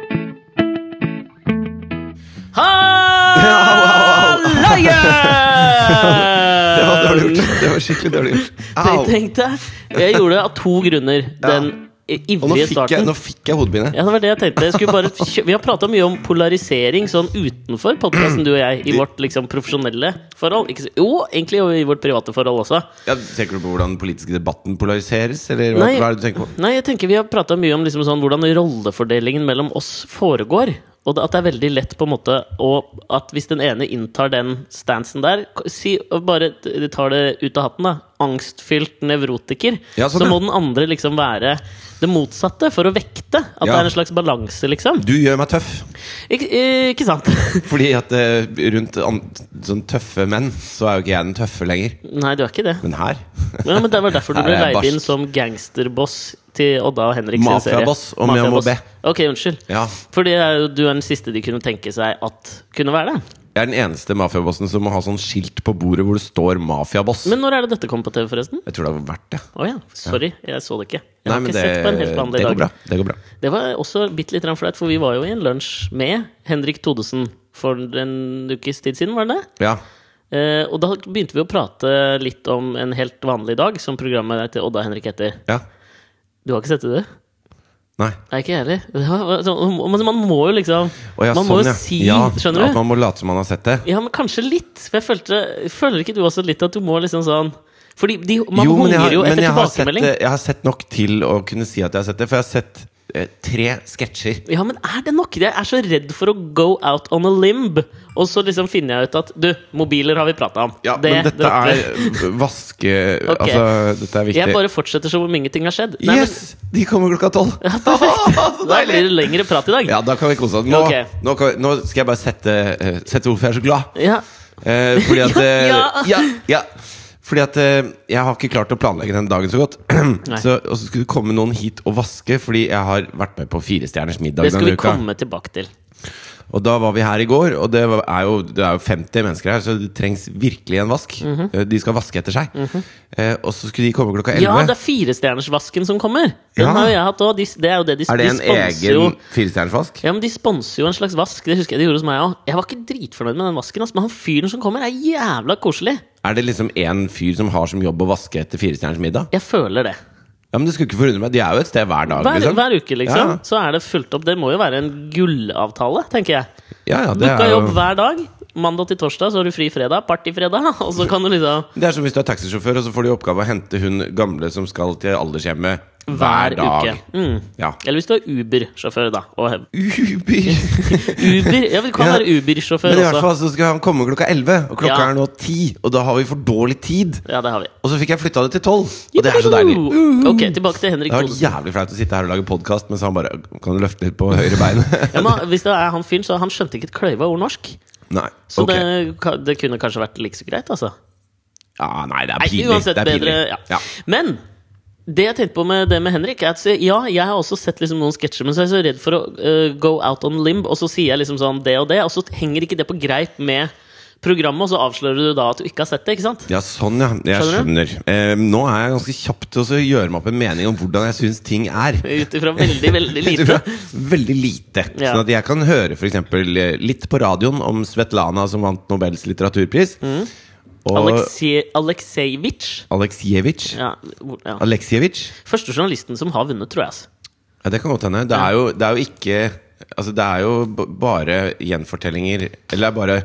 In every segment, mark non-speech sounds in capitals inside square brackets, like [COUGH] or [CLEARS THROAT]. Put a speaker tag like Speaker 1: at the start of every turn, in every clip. Speaker 1: [LAUGHS] Det var
Speaker 2: [LAUGHS]
Speaker 1: dårlig gjort.
Speaker 2: Eh,
Speaker 1: Det var skikkelig dårlig
Speaker 2: [LAUGHS]
Speaker 1: gjort. Au!
Speaker 2: tenk- Tenk deg. Jeg gjorde det av to grunner. Den
Speaker 1: Og nå
Speaker 2: ivrige
Speaker 1: fikk jeg,
Speaker 2: starten.
Speaker 1: nå fikk jeg hodepine.
Speaker 2: Ja, det var det jeg tenkte. Jeg skulle bare kjø- Vi har prata mye om polarisering sånn utenfor podkasten, du og jeg, i vårt liksom profesjonelle forhold. Ikke, s- jo, egentlig jo i vårt private forhold også.
Speaker 1: Ja, tenker du på hvordan den politiske debatten polariseres, eller hva,
Speaker 2: Nei.
Speaker 1: hva er det du tenker på?
Speaker 2: Nei, jeg tenker vi har prata mye om liksom sånn, hvordan rollefordelingen mellom oss foregår. Og det- at det er veldig lett på en måte å At hvis den ene inntar den stansen der k- Si og bare t- tar det ut av hatten, da. Angstfylt nevrotiker.
Speaker 1: Ja, sånn,
Speaker 2: så
Speaker 1: ja.
Speaker 2: må den andre liksom være det motsatte, for å vekte. At det
Speaker 1: Ja.
Speaker 2: er en slags balanse, liksom.
Speaker 1: Du gjør meg tøff.
Speaker 2: Ik ikke sant? [LAUGHS]
Speaker 1: Fordi at eh, rundt an, sånn tøffe menn, så er jo ikke jeg den tøffe lenger.
Speaker 2: Nei, du er ikke det.
Speaker 1: Men her [LAUGHS]
Speaker 2: Ja, men Det var derfor du
Speaker 1: Her
Speaker 2: ble
Speaker 1: er jeg
Speaker 2: leid inn
Speaker 1: barsk.
Speaker 2: som gangsterboss til Odda og Henrik sin serie.
Speaker 1: Mafiaboss, om jeg må
Speaker 2: Mafiaboss. Ok, unnskyld.
Speaker 1: Ja.
Speaker 2: For det er jo, du er den siste de kunne tenke seg at kunne være det.
Speaker 1: Jeg er den eneste mafiabossen som må ha sånn skilt på bordet hvor det står 'mafiaboss'.
Speaker 2: Men når er det dette kom på TV, forresten?
Speaker 1: Jeg tror det har vært det.
Speaker 2: Å ja, sorry, jeg så det ikke. Jeg
Speaker 1: Nei,
Speaker 2: har
Speaker 1: men
Speaker 2: ikke
Speaker 1: det,
Speaker 2: sett på en helt vanlig
Speaker 1: det går
Speaker 2: dag.
Speaker 1: bra. Det går bra.
Speaker 2: Det var også bitte litt flaut, for vi var jo i en lunsj med Henrik Thodesen for en ukes tid siden, var det det?
Speaker 1: Ja.
Speaker 2: Eh, og da begynte vi å prate litt om en helt vanlig dag, som programmet til Odda og Henrik heter.
Speaker 1: ja.
Speaker 2: Du har ikke sett det, du?
Speaker 1: Nei.
Speaker 2: Nei, ikke jeg heller. [LAUGHS] Det var- så- Men man må jo liksom
Speaker 1: Å, ja,
Speaker 2: Man må
Speaker 1: sånn,
Speaker 2: jo
Speaker 1: ja.
Speaker 2: si,
Speaker 1: ja,
Speaker 2: skjønner
Speaker 1: At
Speaker 2: du?
Speaker 1: man må late som man har sett det.
Speaker 2: Ja, men kanskje litt. For jeg følte, føler ikke du også litt at du må liksom sånn Fordi de, man
Speaker 1: men
Speaker 2: hungrer
Speaker 1: jeg har-
Speaker 2: jo
Speaker 1: men
Speaker 2: etter
Speaker 1: jeg har sett eh,
Speaker 2: tilbakemelding.
Speaker 1: det- Jeg har sett nok til å kunne si at jeg har sett det, for jeg har sett eh, tre sketsjer.
Speaker 2: Ja, men er det nok? Jeg er så redd for å go out on a limb. Og så liksom finner jeg ut at Du, mobiler har vi prata om.
Speaker 1: Ja,
Speaker 2: Det
Speaker 1: men dette
Speaker 2: dropper vi.
Speaker 1: er eh, vaske...
Speaker 2: [LAUGHS] Ok.
Speaker 1: Altså, dette er viktig.
Speaker 2: Jeg bare fortsetter som om ingenting har skjedd. Nei,
Speaker 1: Yes! De kommer klokka tolv! Så
Speaker 2: men, da blir
Speaker 1: deilig!
Speaker 2: det lengre prat i dag.
Speaker 1: Ja, da kan vi kose oss. Nå,
Speaker 2: Ok.
Speaker 1: nå, kan vi, nå skal jeg bare sette, eh, sette hvorfor jeg er så glad.
Speaker 2: Ja.
Speaker 1: Eh, fordi at eh,
Speaker 2: [LAUGHS] Ja,
Speaker 1: ja, ja. Fordi at eh, jeg har ikke klart å planlegge den dagen så godt. [CLEARS THROAT] så, og så skulle det komme noen hit og vaske, fordi jeg har vært med på Firestjerners middag
Speaker 2: Det skal vi
Speaker 1: denne uka.
Speaker 2: komme tilbake til.
Speaker 1: Og da var vi her i går, og det var- er jo, det er jo 50 mennesker her, så det trengs virkelig en vask.
Speaker 2: Mhm.
Speaker 1: Eh, De skal vaske etter seg. eh, og så skulle de komme klokka 11.
Speaker 2: Ja, det er Firestjernersvasken som kommer! Den
Speaker 1: Ja.
Speaker 2: har jo jeg hatt òg. Det er jo det de,
Speaker 1: er det
Speaker 2: de
Speaker 1: en
Speaker 2: sponser jo
Speaker 1: egen firestjernersvask?
Speaker 2: Ja, men De sponser jo en slags vask. Det husker Jeg de gjorde hos meg også. Jeg var ikke dritfornøyd med den vasken, ass, men han fyren som kommer, er jævla koselig.
Speaker 1: Er det liksom en fyr som har som jobb å vaske etter firestjerners middag?
Speaker 2: Jeg føler det.
Speaker 1: Ja, men det skulle ikke forundre meg, De er jo et sted hver dag.
Speaker 2: Hver,
Speaker 1: liksom.
Speaker 2: hver uke, liksom.
Speaker 1: Ja.
Speaker 2: Så er det fulgt opp. Det må jo være en gullavtale, tenker jeg.
Speaker 1: Ja, ja, det,
Speaker 2: Dukka
Speaker 1: er
Speaker 2: jobb
Speaker 1: jo,
Speaker 2: hver dag. Mandag til torsdag, så har du fri fredag. [LAUGHS] Partyfredag. Og så kan du liksom
Speaker 1: det er som hvis du er taxisjåfør, og så får du i oppgave å hente hun gamle som skal til aldershjemmet hver,
Speaker 2: Hver
Speaker 1: dag.
Speaker 2: uke. Mm.
Speaker 1: Ja.
Speaker 2: Eller hvis du er Uber-sjåfør, da. Og
Speaker 1: Uber!
Speaker 2: [LAUGHS] Uber Ja, men du kan
Speaker 1: Ja.
Speaker 2: være
Speaker 1: Men
Speaker 2: Uber-sjåfør
Speaker 1: i hvert
Speaker 2: også.
Speaker 1: fall så skal han komme klokka 11, og klokka
Speaker 2: Ja.
Speaker 1: er nå 10, og da har vi for dårlig tid.
Speaker 2: Ja, det har vi.
Speaker 1: Og så fikk jeg flytta det til 12, og det er så deilig.
Speaker 2: Ok, tilbake til Henrik
Speaker 1: Det har vært
Speaker 2: Thodesen.
Speaker 1: jævlig flaut å sitte her og lage podkast mens han bare Kan du løfte litt på høyre
Speaker 2: [LAUGHS]
Speaker 1: bein?
Speaker 2: Ja, men hvis det er han fyren, så han skjønte ikke et kløyva ord norsk.
Speaker 1: Nei.
Speaker 2: Så
Speaker 1: ok.
Speaker 2: det, ka- det kunne kanskje vært like så greit, altså.
Speaker 1: ja, nei, det er
Speaker 2: Nei,
Speaker 1: pinlig.
Speaker 2: uansett
Speaker 1: det er
Speaker 2: bedre
Speaker 1: pinlig.
Speaker 2: ja.
Speaker 1: Ja.
Speaker 2: Men det jeg tenkte på med det med Henrik, er at så- ja, jeg har også sett liksom noen sketsjer, men så er jeg så redd for å eh, go out on limb, og så sier jeg liksom sånn det og det, og så henger ikke det på greip med programmet, og så avslører du da at du ikke har sett det, ikke sant?
Speaker 1: ja, sånn, ja. Jeg
Speaker 2: Skjønner
Speaker 1: skjønner. Eh, nå er jeg ganske kjapp til å gjøre meg opp en mening om hvordan jeg syns ting er.
Speaker 2: Ut ifra veldig,
Speaker 1: [LAUGHS]
Speaker 2: veldig lite.
Speaker 1: Veldig lite.
Speaker 2: Ja.
Speaker 1: Sånn at jeg kan høre f.eks. litt på radioen om Svetlana som vant Nobels litteraturpris.
Speaker 2: Mm.
Speaker 1: Og
Speaker 2: Alekse- Aleksejevitsj.
Speaker 1: Aleksijevitsj.
Speaker 2: Ja, hvor- ja.
Speaker 1: Aleksijevitsj.
Speaker 2: Første journalisten som har vunnet, tror jeg. Altså.
Speaker 1: Ja, det kan godt hende. Det er jo, det er jo ikke Altså, det er jo b- bare gjenfortellinger Eller det er bare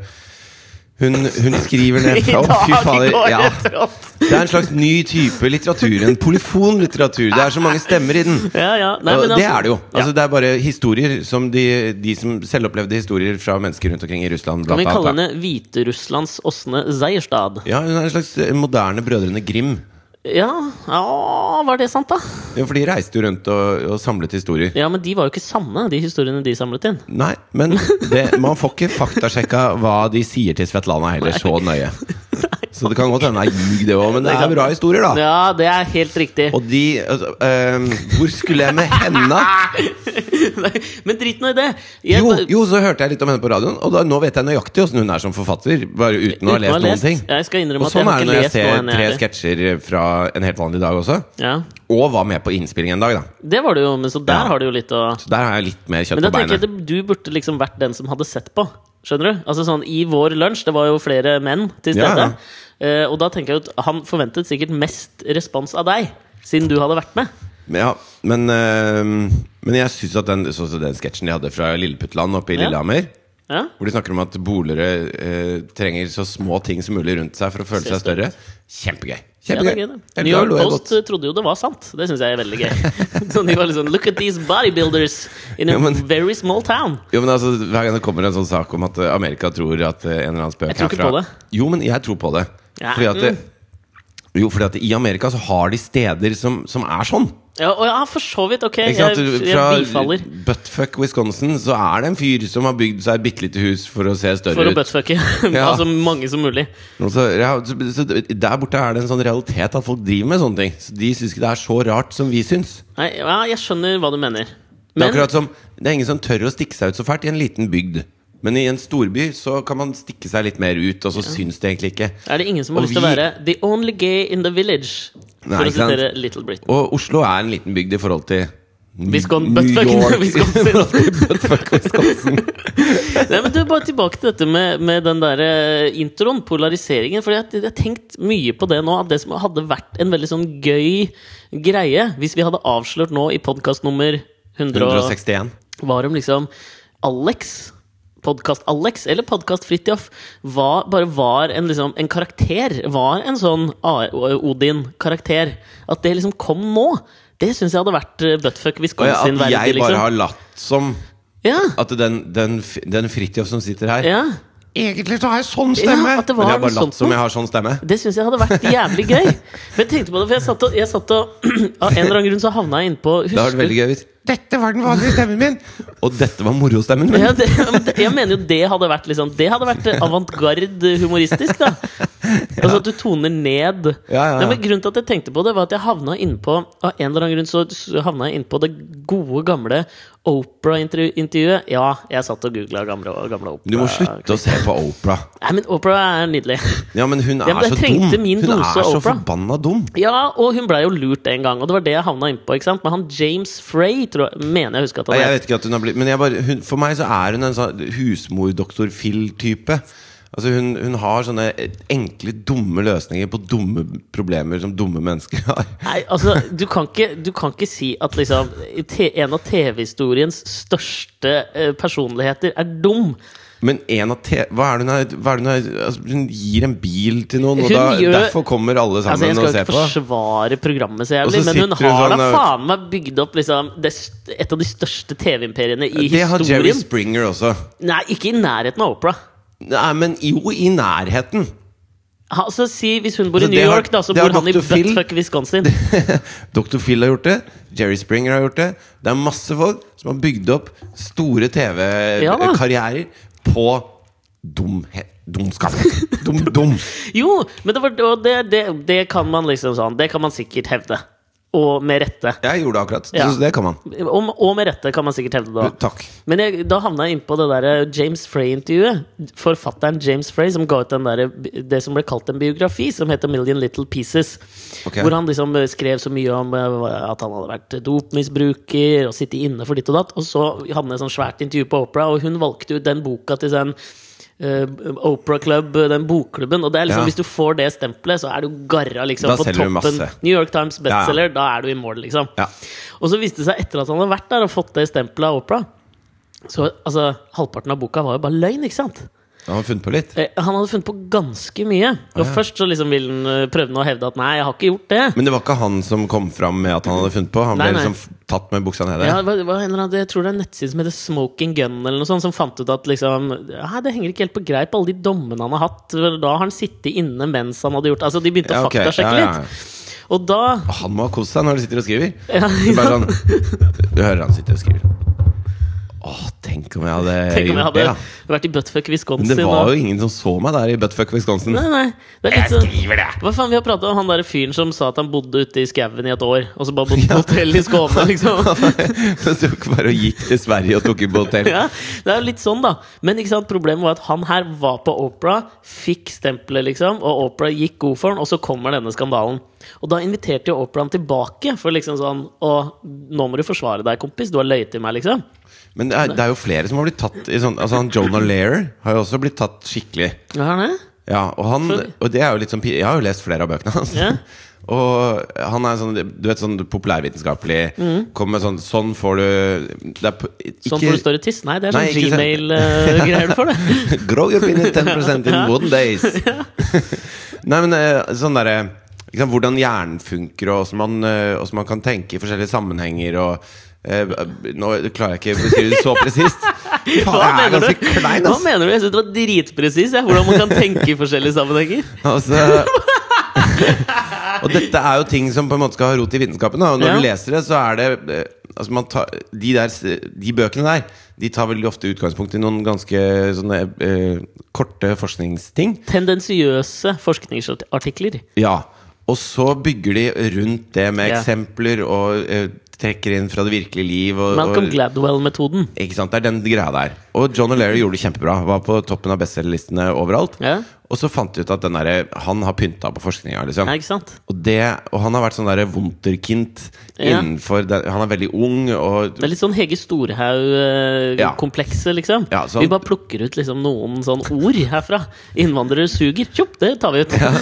Speaker 1: Hun, hun skriver ned
Speaker 2: [LAUGHS] I
Speaker 1: Å, fy
Speaker 2: dag
Speaker 1: fader.
Speaker 2: går
Speaker 1: Ja.
Speaker 2: det trått!
Speaker 1: Det er en slags ny type litteratur. En polyfonlitteratur. Det er så mange stemmer i den.
Speaker 2: Ja, ja. Nei,
Speaker 1: Og
Speaker 2: men
Speaker 1: det
Speaker 2: altså-
Speaker 1: er det jo.
Speaker 2: Ja.
Speaker 1: Altså, det er bare historier som de, de som selvopplevde historier fra mennesker rundt omkring i Russland.
Speaker 2: Kan vi
Speaker 1: blant annet,
Speaker 2: kalle
Speaker 1: da.
Speaker 2: henne Hviterusslands Åsne Zeierstad?
Speaker 1: Ja, hun er en slags eh, moderne Brødrene Grim.
Speaker 2: Ja, ja, var det sant, da?
Speaker 1: Ja, For de reiste jo rundt og, og samlet historier.
Speaker 2: Ja, men de var jo ikke sanne, de historiene de samlet inn.
Speaker 1: Nei, men det, man får ikke faktasjekka hva de sier til Svetlana heller, så nøye.
Speaker 2: [LAUGHS]
Speaker 1: Så det kan godt hende det er ljug, det òg, men det er bra historier, da.
Speaker 2: Ja, det er helt riktig.
Speaker 1: Og de altså, ehm, Hvor skulle jeg med henne?
Speaker 2: Nei, [LAUGHS] men drit nå i det. [LAUGHS] Jeg,
Speaker 1: Jo, jo, så hørte jeg litt om henne på radioen, og da, nå vet jeg nøyaktig åssen hun er som forfatter. Bare uten, å ha lest noen ting.
Speaker 2: Jeg skal
Speaker 1: Og
Speaker 2: innrømme at
Speaker 1: sånn
Speaker 2: jeg
Speaker 1: er
Speaker 2: har ikke
Speaker 1: det når jeg
Speaker 2: lest noe
Speaker 1: ser
Speaker 2: henne
Speaker 1: tre
Speaker 2: heller.
Speaker 1: sketsjer fra en helt vanlig dag også.
Speaker 2: Ja.
Speaker 1: Og var med på innspilling en dag, da.
Speaker 2: Det var det jo, men så der
Speaker 1: Ja.
Speaker 2: har du jo litt å
Speaker 1: Så der har jeg litt mer kjøtt
Speaker 2: Men da
Speaker 1: på
Speaker 2: tenker jeg
Speaker 1: beinet.
Speaker 2: at du burde liksom vært den som hadde sett på. Skjønner du? Altså sånn, I vår lunsj, det var jo flere menn til
Speaker 1: Ja,
Speaker 2: stede.
Speaker 1: ja.
Speaker 2: Eh, og da tenker jeg at han forventet sikkert mest respons av deg, siden du hadde vært med.
Speaker 1: Men Ja, men, eh, men jeg syns at den, sånn som den sketsjen de hadde fra Lilleputtland oppe i
Speaker 2: Ja.
Speaker 1: Lillehammer,
Speaker 2: Ja?
Speaker 1: hvor de snakker om at bolere eh, trenger så små ting som mulig rundt seg for å føle
Speaker 2: Ser
Speaker 1: seg større, kjempegøy.
Speaker 2: Ja, det er
Speaker 1: Kjempegøy.
Speaker 2: gøy, det.
Speaker 1: Jeg
Speaker 2: New York
Speaker 1: lo jeg godt.
Speaker 2: Post trodde jo det var sant. Det syns jeg er veldig gøy. [LAUGHS] Så de var liksom Look at these bodybuilders in a
Speaker 1: Ja, men-
Speaker 2: very small town.
Speaker 1: Jo, men altså, Hver gang det kommer en sånn sak om at eh, Amerika tror at eh, en eller annen spøk
Speaker 2: Jeg tror ikke på det.
Speaker 1: Jo, men jeg tror på det.
Speaker 2: Ja, Mm.
Speaker 1: Fordi at det jo, fordi at i Amerika så har de steder som, som er sånn.
Speaker 2: Ja, og ja for så vidt. Ok, jeg,
Speaker 1: Ikke sant?
Speaker 2: jeg,
Speaker 1: Fra
Speaker 2: bifaller.
Speaker 1: buttfuck Wisconsin så er det en fyr som har bygd seg et bitte lite hus for å se større
Speaker 2: For å
Speaker 1: ut.
Speaker 2: buttfucke [LAUGHS]
Speaker 1: Ja.
Speaker 2: altså mange som mulig.
Speaker 1: Og Så, ja, så, så Der borte er det en sånn realitet at folk driver med sånne ting. Så De syns ikke det er så rart som vi syns.
Speaker 2: Nei, ja, jeg skjønner hva du mener.
Speaker 1: Det er
Speaker 2: Men
Speaker 1: akkurat som Det er ingen som tør å stikke seg ut så fælt i en liten bygd. Men i en storby så kan man stikke seg litt mer ut, og så syns det egentlig ikke.
Speaker 2: er det ingen som har
Speaker 1: Og
Speaker 2: lyst til å
Speaker 1: vi-
Speaker 2: være the only gay in the village? For
Speaker 1: Nei,
Speaker 2: å
Speaker 1: ikke sant?
Speaker 2: sitere Little Britain.
Speaker 1: Og Oslo er en liten bygd i forhold til N-
Speaker 2: Wisconsin-
Speaker 1: New
Speaker 2: buttfuck- [LAUGHS]
Speaker 1: York. [LAUGHS]
Speaker 2: Wisconsin.
Speaker 1: I forhold til buttfuck Wisconsin.
Speaker 2: Nei, men du, Bare tilbake til dette med, med den der eh, introen, polariseringen. Fordi at jeg har tenkt mye på det nå, at det som hadde vært en veldig sånn gøy greie hvis vi hadde avslørt nå i podkast nummer 100 og-
Speaker 1: 161.
Speaker 2: var om liksom Alex Podkast-Alex eller Podkast-Fridtjof var, bare var en, liksom, en karakter. Var en sånn A- Odin-karakter. At det liksom kom nå. Det syns jeg hadde vært eh, buttfuck
Speaker 1: Og ja,
Speaker 2: Wisconsin
Speaker 1: at
Speaker 2: verdig,
Speaker 1: jeg bare
Speaker 2: liksom.
Speaker 1: har latt som
Speaker 2: Ja,
Speaker 1: at den, den, f- den Fridtjof som sitter her
Speaker 2: ja.
Speaker 1: Egentlig så har jeg sånn
Speaker 2: Ja,
Speaker 1: stemme!
Speaker 2: at det var
Speaker 1: Men jeg har
Speaker 2: noe
Speaker 1: bare
Speaker 2: sånt
Speaker 1: latt som
Speaker 2: noe.
Speaker 1: jeg har sånn stemme.
Speaker 2: Det syns jeg hadde vært jævlig gøy. For jeg tenkte på det, for jeg satt og, jeg satt og [CLEARS THROAT] Av en eller annen grunn så havna jeg innpå
Speaker 1: Det hadde vært veldig gøy hvis Dette var den vanlige stemmen min! Og dette var morostemmen min!
Speaker 2: ja, det, jeg mener jo det hadde vært liksom, Det hadde vært avantgarde humoristisk, da. Altså at du toner ned.
Speaker 1: Ja, ja, ja.
Speaker 2: Nei, men grunnen til at jeg tenkte på det, var at jeg havna innpå Av en eller annen grunn så så havna jeg innpå det gode, gamle Opera-intervjuet. Ja, jeg satt og googla gamle, gamle Opera.
Speaker 1: Du må slutte å se på Opera.
Speaker 2: Nei, men Opera er nydelig.
Speaker 1: Ja, men hun er
Speaker 2: men jeg
Speaker 1: så
Speaker 2: trengte
Speaker 1: dum!
Speaker 2: min
Speaker 1: Hun
Speaker 2: dose
Speaker 1: er så
Speaker 2: Oprah.
Speaker 1: forbanna dum!
Speaker 2: Ja, og hun blei jo lurt en gang, og det var det jeg havna innpå. ikke sant? Men han James Frey tror jeg, mener jeg husker at
Speaker 1: Nei,
Speaker 2: han
Speaker 1: jeg
Speaker 2: het.
Speaker 1: vet ikke at hun har blitt Men jeg bare, hun, for meg så er hun en sånn husmor-doktor Phil-type. Altså hun, hun har sånne enkle, dumme løsninger på dumme problemer som dumme mennesker [LAUGHS] har.
Speaker 2: Nei, altså, du kan ikke, du kan ikke si at liksom te- en av TV-historiens største eh, personligheter er dum.
Speaker 1: Men en av te hva er det hun har, hva er det hun, har altså, hun gir en bil til noen,
Speaker 2: Hun
Speaker 1: og da,
Speaker 2: gjør-
Speaker 1: derfor kommer alle
Speaker 2: Altså,
Speaker 1: sammen
Speaker 2: jeg skal
Speaker 1: og
Speaker 2: jo
Speaker 1: ser
Speaker 2: ikke
Speaker 1: på.
Speaker 2: forsvare programmet så
Speaker 1: Og
Speaker 2: jævlig,
Speaker 1: så
Speaker 2: men hun
Speaker 1: sitter hun
Speaker 2: har da
Speaker 1: sånn, eh,
Speaker 2: faen meg bygd opp liksom det, st- et av de største TV-imperiene i
Speaker 1: Det har Jerry
Speaker 2: historien.
Speaker 1: Springer også.
Speaker 2: Nei, ikke i nærheten av Opera.
Speaker 1: Nei, men jo, i nærheten.
Speaker 2: Altså, si, Hvis hun bor i
Speaker 1: Altså,
Speaker 2: New
Speaker 1: det har-
Speaker 2: York, da, så
Speaker 1: det har
Speaker 2: bor han i
Speaker 1: Dr. Phil.
Speaker 2: buttfuck Wisconsin.
Speaker 1: [LAUGHS] Dr. Phil har gjort det. Jerry Springer har gjort det. Det er masse folk som har bygd opp store
Speaker 2: Ja da.
Speaker 1: TV-karrierer på dumhet.
Speaker 2: [LAUGHS]
Speaker 1: Dumskap. Dum, dum.
Speaker 2: Jo, men det, var, og det, det, det kan man liksom sånn Det kan man sikkert hevde. Og med rette.
Speaker 1: Jeg gjorde det akkurat.
Speaker 2: Ja.
Speaker 1: Så det kan man.
Speaker 2: Om, og med rette kan man sikkert hevde det. også.
Speaker 1: Takk.
Speaker 2: Men jeg, da havna jeg innpå det der eh, James Frey-intervjuet. Forfatteren James Frey som ga ut den der, eh, det som ble kalt en biografi, som het A Million Little Pieces.
Speaker 1: Ok.
Speaker 2: Hvor han liksom eh, skrev så mye om eh, at han hadde vært dopmisbruker og sittet inne for ditt og datt. Og så hadde han et sånt svært intervju på Opera, og hun valgte ut den boka til den eh, Opera Club, eh, den bokklubben. Og det er liksom,
Speaker 1: Ja.
Speaker 2: hvis du får det stempelet, så er du garra liksom,
Speaker 1: Da
Speaker 2: på
Speaker 1: selger du
Speaker 2: toppen.
Speaker 1: masse.
Speaker 2: New York Times
Speaker 1: ja.
Speaker 2: bestselger, da er du i mål, liksom.
Speaker 1: Ja.
Speaker 2: Og så viste det seg etter at han hadde vært der og fått det stempelet av Opera Så altså, halvparten av boka var jo bare løgn, ikke sant?
Speaker 1: Da har man funnet på litt.
Speaker 2: Eh, han hadde funnet på ganske mye. Og først så liksom ville han eh, prøvde han å hevde at nei, jeg har ikke gjort det.
Speaker 1: Men det var ikke han som kom fram med at han hadde funnet på. Han ble
Speaker 2: Nei, nei.
Speaker 1: liksom f- tatt med buksa nede.
Speaker 2: Ja, det var, det var en eller annen, jeg tror det er en nettside som heter Smoking Gun, eller noe sånt, som fant ut at liksom Nei, det henger ikke helt på greip, alle de dommene han har hatt. Da har han sittet inne mens han hadde gjort Altså, de begynte
Speaker 1: Ja, ok.
Speaker 2: å faktasjekke
Speaker 1: Ja, ja, ja.
Speaker 2: litt. Og da
Speaker 1: Han må ha kost seg når de sitter og skriver.
Speaker 2: Ja,
Speaker 1: Det er bare sånn, du hører han sitter og skriver. Åh, tenk om jeg hadde
Speaker 2: Tenk om jeg
Speaker 1: gjort
Speaker 2: hadde
Speaker 1: det, ja.
Speaker 2: vært i buttfuck Wisconsin.
Speaker 1: Men det var
Speaker 2: og-
Speaker 1: jo ingen som så meg der i Buttfuck Wisconsin.
Speaker 2: Nei, nei. Det er litt sånn-
Speaker 1: skriver [LAUGHS] det!
Speaker 2: Hva faen, Vi har prata om han der fyren som sa at han bodde ute i skauen i et år, og så bare bodde på hotell i
Speaker 1: [LAUGHS]
Speaker 2: Skåne, liksom.
Speaker 1: Så tok bare og gikk til Sverige og tok inn på hotell.
Speaker 2: Ja, det er jo litt sånn, da. Men ikke sant, problemet var at han her var på Opera, fikk stempelet, liksom, og Opera gikk god for han, og så kommer denne skandalen. Og da inviterte jo Opera han tilbake, for liksom sånn Å, nå må du forsvare deg, kompis, du har løyet til meg, liksom.
Speaker 1: Men det er, det er jo flere som har blitt tatt i sånn Altså han Jonah Lair har jo også blitt tatt skikkelig.
Speaker 2: Ja, her er det.
Speaker 1: Ja, og, han,
Speaker 2: For-
Speaker 1: og det er jo litt sånn pi- Jeg har jo lest flere av bøkene hans.
Speaker 2: Ja.
Speaker 1: [LAUGHS] Og han er sånn Du vet sånn populærvitenskapelig Kommer med sånn Sånn får du det er, p- ikke,
Speaker 2: Mm. Sånn får du større tiss? Nei, det er
Speaker 1: Nei,
Speaker 2: sånn
Speaker 1: ikke sant.
Speaker 2: Gmail-greier du får, det.
Speaker 1: Grow your
Speaker 2: [LAUGHS]
Speaker 1: penis 10% in
Speaker 2: Ja.
Speaker 1: wooden days [LAUGHS] Nei, men eh, sånn der eh, ikke sant, Hvordan hjernen funker Og hvordan man, eh, hvordan man kan tenke i forskjellige sammenhenger Og eh, Nå klarer jeg ikke å beskrive det så
Speaker 2: [LAUGHS]
Speaker 1: presist [LAUGHS] Faen, jeg er ganske klein
Speaker 2: Hva
Speaker 1: ass.
Speaker 2: mener du? Jeg synes det var dritpresis jeg, hvordan man kan tenke i forskjellige sammenhenger. [LAUGHS]
Speaker 1: altså, Og dette er jo ting som på en måte skal ha rot i vitenskapen da. Og når
Speaker 2: Ja.
Speaker 1: du leser det så er det eh, altså man tar, de, der, s- de bøkene der De tar veldig ofte utgangspunkt i noen ganske sånne, eh, Korte forskningsting
Speaker 2: Tendensiøse forskningsartikler.
Speaker 1: Ja, og så bygger de rundt det med
Speaker 2: Ja.
Speaker 1: eksempler og eh, trekker inn fra det virkelige liv. Og,
Speaker 2: Malcolm
Speaker 1: og,
Speaker 2: Gladwell-metoden.
Speaker 1: ikke sant, Det er den greia der. Og John O'Leary gjorde det kjempebra. Var på toppen av bestselgerlistene overalt.
Speaker 2: Ja.
Speaker 1: Og så fant de ut at den derre- han har pynta på forskninga. Liksom.
Speaker 2: Ja, ikke sant?
Speaker 1: Og, det- og han har vært sånn derre wunderkind
Speaker 2: Ja.
Speaker 1: innenfor den, Han er veldig ung og
Speaker 2: Det er litt sånn Hege
Speaker 1: Ja.
Speaker 2: Storhaug-komplekset, liksom.
Speaker 1: Ja, sånn-
Speaker 2: Vi bare plukker ut liksom noen sånn ord herfra. Innvandrere suger. Tjopp, det tar vi ut.
Speaker 1: eh,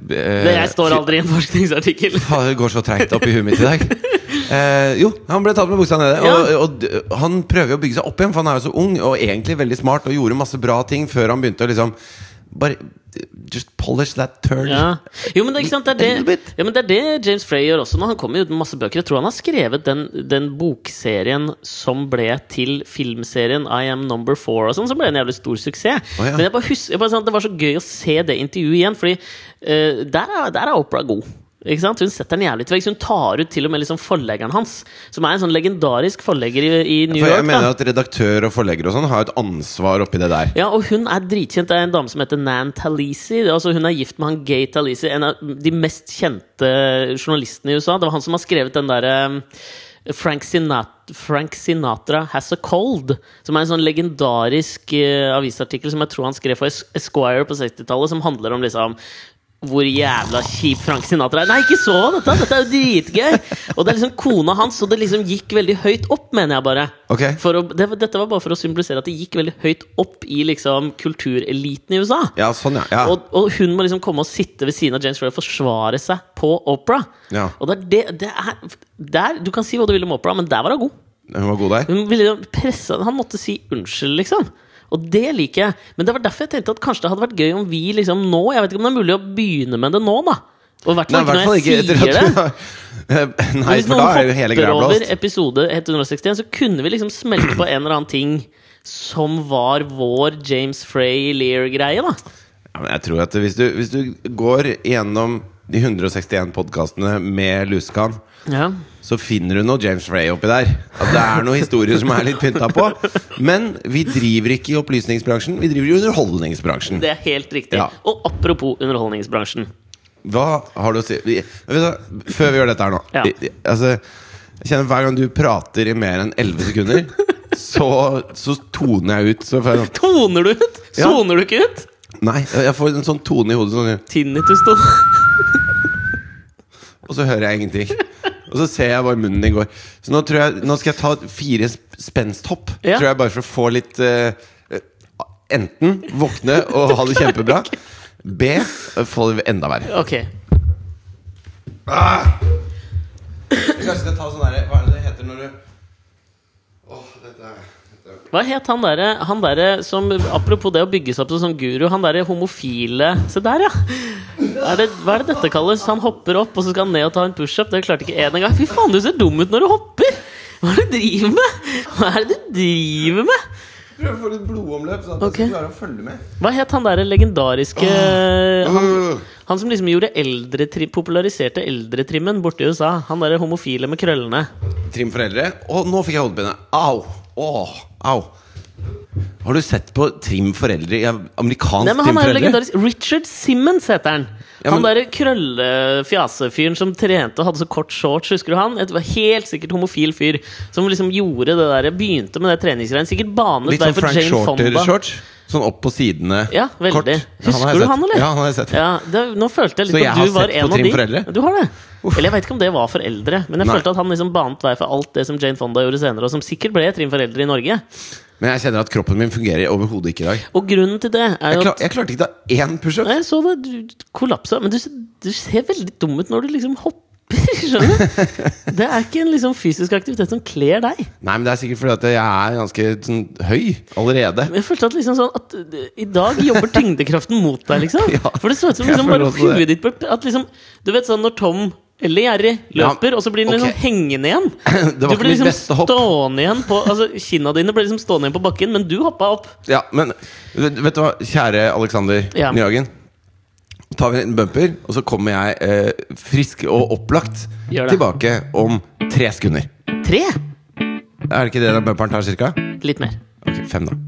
Speaker 2: Det, jeg står aldri i en forskningsartikkel.
Speaker 1: Faen, det går så treigt opp i huet mitt i dag. Eh, jo, han ble tatt med buksa nede. Og,
Speaker 2: Ja.
Speaker 1: og d- han prøver jo å bygge seg opp igjen, for han er jo så ung og egentlig veldig smart og gjorde masse bra ting før han begynte å liksom Bare Just polish that turd.
Speaker 2: Ja. Jo, men det, er ikke sant? Det,
Speaker 1: A
Speaker 2: er
Speaker 1: little
Speaker 2: det,
Speaker 1: bit.
Speaker 2: ja, men det er det James Frey gjør også. Når han kommer ut med masse bøker Jeg tror han har skrevet den, den bokserien som ble til filmserien I Am Number Four, og sånn, som ble en jævlig stor suksess.
Speaker 1: Å, ja.
Speaker 2: Men jeg bare husker, jeg bare, sånn, det var så gøy å se det intervjuet igjen, Fordi eh, der, er, der er Opera god. Ikke sant? Hun setter den jævlig til veggs. Hun tar ut til og med liksom forleggeren hans, som er en sånn legendarisk forlegger i, i New
Speaker 1: For jeg
Speaker 2: York. da.
Speaker 1: mener at redaktør og forlegger og sånn har et ansvar oppi det der.
Speaker 2: Ja, og hun er dritkjent. Det er en dame som heter Nan Talisi. Altså, hun er gift med han Gay Talisi, en av de mest kjente journalistene i USA. Det var han som har skrevet den derre um, Frank, Sinat Frank Sinatra Has a Cold, som er en sånn legendarisk eh, avisartikkel som jeg tror han skrev for Es- Esquire på 60-tallet, som handler om liksom hvor jævla kjip Frank Sinatra er. Nei, ikke så dette! Dette er jo dritgøy! Og det er liksom kona hans, og det liksom gikk veldig høyt opp, mener jeg bare.
Speaker 1: Ok.
Speaker 2: For å, det, dette var bare for å symbolisere at det gikk veldig høyt opp i liksom, kultureliten i USA.
Speaker 1: Ja, sånn, ja. ja.
Speaker 2: Og, og hun må liksom komme og sitte ved siden av James Frey og forsvare seg på Opera.
Speaker 1: Ja.
Speaker 2: Og det er det, det er, der, du kan si hva du vil om Opera, men der var hun god.
Speaker 1: Hun var god der.
Speaker 2: Hun ville jo presse Han måtte si unnskyld, liksom. Og det liker jeg. Men det var derfor jeg tenkte at kanskje det hadde vært gøy om vi liksom nå Jeg vet ikke om det er mulig å begynne med det nå, da. Og i hvert
Speaker 1: Nei,
Speaker 2: fall
Speaker 1: i hvert
Speaker 2: ikke
Speaker 1: fall
Speaker 2: når
Speaker 1: ikke
Speaker 2: jeg
Speaker 1: etter
Speaker 2: sier
Speaker 1: at
Speaker 2: det.
Speaker 1: du har [LAUGHS] Nei,
Speaker 2: Men hvis
Speaker 1: for da er jo hele
Speaker 2: noen
Speaker 1: greia
Speaker 2: hopper over
Speaker 1: blåst.
Speaker 2: episode 161, så kunne vi liksom smelte på en eller annen ting som var vår James Frey Lear-greie, da.
Speaker 1: Ja, men jeg tror at hvis du, hvis du går gjennom de 161 podkastene med lusekam
Speaker 2: Ja.
Speaker 1: så finner du noe James Frey oppi der. At det er noen historier som er litt pynta på. Men vi driver ikke i opplysningsbransjen, vi driver i underholdningsbransjen.
Speaker 2: Det er helt riktig.
Speaker 1: Ja.
Speaker 2: Og apropos underholdningsbransjen.
Speaker 1: Hva har du å si vi, vet du, hva, Før vi gjør dette her nå
Speaker 2: Ja.
Speaker 1: i- i- altså, Jeg kjenner hver gang du prater i mer enn 11 sekunder, så, så toner jeg ut. Så får jeg, sånn-
Speaker 2: Toner du ut?
Speaker 1: Ja.
Speaker 2: Soner du ikke ut?
Speaker 1: nei, jeg får en sånn tone i hodet, sånn,
Speaker 2: Tinnitus, da.
Speaker 1: og så hører jeg ingenting. Og så ser jeg bare munnen din går. Så nå, tror jeg, nå skal jeg ta fire sp- spensthopp,
Speaker 2: Ja.
Speaker 1: tror jeg bare for å få litt eh, eh, Enten våkne og ha det
Speaker 2: [LAUGHS]
Speaker 1: kjempebra. B. Få det enda verre.
Speaker 2: Ok.
Speaker 1: Kanskje jeg skal ta sånn derre Hva er det det heter når du Åh, dette er dette er-
Speaker 2: Hva het han derre han derre som Apropos det å bygge seg opp som guru, han derre homofile Se der, ja! Er det, hva er det dette kalles? Han hopper opp, og så skal han ned og ta en pushup. Det klarte ikke én engang. Fy faen, du ser dum ut når du hopper! Hva er det du driver med? Hva er det du driver med?
Speaker 1: Prøv å få litt blodomløp, sånn at
Speaker 2: Ok.
Speaker 1: jeg skal klare å følge med.
Speaker 2: Hva het han derre legendariske Eh,
Speaker 1: Ah.
Speaker 2: han,
Speaker 1: Uh,
Speaker 2: han som liksom gjorde eldretrim, populariserte eldretrimmen borte i USA? Han derre homofile med krøllene.
Speaker 1: Trim foreldre. Å, nå fikk jeg hodepine. Au! Åh, au. Har du sett på Trim foreldre i amerikansk
Speaker 2: Nei, men
Speaker 1: Trim
Speaker 2: han er jo
Speaker 1: foreldre?
Speaker 2: legendarisk Richard Simmons heter han.
Speaker 1: Ja,
Speaker 2: Han
Speaker 1: men-
Speaker 2: derre krøllefjasefyren som trente og hadde så kort shorts, husker du han? Et var helt sikkert homofil fyr som liksom gjorde det der Begynte med det treningsgreiene. Sikkert banet
Speaker 1: Litt sånn
Speaker 2: vei for
Speaker 1: Frank
Speaker 2: Jane Fonda.
Speaker 1: Shorter-shorts? Sånn opp på sidene.
Speaker 2: Ja, veldig.
Speaker 1: Kort.
Speaker 2: Husker
Speaker 1: har jeg
Speaker 2: du
Speaker 1: sett.
Speaker 2: han, eller?
Speaker 1: Ja, han har jeg sett.
Speaker 2: Ja, det, nå følte jeg
Speaker 1: Så
Speaker 2: litt
Speaker 1: jeg
Speaker 2: at
Speaker 1: har
Speaker 2: du var
Speaker 1: sett på
Speaker 2: en av
Speaker 1: Trinn
Speaker 2: de.
Speaker 1: Foreldre?
Speaker 2: Du har det? Eller jeg vet ikke om det var for eldre, men jeg
Speaker 1: Nei.
Speaker 2: følte at han liksom bant vei for alt det som Jane Fonda gjorde senere, og som sikkert ble Trinn for eldre i Norge.
Speaker 1: Men jeg kjenner at kroppen min fungerer overhodet ikke i dag.
Speaker 2: Og grunnen til det er
Speaker 1: Jeg,
Speaker 2: jo
Speaker 1: klar,
Speaker 2: at
Speaker 1: jeg klarte ikke å ta én pushup.
Speaker 2: Nei, jeg så det, du kollapsa. Men du, du ser veldig dum ut når du liksom hopper, [LAUGHS] skjønner du? Det er ikke en liksom fysisk aktivitet som kler deg.
Speaker 1: Nei, men det er sikkert fordi at jeg er ganske sånn, høy allerede.
Speaker 2: Men jeg følte at liksom sånn at uh, I dag jobber tyngdekraften mot deg, liksom.
Speaker 1: [LAUGHS] Ja.
Speaker 2: For det så ut som
Speaker 1: Jeg
Speaker 2: liksom
Speaker 1: føler
Speaker 2: bare
Speaker 1: også det.
Speaker 2: huet ditt ble- At liksom Du vet sånn når Tom eller Jerry
Speaker 1: Ja,
Speaker 2: løper, og så blir den liksom
Speaker 1: ok.
Speaker 2: hengende igjen.
Speaker 1: [CLEARS THROAT] Det
Speaker 2: Du
Speaker 1: var ikke
Speaker 2: ble
Speaker 1: mitt
Speaker 2: liksom
Speaker 1: beste hopp.
Speaker 2: stående igjen på Altså Kinna dine ble liksom stående igjen på bakken, men du hoppa opp.
Speaker 1: Ja, men vet vet du hva, kjære Alexander
Speaker 2: Ja.
Speaker 1: Nyhagen. Tar vi en bumper, og så kommer jeg eh, frisk og opplagt
Speaker 2: Gjør det.
Speaker 1: tilbake om tre sekunder.
Speaker 2: Tre?
Speaker 1: Er det ikke det den bumperen tar, cirka?
Speaker 2: Litt mer.
Speaker 1: Ok, fem, da.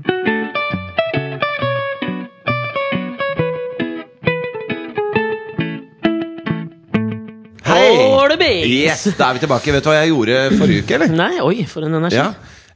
Speaker 1: Hei!
Speaker 2: All the
Speaker 1: Yes,
Speaker 2: bees!
Speaker 1: da er vi tilbake. Vet du hva jeg gjorde forrige uke, [LAUGHS] eller?
Speaker 2: Nei, oi, for en energi.
Speaker 1: Ja.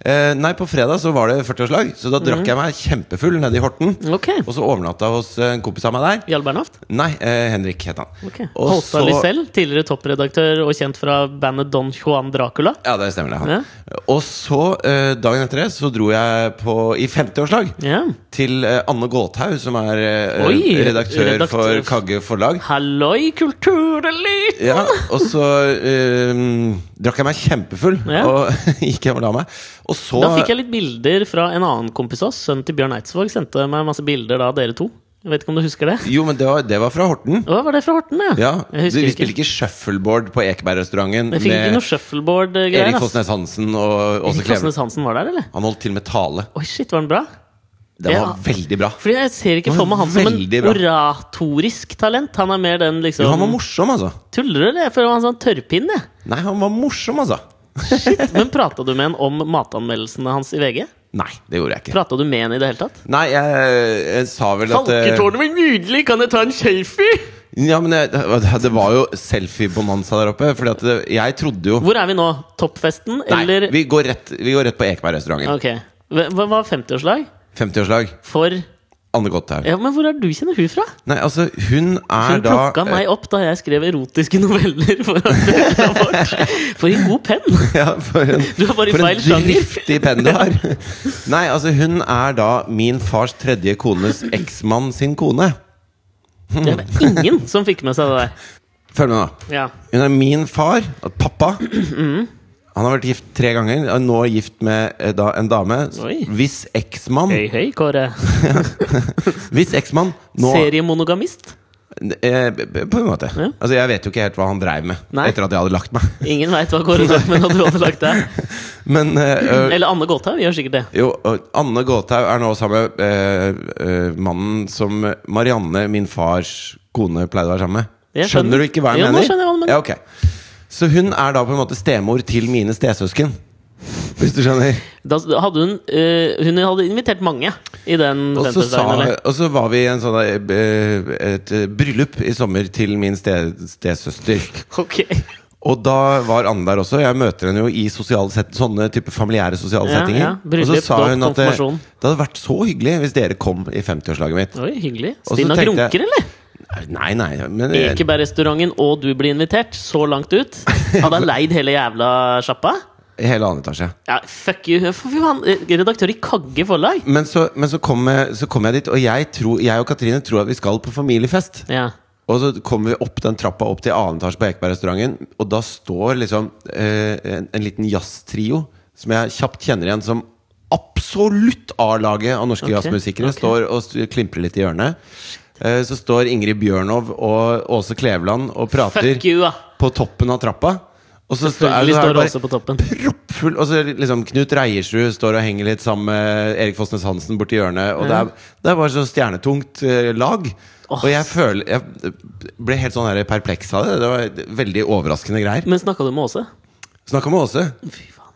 Speaker 1: Eh, nei, på fredag så var det 40-årslag, så da drakk jeg meg kjempefull nede i Horten.
Speaker 2: Ok.
Speaker 1: Og så overnatta jeg hos eh, en kompis av meg der.
Speaker 2: Jarl Bernhoft?
Speaker 1: Nei, eh, Henrik het han.
Speaker 2: Okay.
Speaker 1: Og
Speaker 2: Holstad
Speaker 1: så-
Speaker 2: Lysell, tidligere toppredaktør og kjent fra bandet Don Juan Dracula.
Speaker 1: Ja, det stemmer det. han Og så, eh, dagen etter det, så dro jeg på i 50-årslag.
Speaker 2: Ja.
Speaker 1: Til eh, Anne Gåthaug, som er eh,
Speaker 2: Oi,
Speaker 1: redaktør,
Speaker 2: redaktør.
Speaker 1: for Kagge forlag.
Speaker 2: Halloi, kulturelit!
Speaker 1: Ja, og så eh, drakk jeg meg kjempefull
Speaker 2: Ja.
Speaker 1: og [LAUGHS] gikk hjem og la meg. Og så
Speaker 2: Da fikk jeg litt bilder fra en annen kompis av oss. Sønnen til Bjørn Eidsvåg sendte meg masse bilder da, dere to. Jeg vet ikke om du husker det?
Speaker 1: Jo, men det var, det var fra Horten.
Speaker 2: Å, var det fra Horten, ja?
Speaker 1: Ja, du,
Speaker 2: jeg husker
Speaker 1: Vi
Speaker 2: ikke.
Speaker 1: spilte ikke shuffleboard på Ekebergrestauranten
Speaker 2: Jeg fikk ikke
Speaker 1: med
Speaker 2: noe shuffleboard-greier.
Speaker 1: Erik
Speaker 2: ass.
Speaker 1: Fosnes Hansen og Åse
Speaker 2: Erik
Speaker 1: Kleve.
Speaker 2: Fosnes Hansen var der, eller?
Speaker 1: Han holdt til med tale.
Speaker 2: Oi, shit, var den bra?
Speaker 1: Det
Speaker 2: Ja.
Speaker 1: var veldig bra.
Speaker 2: Fordi jeg ser ikke
Speaker 1: Det
Speaker 2: for
Speaker 1: var
Speaker 2: meg han som en
Speaker 1: veldig bra.
Speaker 2: oratorisk talent. Han er mer den liksom
Speaker 1: Jo, han var morsom, altså.
Speaker 2: Tuller du, eller? Jeg føler han er sånn tørrpinne.
Speaker 1: Nei, han var morsom, altså.
Speaker 2: Shit. Men prata du med han om matanmeldelsene hans i VG?
Speaker 1: Nei, det gjorde jeg ikke.
Speaker 2: Prata du med han i det hele tatt?
Speaker 1: Nei, jeg, jeg sa vel at eh,
Speaker 2: Falketårnet var nydelig! Kan jeg ta en selfie?
Speaker 1: Ja, men jeg, Det var jo selfie-bonanza der oppe. Fordi at det, jeg trodde jo
Speaker 2: Hvor er vi nå? Toppfesten, eller
Speaker 1: Nei, vi går rett, vi går rett på Ekebergrestauranten.
Speaker 2: Ok. Hva hva var 50-årslag
Speaker 1: 50-årslag.
Speaker 2: for
Speaker 1: Anne Godthaug.
Speaker 2: Ja, men hvor er du kjenner hun fra?
Speaker 1: Nei, altså, hun er
Speaker 2: Hun
Speaker 1: da eh,
Speaker 2: plukka meg opp da jeg skrev erotiske noveller for
Speaker 1: [LAUGHS]
Speaker 2: Andrea vårt. For en god penn!
Speaker 1: Ja, for en,
Speaker 2: Du er bare i
Speaker 1: for
Speaker 2: feil
Speaker 1: en
Speaker 2: sjanger.
Speaker 1: driftig penn du
Speaker 2: [LAUGHS]
Speaker 1: har! Nei, altså, hun er da min fars tredje kones eksmann sin kone.
Speaker 2: Det var ingen som fikk med seg det der.
Speaker 1: Følg med, da.
Speaker 2: Ja.
Speaker 1: Hun er min far, at pappa
Speaker 2: Mm.
Speaker 1: Han har vært gift tre ganger og nå er gift med eh, da, en dame
Speaker 2: Oi.
Speaker 1: Hvis eksmann
Speaker 2: Høy, høy, Kåre.
Speaker 1: Hvis eksmann nå
Speaker 2: Seriemonogamist?
Speaker 1: eh, På en måte
Speaker 2: Ja.
Speaker 1: Altså jeg vet jo ikke helt hva han dreiv med
Speaker 2: Nei.
Speaker 1: Etter at jeg hadde lagt meg [LAUGHS]
Speaker 2: Ingen veit hva Kåre sa, men at du hadde lagt deg.
Speaker 1: Men
Speaker 2: [LAUGHS]
Speaker 1: eh, eh,
Speaker 2: Eller Anne Gåthaug gjør sikkert det.
Speaker 1: jo, og Anne Gåthaug er nå sammen med eh, eh, mannen som Marianne, min fars kone, pleide å være sammen med
Speaker 2: Jeg skjønner.
Speaker 1: Skjønner du ikke hva jeg
Speaker 2: Jo, nå
Speaker 1: mener?
Speaker 2: skjønner jeg hva du mener.
Speaker 1: Ja, ok. Så hun er da på en måte stemor til mine stesøsken Hvis du
Speaker 2: [LAUGHS]
Speaker 1: skjønner
Speaker 2: Da hadde hun, eh, hun hadde invitert mange i den
Speaker 1: Og så, sa,
Speaker 2: senterdagen. eller?
Speaker 1: og så var vi i en sånn, der, eh, et eh, bryllup i sommer til min ste, stesøster.
Speaker 2: Ok. [LAUGHS]
Speaker 1: Og da var Anne der også. Jeg møter henne jo i sosiale set, sånne type familiære sosiale
Speaker 2: Ja,
Speaker 1: settinger.
Speaker 2: ja. Bryllup,
Speaker 1: og så sa
Speaker 2: dåp,
Speaker 1: hun at det,
Speaker 2: konfirmasjon.
Speaker 1: det hadde vært så hyggelig hvis dere kom i 50-årslaget mitt.
Speaker 2: Oi, hyggelig.
Speaker 1: Og så
Speaker 2: Stina
Speaker 1: tenkte jeg-
Speaker 2: grunker, eller?
Speaker 1: Nei, nei, men
Speaker 2: Ekebergrestauranten og du blir invitert så langt ut. Hadde jeg leid hele jævla sjappa?
Speaker 1: i eh, hele annen etasje.
Speaker 2: Ja, fuck you. For fy faen, Eh, redaktør i Kagge forlag.
Speaker 1: Men så, men så, kom, jeg, så kom jeg dit, og jeg, tror, jeg og Katrine tror at vi skal på familiefest.
Speaker 2: Ja.
Speaker 1: Og så kommer vi opp den trappa opp til annen etasje på Ekebergrestauranten, og da står liksom eh, en, en liten jazztrio som jeg kjapt kjenner igjen som absolutt A-laget av norske
Speaker 2: Ok,
Speaker 1: jazzmusikere.
Speaker 2: ok.
Speaker 1: Står og st- klimprer litt i hjørnet. Eh, så står Ingrid Bjørnov og Åse Kleveland og prater
Speaker 2: Fuck you, da.
Speaker 1: på toppen av trappa. Og så står, er,
Speaker 2: Selvfølgelig
Speaker 1: så er
Speaker 2: står
Speaker 1: det
Speaker 2: Åse
Speaker 1: bare
Speaker 2: på toppen.
Speaker 1: proppfull Og så liksom Knut Reiersrud står og henger litt sammen med Erik Fosnes Hansen borti hjørnet. Og det, er, det er bare så stjernetungt eh, lag. Og jeg føler Jeg ble helt sånn her perpleks av det. Det var veldig overraskende greier.
Speaker 2: Men snakka du med Åse?
Speaker 1: Snakka med Åse.
Speaker 2: Fy faen.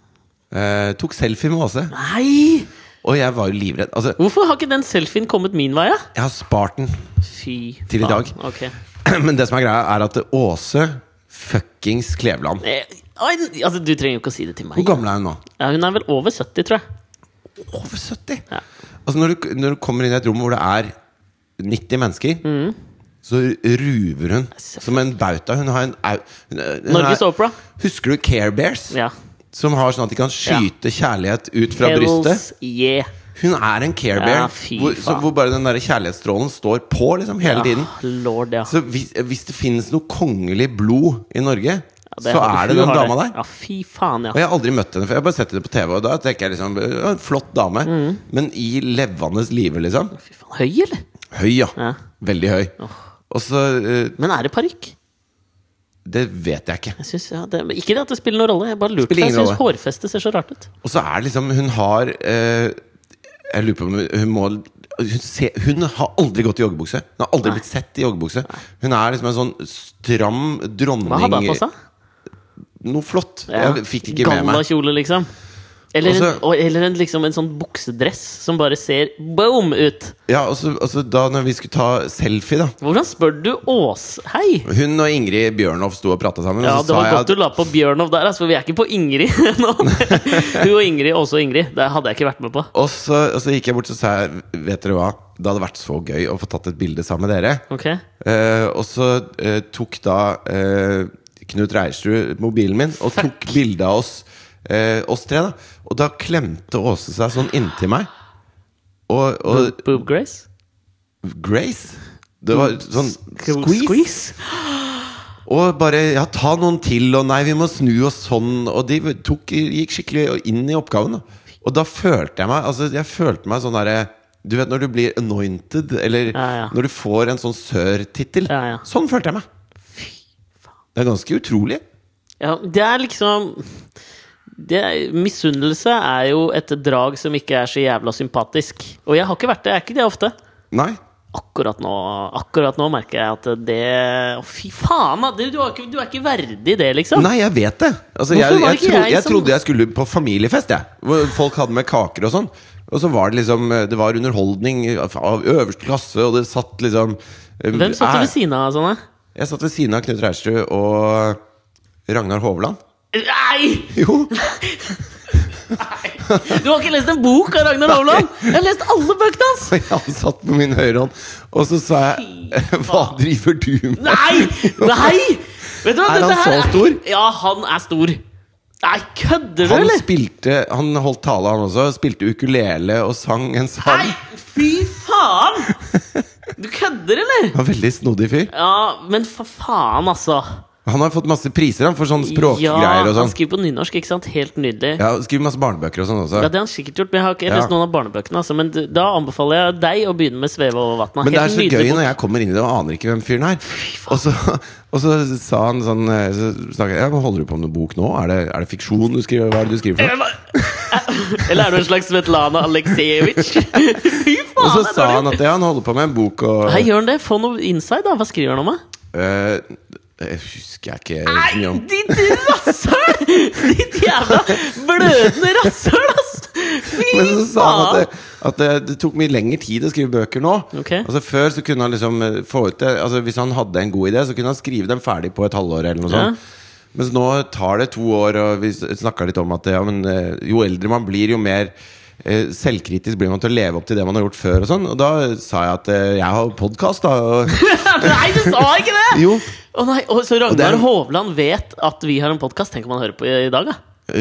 Speaker 1: Eh, tok selfie med Åse.
Speaker 2: Nei!
Speaker 1: Og jeg var jo livredd. Altså,
Speaker 2: Hvorfor har ikke den selfien kommet min vei, da?
Speaker 1: jeg har spart den. [CLEARS THROAT]
Speaker 2: Fy faen.
Speaker 1: Til i dag.
Speaker 2: Ok.
Speaker 1: Men det som er greia, er at Åse fuckings Kleveland
Speaker 2: Eh, oi, altså, du trenger jo ikke å si det til meg.
Speaker 1: Hvor gammel er hun nå?
Speaker 2: Ja, hun er vel over 70, tror jeg.
Speaker 1: over 70!
Speaker 2: Ja.
Speaker 1: Altså når du, når du kommer inn i et rom hvor det er 90 mennesker,
Speaker 2: Mm.
Speaker 1: så ruver hun som en bauta. Hun har en au... hun- hun
Speaker 2: Norges
Speaker 1: er-
Speaker 2: Opera.
Speaker 1: Husker du Care Bears?
Speaker 2: Ja.
Speaker 1: Som har sånn at de kan skyte kjærlighet ut fra brystet.
Speaker 2: Hells yeah.
Speaker 1: Hun er en Care Bear.
Speaker 2: Ja, fy
Speaker 1: hvor, så,
Speaker 2: faen.
Speaker 1: hvor bare den der kjærlighetsstrålen står på liksom hele tiden.
Speaker 2: Ah, Lord, ja.
Speaker 1: Så hvis, hvis det finnes noe kongelig blod i Norge,
Speaker 2: Ja,
Speaker 1: så
Speaker 2: har-
Speaker 1: er det
Speaker 2: hun
Speaker 1: den
Speaker 2: har
Speaker 1: dama der.
Speaker 2: Ja, fy faen, ja.
Speaker 1: Og jeg har aldri møtt henne før. Jeg har bare sett henne på TV. Og da tenker jeg liksom ja, en Flott dame.
Speaker 2: Mm.
Speaker 1: Men i levende live, liksom.
Speaker 2: Fy faen, Høy, eller?
Speaker 1: Høy, ja.
Speaker 2: Ja.
Speaker 1: Veldig høy. Og så eh,
Speaker 2: Men er det parykk?
Speaker 1: Det vet jeg ikke.
Speaker 2: Jeg synes, ja, det, men ikke det at det spiller noen rolle. Jeg bare lurte
Speaker 1: Spiller
Speaker 2: på Jeg
Speaker 1: ingen
Speaker 2: syns hårfestet ser så rart ut.
Speaker 1: Og så er det liksom Hun har eh, Jeg lurer på om hun- hun må hun, ser- hun har aldri gått i joggebukse. Hun har aldri
Speaker 2: Nei.
Speaker 1: blitt sett i joggebukse. Hun er liksom en sånn stram dronning
Speaker 2: Hva hadde han på seg?
Speaker 1: Noe flott.
Speaker 2: Ja.
Speaker 1: Jeg fikk det ikke med meg.
Speaker 2: Gallakjole, liksom. Eller,
Speaker 1: Og så-
Speaker 2: en, og- eller en, liksom en sånn buksedress som bare ser boom ut.
Speaker 1: Ja, og så, og så da når vi skulle ta selfie, da
Speaker 2: Hvordan spør du Ås? Hei!
Speaker 1: Hun og Ingrid Bjørnov sto og prata sammen.
Speaker 2: Ja,
Speaker 1: og
Speaker 2: Det
Speaker 1: så sa
Speaker 2: var
Speaker 1: jeg
Speaker 2: godt du la på Bjørnov der, altså, for vi er ikke på Ingrid [LAUGHS]
Speaker 1: [LAUGHS]
Speaker 2: nå. Hun og Ingrid, også Ingrid. Det hadde jeg ikke vært med på.
Speaker 1: Og så, og så gikk jeg bort og sa jeg, Vet dere hva, det hadde vært så gøy å få tatt et bilde sammen med dere.
Speaker 2: Ok?
Speaker 1: Eh, og så eh, tok da eh, Knut Reiersrud mobilen min og tok bilde av oss, eh, oss tre. da Og da klemte Åse seg sånn inntil meg. Og, og
Speaker 2: Boob Grace?
Speaker 1: Grace Det var sånn squeeze.
Speaker 2: Squeeze?
Speaker 1: Og bare ja, ta noen til, og nei, vi må snu og sånn. Og de tok, gikk skikkelig inn i oppgaven. Da. Og da følte jeg meg Altså, jeg følte meg sånn derre Du vet når du blir anointed, eller
Speaker 2: Ja, ja.
Speaker 1: når du får en sånn sør-tittel.
Speaker 2: Ja, ja.
Speaker 1: Sånn følte jeg meg. Det er ganske utrolig.
Speaker 2: Ja, det er liksom det, er- Misunnelse er jo et drag som ikke er så jævla sympatisk. Og jeg har ikke vært det. Jeg er ikke det ofte.
Speaker 1: Nei.
Speaker 2: Akkurat nå, akkurat nå merker jeg at det Å, fy faen! da, Du, du, har ikke, du er ikke verdig det, liksom.
Speaker 1: Nei, jeg vet det. Altså,
Speaker 2: Hvorfor
Speaker 1: jeg, jeg,
Speaker 2: var det ikke
Speaker 1: trodde-
Speaker 2: jeg
Speaker 1: jeg
Speaker 2: som-
Speaker 1: trodde jeg skulle på familiefest, jeg. Hvor folk hadde med kaker og sånn. Og så var det liksom Det var underholdning av øverste klasse, og det satt liksom eh,
Speaker 2: Hvem satt ved siden av sånne?
Speaker 1: Jeg satt ved siden av Knut Reierstø og Ragnar Hovland. [LAUGHS]
Speaker 2: Nei!
Speaker 1: Jo!
Speaker 2: Du har ikke lest en bok av Ragnar Hovland! Jeg har lest alle bøkene hans!
Speaker 1: Han satt på min høyre hånd, og så sa jeg [LAUGHS] Hva driver du med? [LAUGHS]
Speaker 2: Nei! Nei! Vet du hva,
Speaker 1: Er han
Speaker 2: dette her
Speaker 1: så stor?
Speaker 2: Ja, han er stor. Nei, kødder du,
Speaker 1: Han
Speaker 2: eller?
Speaker 1: spilte Han holdt tale, han også. Spilte ukulele og sang en sang.
Speaker 2: Nei, fy faen!
Speaker 1: [LAUGHS]
Speaker 2: Du kødder, eller?
Speaker 1: Han var veldig snodig fyr.
Speaker 2: Ja, men for faen, altså.
Speaker 1: Han har fått masse priser han for sånne språkgreier
Speaker 2: ja,
Speaker 1: og
Speaker 2: han
Speaker 1: sånn.
Speaker 2: skriver på nynorsk, ikke sant? Helt nydelig. Ja.
Speaker 1: Ja, Skriver masse barnebøker og sånn også.
Speaker 2: det har han sikkert gjort, men jeg har ikke jeg har
Speaker 1: Ja.
Speaker 2: lest noen av barnebøkene. Altså, men du- da anbefaler jeg deg å begynne med 'Sveve over vatnet'.
Speaker 1: Men det er
Speaker 2: Helt
Speaker 1: så
Speaker 2: nydelig
Speaker 1: gøy
Speaker 2: bok.
Speaker 1: når jeg kommer inn i det og aner ikke hvem fyren er. Og så, [LAUGHS] og så sa han sånn eh, så snakket, jeg, Hva holder du på med noe bok nå? Er det, er det fiksjon du skriver? Hva er det du skriver for? noe?
Speaker 2: [LAUGHS] Eller er du en slags Svetlana Aleksejevitsj?
Speaker 1: [LAUGHS]
Speaker 2: Fy faen!
Speaker 1: Og så
Speaker 2: det er
Speaker 1: sa
Speaker 2: dårlig.
Speaker 1: han at ja, han holder på med en bok og
Speaker 2: Hei, gjør han det? Få noe inside, da. Hva skriver han om? da?
Speaker 1: Eh, Det husker jeg ikke så mye om.
Speaker 2: Ditt rasshøl! Ditt jævla blødende rasshøl, ass! Fy
Speaker 1: Men så sa han at
Speaker 2: faen!
Speaker 1: det, at det, det tok mye lengre tid å skrive bøker nå.
Speaker 2: Ok.
Speaker 1: Altså Før så kunne han liksom eh, få ut det Altså Hvis han hadde en god idé, så kunne han skrive den ferdig på et halvår. eller noe
Speaker 2: Ja.
Speaker 1: sånt Mens nå tar det to år, og vi s- snakker litt om at ja, men, eh, jo eldre man blir, jo mer eh, Selvkritisk blir man til å leve opp til det man har gjort før. Og sånn Og da sa jeg at eh, jeg har podkast, da.
Speaker 2: [LAUGHS]
Speaker 1: Og,
Speaker 2: Nei, du sa ikke det!
Speaker 1: jo,
Speaker 2: Å nei, og Så
Speaker 1: det er-
Speaker 2: Ragnar Hovland vet at vi har en podkast. Tenk om han hører på i i dag, da.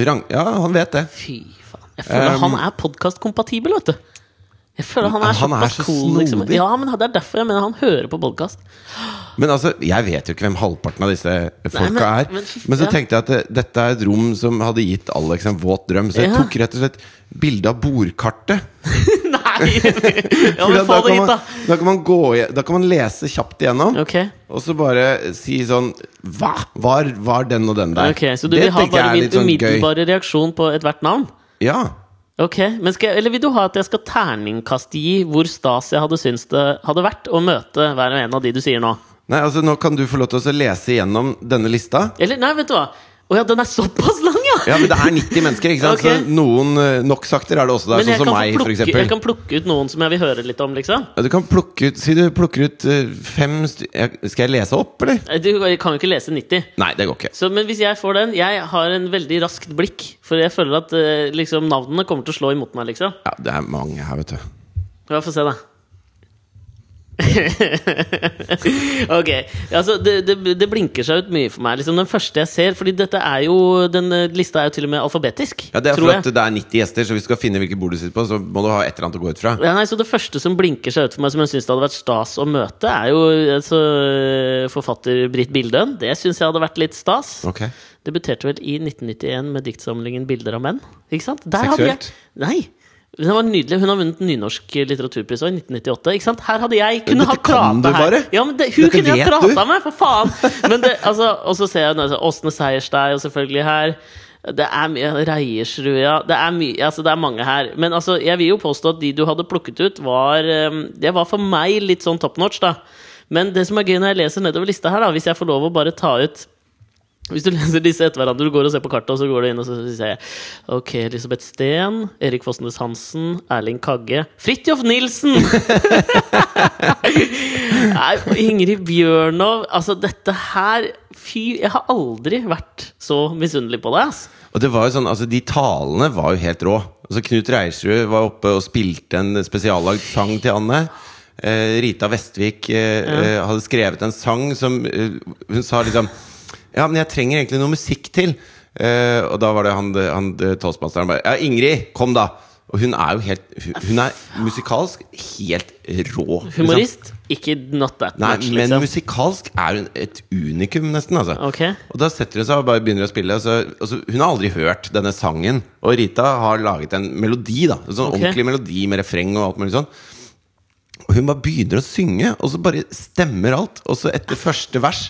Speaker 1: rang, ja, han vet det.
Speaker 2: Fy faen. Jeg føler
Speaker 1: Um,
Speaker 2: han er podkastkompatibel, vet du. Jeg føler Han er,
Speaker 1: Han er
Speaker 2: såpass
Speaker 1: så
Speaker 2: cool, liksom.
Speaker 1: snodig.
Speaker 2: Ja, men Det er derfor jeg mener han hører på
Speaker 1: [LAUGHS]
Speaker 2: podkast.
Speaker 1: Men altså, jeg vet jo ikke hvem halvparten av disse folka
Speaker 2: men-
Speaker 1: er.
Speaker 2: men
Speaker 1: Men,
Speaker 2: fy-
Speaker 1: så
Speaker 2: ja.
Speaker 1: tenkte jeg at det, dette er et rom som hadde gitt Alex en våt drøm. Så jeg
Speaker 2: Ja.
Speaker 1: tok rett og slett bilde av bordkartet.
Speaker 2: Nei! [LAUGHS] Ja,
Speaker 1: Fordi
Speaker 2: men
Speaker 1: at
Speaker 2: Få
Speaker 1: da,
Speaker 2: det
Speaker 1: kan
Speaker 2: hit, da.
Speaker 1: man, da, kan man gå, i- da kan man lese kjapt igjennom.
Speaker 2: Ok,
Speaker 1: Og så bare si sånn Hva? Var, var den og den der?
Speaker 2: ok, Så du
Speaker 1: Det
Speaker 2: vil ha
Speaker 1: tenker jeg
Speaker 2: bare
Speaker 1: er
Speaker 2: min
Speaker 1: litt sånn gøy.
Speaker 2: umiddelbare reaksjon på ethvert navn?
Speaker 1: Ja.
Speaker 2: Ok, men skal jeg, Eller vil du ha at jeg skal terningkastgi hvor stas jeg hadde syntes det hadde vært å møte hver og en av de du sier nå?
Speaker 1: Nei, altså Nå kan du få lov til å lese igjennom denne lista.
Speaker 2: Eller nei, vet du hva? Å ja, den er såpass lang, ja!
Speaker 1: Ja, men det er 90 mennesker, ikke sant?
Speaker 2: Ok.
Speaker 1: Så noen eh, nok sakter er det også der,
Speaker 2: Men jeg
Speaker 1: sånn
Speaker 2: kan,
Speaker 1: som
Speaker 2: få
Speaker 1: meg, for
Speaker 2: plukke, jeg
Speaker 1: eksempel.
Speaker 2: kan plukke ut noen som jeg vil høre litt om, liksom.
Speaker 1: Ja, Du kan plukke ut Si du plukker ut eh, fem styr... Skal jeg lese opp, eller?
Speaker 2: Nei, Eh, Du kan jo ikke lese 90.
Speaker 1: Nei, det går ikke.
Speaker 2: Så, men hvis jeg får den Jeg har en veldig raskt blikk, for jeg føler at eh, liksom, navnene kommer til å slå imot meg, liksom.
Speaker 1: Ja, det er mange her, vet du.
Speaker 2: Ja, få se, da. [LAUGHS] ok. Altså, det, det, det blinker seg ut mye for meg. Liksom Den første jeg ser Fordi dette er jo den eh, lista er jo til og med alfabetisk.
Speaker 1: Ja, Det er
Speaker 2: tror
Speaker 1: for
Speaker 2: jeg.
Speaker 1: at det er 90 gjester, så hvis du skal finne hvilket bord du sitter på, så må du ha et eller annet å gå ut fra.
Speaker 2: Ja, nei, så Det første som blinker seg ut for meg, som jeg syns det hadde vært stas å møte, er jo altså, forfatter Britt Bildøen. Det syns jeg hadde vært litt stas.
Speaker 1: Ok
Speaker 2: Debuterte vel i 1991 med diktsamlingen 'Bilder av menn'. Ikke sant? Der
Speaker 1: Seksuelt?
Speaker 2: Jeg, nei! Det var nydelig. Hun har vunnet Nynorsk litteraturpris også i 1998. Ikke sant? Her hadde jeg kunne
Speaker 1: Dette
Speaker 2: ha
Speaker 1: kan
Speaker 2: prata
Speaker 1: du
Speaker 2: her.
Speaker 1: bare.
Speaker 2: Ja, men det, hun
Speaker 1: Dette
Speaker 2: kunne jeg
Speaker 1: vet
Speaker 2: prata
Speaker 1: du.
Speaker 2: med, for faen! Men det, altså, og så ser jeg altså, Åsne Seierstad jo selvfølgelig her. Det er mye Reiersrud, ja. Det er, mye, altså, det er mange her. Men altså, jeg vil jo påstå at de du hadde plukket ut, var eh, Det var for meg litt sånn top notch, da. Men det som er gøy når jeg leser nedover lista her, da, hvis jeg får lov å bare ta ut hvis du leser disse etter hverandre, du går og ser på kartet, og så går du inn og så sier jeg, Ok, Elisabeth Steen, Erik Fossnes Hansen, Erling Kagge Fridtjof Nilsen! Nei, Ingrid Bjørnov Altså, dette her Fy, jeg har aldri vært så misunnelig på deg, ass.
Speaker 1: Og det var jo sånn, altså De talene var jo helt rå. Altså Knut Reirsrud var oppe og spilte en spesiallagd sang til Anne. Eh, Rita Vestvik eh, eh, hadde skrevet en sang som eh, Hun sa liksom Ja, men jeg trenger egentlig noe musikk til. Eh, og da var det han, han eh, toastmasteren bare Ja, Ingrid, kom da! Og hun er jo helt Hun, hun er musikalsk helt rå. liksom.
Speaker 2: Humorist, ikke not that
Speaker 1: Nei,
Speaker 2: much,
Speaker 1: men
Speaker 2: liksom.
Speaker 1: musikalsk er hun et unikum, nesten. altså
Speaker 2: Ok.
Speaker 1: og da setter hun seg og bare begynner å spille. Og så, og så, hun har aldri hørt denne sangen. Og Rita har laget en melodi, da. En sånn
Speaker 2: Ok.
Speaker 1: ordentlig melodi med refreng og alt mulig sånn. Og hun bare begynner å synge, og så bare stemmer alt. Og så etter første vers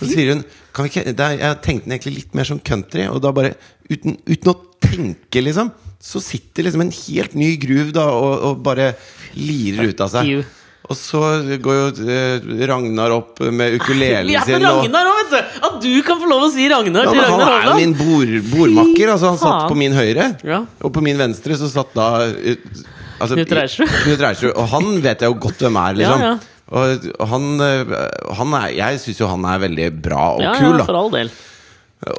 Speaker 1: så sier hun kan vi ikke, det er, Jeg tenkte den egentlig litt mer som country, og da bare Uten, uten å tenke, liksom. Så sitter liksom en helt ny groove da og, og bare lirer ut av
Speaker 2: you.
Speaker 1: seg. Og så går jo eh, Ragnar opp med ukulelen
Speaker 2: Ja, men
Speaker 1: sin. og-
Speaker 2: Ragnar òg, vet du! At du kan få lov å si Ragnar
Speaker 1: ja,
Speaker 2: til
Speaker 1: men han
Speaker 2: Ragnar
Speaker 1: er jo
Speaker 2: Hovland!
Speaker 1: min bord, bordmakker. Altså, han
Speaker 2: Fy faen.
Speaker 1: satt på min høyre,
Speaker 2: Ja.
Speaker 1: og på min venstre så satt da eh, altså,
Speaker 2: Knut Reirsrud.
Speaker 1: Knut Reirsrud. Og han vet jeg jo godt hvem er, liksom.
Speaker 2: [LAUGHS] Ja, ja.
Speaker 1: Og, og han, eh, han er, Jeg syns jo han er veldig bra og
Speaker 2: Ja,
Speaker 1: kul,
Speaker 2: ja,
Speaker 1: da.
Speaker 2: for all del.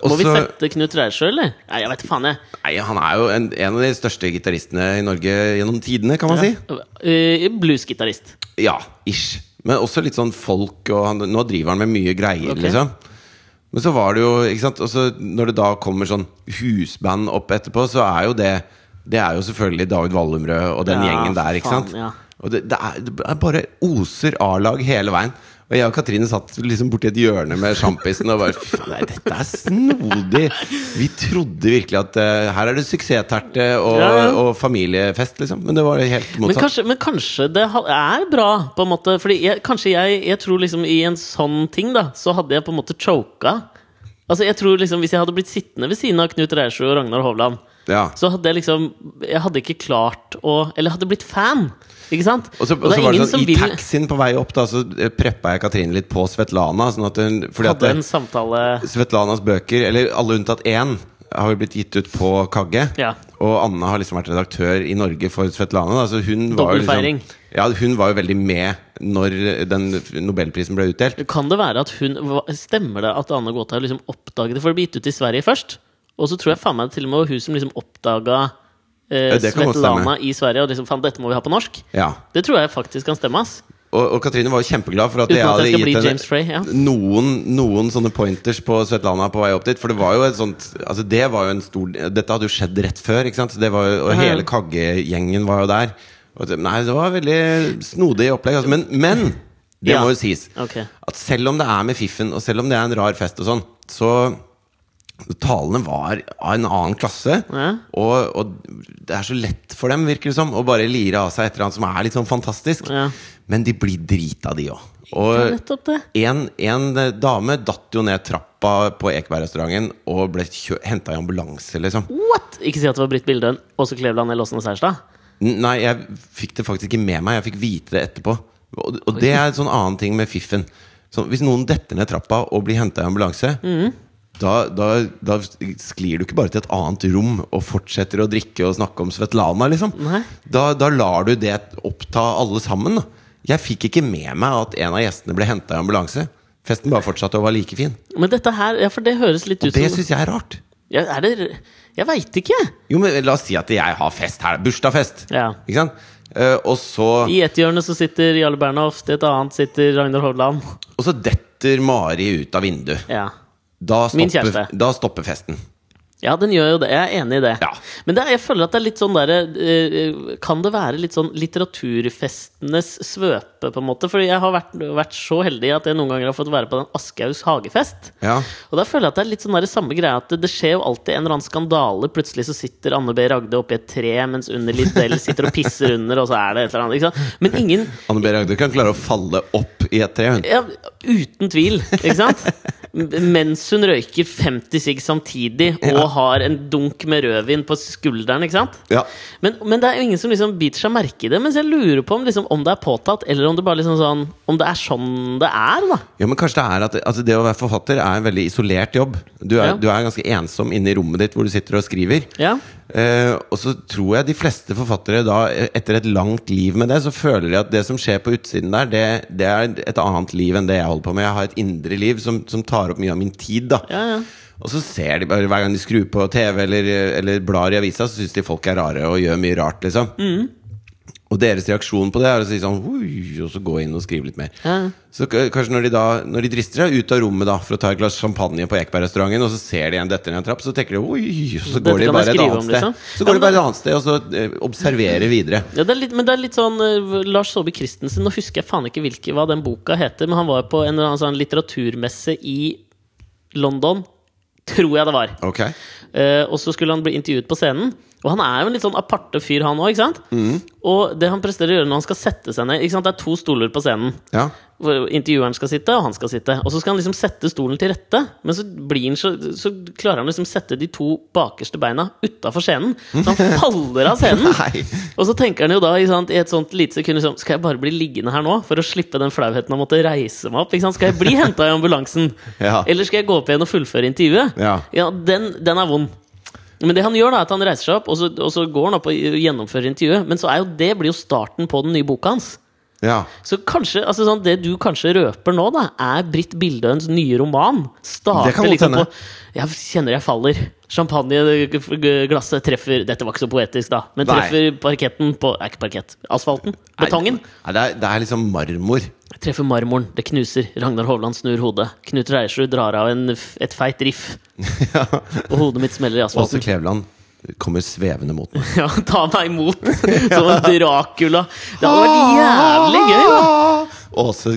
Speaker 1: Og
Speaker 2: Må vi
Speaker 1: så-
Speaker 2: sette Knut Reirsjø, eller? Nei, jeg vet faen, jeg.
Speaker 1: nei, han er jo en, en av de største gitaristene i Norge gjennom tidene, kan man si.
Speaker 2: Eh, Bluesgitarist.
Speaker 1: Ja, ish. Men også litt sånn folk, og han, nå driver han med mye greier,
Speaker 2: Ok.
Speaker 1: liksom. Men så var det jo ikke sant? Og så når det da kommer sånn husband opp etterpå, så er jo det Det er jo selvfølgelig David Wallumrød og den
Speaker 2: Ja,
Speaker 1: gjengen der,
Speaker 2: faen,
Speaker 1: ikke sant?
Speaker 2: ja.
Speaker 1: Og det, det, er, det er bare oser A-lag hele veien. Og jeg og Katrine satt liksom borti et hjørne med sjampisen og bare "Fy, Nei, dette er snodig! Vi trodde virkelig at eh, her er det suksessterte og,
Speaker 2: Ja, ja.
Speaker 1: og familiefest, liksom. Men det var helt
Speaker 2: Men
Speaker 1: motsatt.
Speaker 2: kanskje, men kanskje det ha- er bra, på en måte. Fordi jeg, kanskje jeg, jeg tror liksom i en sånn ting, da, så hadde jeg på en måte choka. Altså, jeg tror liksom Hvis jeg hadde blitt sittende ved siden av Knut Reirsjø og Ragnar Hovland,
Speaker 1: Ja.
Speaker 2: så hadde jeg liksom Jeg hadde ikke klart å Eller hadde blitt fan, ikke sant?
Speaker 1: Og så,
Speaker 2: Og
Speaker 1: og så var det sånn, I
Speaker 2: vil-
Speaker 1: taxien på vei opp da Så eh, preppa jeg Katrine litt på Svetlana. Sånn at hun, fordi at
Speaker 2: hadde en
Speaker 1: eh,
Speaker 2: samtale
Speaker 1: Svetlanas bøker, eller alle unntatt én, har jo blitt gitt ut på Kagge.
Speaker 2: Ja.
Speaker 1: Og Anne har liksom vært redaktør i Norge for Svetlana. Da, så hun var jo
Speaker 2: Dobbeltfeiring.
Speaker 1: liksom, ja, hun var jo veldig med når den Nobelprisen ble utdelt.
Speaker 2: Kan det være at hun hva- Stemmer det at Anne Gåta liksom oppdaget det? For det ble gitt ut i Sverige først. Og så tror jeg faen meg til og med hun som liksom oppdaga eh,
Speaker 1: Ja, det kan godt
Speaker 2: Svetlana i Sverige, og liksom faen, dette må vi ha på norsk.
Speaker 1: Ja.
Speaker 2: Det tror jeg faktisk kan stemme, ass.
Speaker 1: Og, og Katrine var jo kjempeglad for at
Speaker 2: Uten
Speaker 1: jeg
Speaker 2: at
Speaker 1: hadde
Speaker 2: jeg skal bli
Speaker 1: gitt henne
Speaker 2: James Frey. Ja.
Speaker 1: noen, noen sånne pointers på Svetlana på vei opp dit. For det var jo et sånt Altså det var jo en stor Dette hadde jo skjedd rett før, ikke sant? Så Det var jo, og
Speaker 2: Ja, ja.
Speaker 1: hele Kagge-gjengen var jo der. Og det, nei, det var veldig snodig opplegg. Altså. Men, men det
Speaker 2: Ja.
Speaker 1: må jo sies
Speaker 2: Ok.
Speaker 1: at selv om det er med fiffen, og selv om det er en rar fest og sånn, så Talene var av en annen klasse,
Speaker 2: Ja.
Speaker 1: og, og det er så lett for dem, virker det som, å bare lire av seg et eller annet som er litt sånn fantastisk.
Speaker 2: Ja.
Speaker 1: Men de blir drita, de òg.
Speaker 2: Det er
Speaker 1: Og
Speaker 2: nettopp det.
Speaker 1: en, en eh, dame datt jo ned trappa på Ekebergrestauranten og ble henta i ambulanse, liksom.
Speaker 2: What?! Ikke si at det var Britt Bildøen, Åse Kleveland eller Åsne Seierstad.
Speaker 1: N- Nei, jeg fikk det faktisk ikke med meg. Jeg fikk vite det etterpå. Og, og
Speaker 2: Mm.
Speaker 1: det er en sånn annen ting med fiffen. Sånn, hvis noen detter ned trappa og blir henta i ambulanse, da, da, da sklir du ikke bare til et annet rom og fortsetter å drikke og snakke om Svetlana. Liksom.
Speaker 2: Nei.
Speaker 1: Da, da lar du det oppta alle sammen. Da. Jeg fikk ikke med meg at en av gjestene ble henta i ambulanse. Festen bare fortsatte og var like fin.
Speaker 2: Men dette her, ja, for det høres litt ut
Speaker 1: Det
Speaker 2: som
Speaker 1: syns jeg er rart.
Speaker 2: ja, Er det Jeg veit ikke!
Speaker 1: Jo, men La oss si at jeg har fest her. Bursdagsfest.
Speaker 2: Ja.
Speaker 1: Ikke sant? Eh, og, så,
Speaker 2: I et hjørne så sitter Jarle Bernhoft, i et annet sitter Ragnar Hovland.
Speaker 1: og så detter Mari ut av vinduet.
Speaker 2: Ja.
Speaker 1: Da
Speaker 2: Min
Speaker 1: stopper,
Speaker 2: kjæreste.
Speaker 1: da stopper festen.
Speaker 2: ja, den gjør jo det. Jeg er enig i det.
Speaker 1: Ja.
Speaker 2: Men det, er- jeg føler at det er litt sånn derre eh, Kan det være litt sånn litteraturfestenes svøpe, på en måte? Fordi jeg har vært, vært så heldig at jeg noen ganger har fått være på den Aschehougs hagefest.
Speaker 1: Ja.
Speaker 2: Og da føler jeg at det er litt sånn der samme greia at det, det skjer jo alltid en eller annen skandale. Plutselig så sitter Anne B. Ragde oppi et tre, mens Unni Lindell sitter og pisser under, og så er det et eller annet. Ikke sant? Men ingen
Speaker 1: Anne B. Ragde kan klare å falle opp i et tre. hun.
Speaker 2: ja, Uten tvil, ikke sant? M- Mens hun røyker 50 sigg samtidig og har en dunk med rødvin på skulderen, ikke sant?
Speaker 1: Ja.
Speaker 2: Men, men det er jo ingen som liksom biter seg merke i det. Mens jeg lurer på om, liksom, om det er påtatt, eller om det bare liksom sånn Om det er sånn det er, da.
Speaker 1: Ja, men kanskje det er at altså det å være forfatter er en veldig isolert jobb. Du er,
Speaker 2: Ja.
Speaker 1: du er ganske ensom inne i rommet ditt hvor du sitter og skriver.
Speaker 2: Ja.
Speaker 1: Eh, og så tror jeg de fleste forfattere da, eh, etter et langt liv med det, så føler de at det som skjer på utsiden der, det, det er et annet liv enn det jeg holder på med. Jeg har et indre liv som, som tar opp mye av min tid, da.
Speaker 2: Ja, ja.
Speaker 1: Og så ser de bare hver gang de skrur på TV eller, eller blar i avisa, så syns de folk er rare og gjør mye rart, liksom.
Speaker 2: Mm.
Speaker 1: Og deres reaksjon på det er å si sånn «Oi», Og så gå inn og skrive litt mer.
Speaker 2: Ja.
Speaker 1: Så k- kanskje når de da Når de drister seg ut av rommet da for å ta et glass champagne på Ekebergrestauranten, og så ser de en dette ned en trapp, så tenker de oi, og så går
Speaker 2: Dette
Speaker 1: de
Speaker 2: kan
Speaker 1: bare
Speaker 2: jeg
Speaker 1: et
Speaker 2: skrive
Speaker 1: annet
Speaker 2: om,
Speaker 1: sted.
Speaker 2: liksom.
Speaker 1: Så
Speaker 2: Ja,
Speaker 1: går
Speaker 2: men
Speaker 1: de bare et annet sted og så eh, observerer videre.
Speaker 2: Ja, det er litt, men det er litt sånn eh, Lars Saabye Christensen Nå husker jeg faen ikke hvilke, hva den boka heter, men han var på en eller annen sånn litteraturmesse i London. Tror jeg det var.
Speaker 1: Ok
Speaker 2: Eh, og så skulle han bli intervjuet på scenen. Og han er jo en litt sånn aparte fyr, han òg. Og det han presterer å gjøre når han skal sette seg ned ikke sant? Det er to stoler på scenen.
Speaker 1: Ja.
Speaker 2: Hvor intervjueren skal sitte, og han skal sitte. Og så skal han liksom sette stolen til rette, men så, blir han så, så klarer han liksom sette de to bakerste beina utafor scenen. Så
Speaker 1: [LAUGHS]
Speaker 2: han faller av scenen!
Speaker 1: Nei.
Speaker 2: Og så tenker han jo da ikke sant, i et sånt lite sekund liksom, Skal jeg bare bli liggende her nå for å slippe den flauheten av å måtte reise meg opp? Ikke sant? Skal jeg bli henta i ambulansen?
Speaker 1: Ja.
Speaker 2: Eller skal jeg gå opp igjen og fullføre intervjuet?
Speaker 1: Ja.
Speaker 2: den, den er vond. Men det han gjør da er at han reiser seg opp, og så, og så går han opp og gjennomfører intervjuet. Men så er jo det blir jo starten på den nye boka hans.
Speaker 1: Ja.
Speaker 2: Så kanskje, altså sånn, det du kanskje røper nå, da, er Britt Bildøens nye roman.
Speaker 1: Det kan
Speaker 2: Starter
Speaker 1: godt
Speaker 2: liksom
Speaker 1: hende.
Speaker 2: på Jeg kjenner jeg faller. Champagneglasset treffer Dette var ikke så poetisk, da. Men
Speaker 1: Nei.
Speaker 2: treffer parketten på Nei, ikke parkett. Asfalten. Betongen.
Speaker 1: Nei, det, er, det er liksom marmor. [LAUGHS]
Speaker 2: Treffer marmoren. Det knuser. Ragnar Hovland snur hodet. Knut Reiersrud drar av en, f- et feit riff.
Speaker 1: ja.
Speaker 2: Og hodet mitt smeller i
Speaker 1: Åse
Speaker 2: asfalten.
Speaker 1: Kleveland kommer svevende mot meg.
Speaker 2: [LAUGHS] Ja, ta meg
Speaker 1: [LAUGHS]
Speaker 2: imot! Som en Dracula. Det hadde vært jævlig gøy, da!
Speaker 1: Åse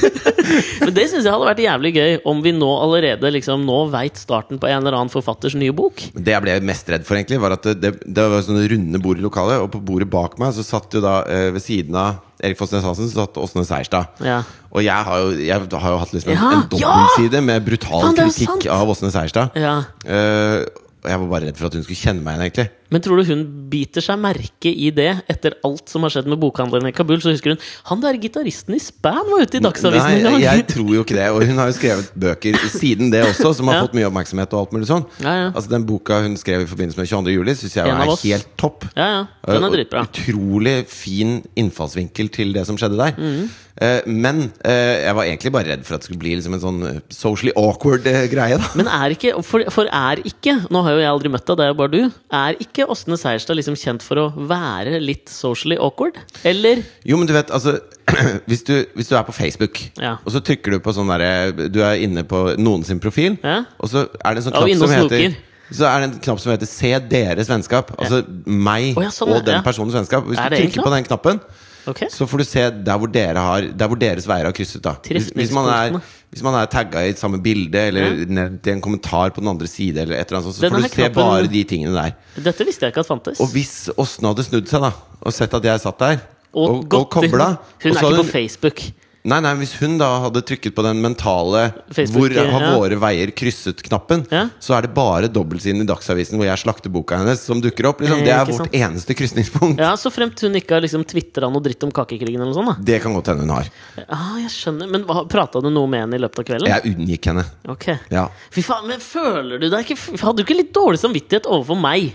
Speaker 2: Men det syns jeg hadde vært jævlig gøy om vi nå allerede liksom, nå veit starten på en eller annen forfatters nye bok.
Speaker 1: Men Det jeg ble mest redd for, egentlig, var at det, det, det var sånne runde bord i lokalet. Og på bordet bak meg så satt jo da eh, ved siden av Erik Fossnes Hansen Så satt Åsne Seierstad.
Speaker 2: Ja.
Speaker 1: Og jeg har jo, jeg har jo hatt liksom en,
Speaker 2: Ja,
Speaker 1: en dobbeltside med brutal
Speaker 2: Faen, det er jo sant.
Speaker 1: kritikk av Åsne Seierstad.
Speaker 2: Ja.
Speaker 1: Eh, og jeg var bare redd for at hun skulle kjenne meg igjen, egentlig.
Speaker 2: Men tror du hun biter seg merke i det etter alt som har skjedd med bokhandleren i Kabul? Så husker hun han der gitaristen i Span var ute i Dagsavisen i
Speaker 1: Nei,
Speaker 2: dag!
Speaker 1: jeg tror jo ikke det. Og hun har jo skrevet bøker siden det også, som har
Speaker 2: Ja.
Speaker 1: fått mye oppmerksomhet. og alt mulig sånn
Speaker 2: Ja, ja.
Speaker 1: Altså Den boka hun skrev i forbindelse med 22. juli, syns jeg
Speaker 2: En av
Speaker 1: er
Speaker 2: oss.
Speaker 1: helt topp.
Speaker 2: [LAUGHS] Ja, ja. Den er
Speaker 1: Eh, Og
Speaker 2: dritbra.
Speaker 1: Utrolig fin innfallsvinkel til det som skjedde der.
Speaker 2: Mm.
Speaker 1: Eh, men eh, jeg var egentlig bare redd for at det skulle bli liksom en sånn eh, socially awkward eh, greie. da
Speaker 2: Men er ikke, for, for er ikke, nå har jo jeg aldri møtt deg, det er jo bare du, er ikke Åsne Seierstad liksom kjent for å være litt socially awkward? Eller?
Speaker 1: Jo, men du vet, altså [CLEARS THROAT] Hvis du, hvis du er på Facebook,
Speaker 2: Ja.
Speaker 1: og så trykker du på sånn derre Du er inne på noen sin profil,
Speaker 2: Ja.
Speaker 1: og så er det en sånn
Speaker 2: Ja, og
Speaker 1: knapp
Speaker 2: inne og
Speaker 1: som
Speaker 2: snoker.
Speaker 1: heter så er det en knapp som heter 'Se deres vennskap'. Altså meg
Speaker 2: Å, ja, sånn,
Speaker 1: og den
Speaker 2: ja.
Speaker 1: personens vennskap. Hvis
Speaker 2: Er det
Speaker 1: du
Speaker 2: sånn? en
Speaker 1: trykker på den knappen,
Speaker 2: Ok?
Speaker 1: Så får du se der hvor, dere har, der hvor deres veier har krysset. da Hvis, hvis man er,
Speaker 2: Trefningspunktene.
Speaker 1: hvis man er tagga i samme bilde, eller ned i en kommentar på den andre side, eller et eller annet, sånt, så
Speaker 2: Denne
Speaker 1: får
Speaker 2: her
Speaker 1: du se
Speaker 2: knappen-
Speaker 1: bare de tingene der.
Speaker 2: Dette visste jeg ikke at fantes.
Speaker 1: Og hvis Åsne hadde snudd seg da og sett at jeg satt der, og, og,
Speaker 2: godt- [LAUGHS]
Speaker 1: kobla
Speaker 2: Hun er ikke på Facebook.
Speaker 1: Nei, nei, Hvis hun da hadde trykket på den mentale
Speaker 2: Facebook,
Speaker 1: 'hvor har
Speaker 2: ja.
Speaker 1: våre veier krysset'-knappen,
Speaker 2: Ja.
Speaker 1: så er det bare dobbeltsiden i Dagsavisen hvor jeg slakter boka hennes, som dukker opp. Liksom.
Speaker 2: Eh,
Speaker 1: Det er
Speaker 2: ikke sant.
Speaker 1: vårt eneste krysningspunkt.
Speaker 2: Ja, Så fremt hun ikke har liksom tvitra noe dritt om kakekrigen eller noe sånt.
Speaker 1: Det kan godt hende hun har.
Speaker 2: da ah, jeg skjønner, Men prata du noe med henne i løpet av kvelden?
Speaker 1: Jeg unngikk henne.
Speaker 2: Ok
Speaker 1: Ja.
Speaker 2: Fy faen, men føler du deg ikke Hadde du ikke litt dårlig samvittighet overfor meg?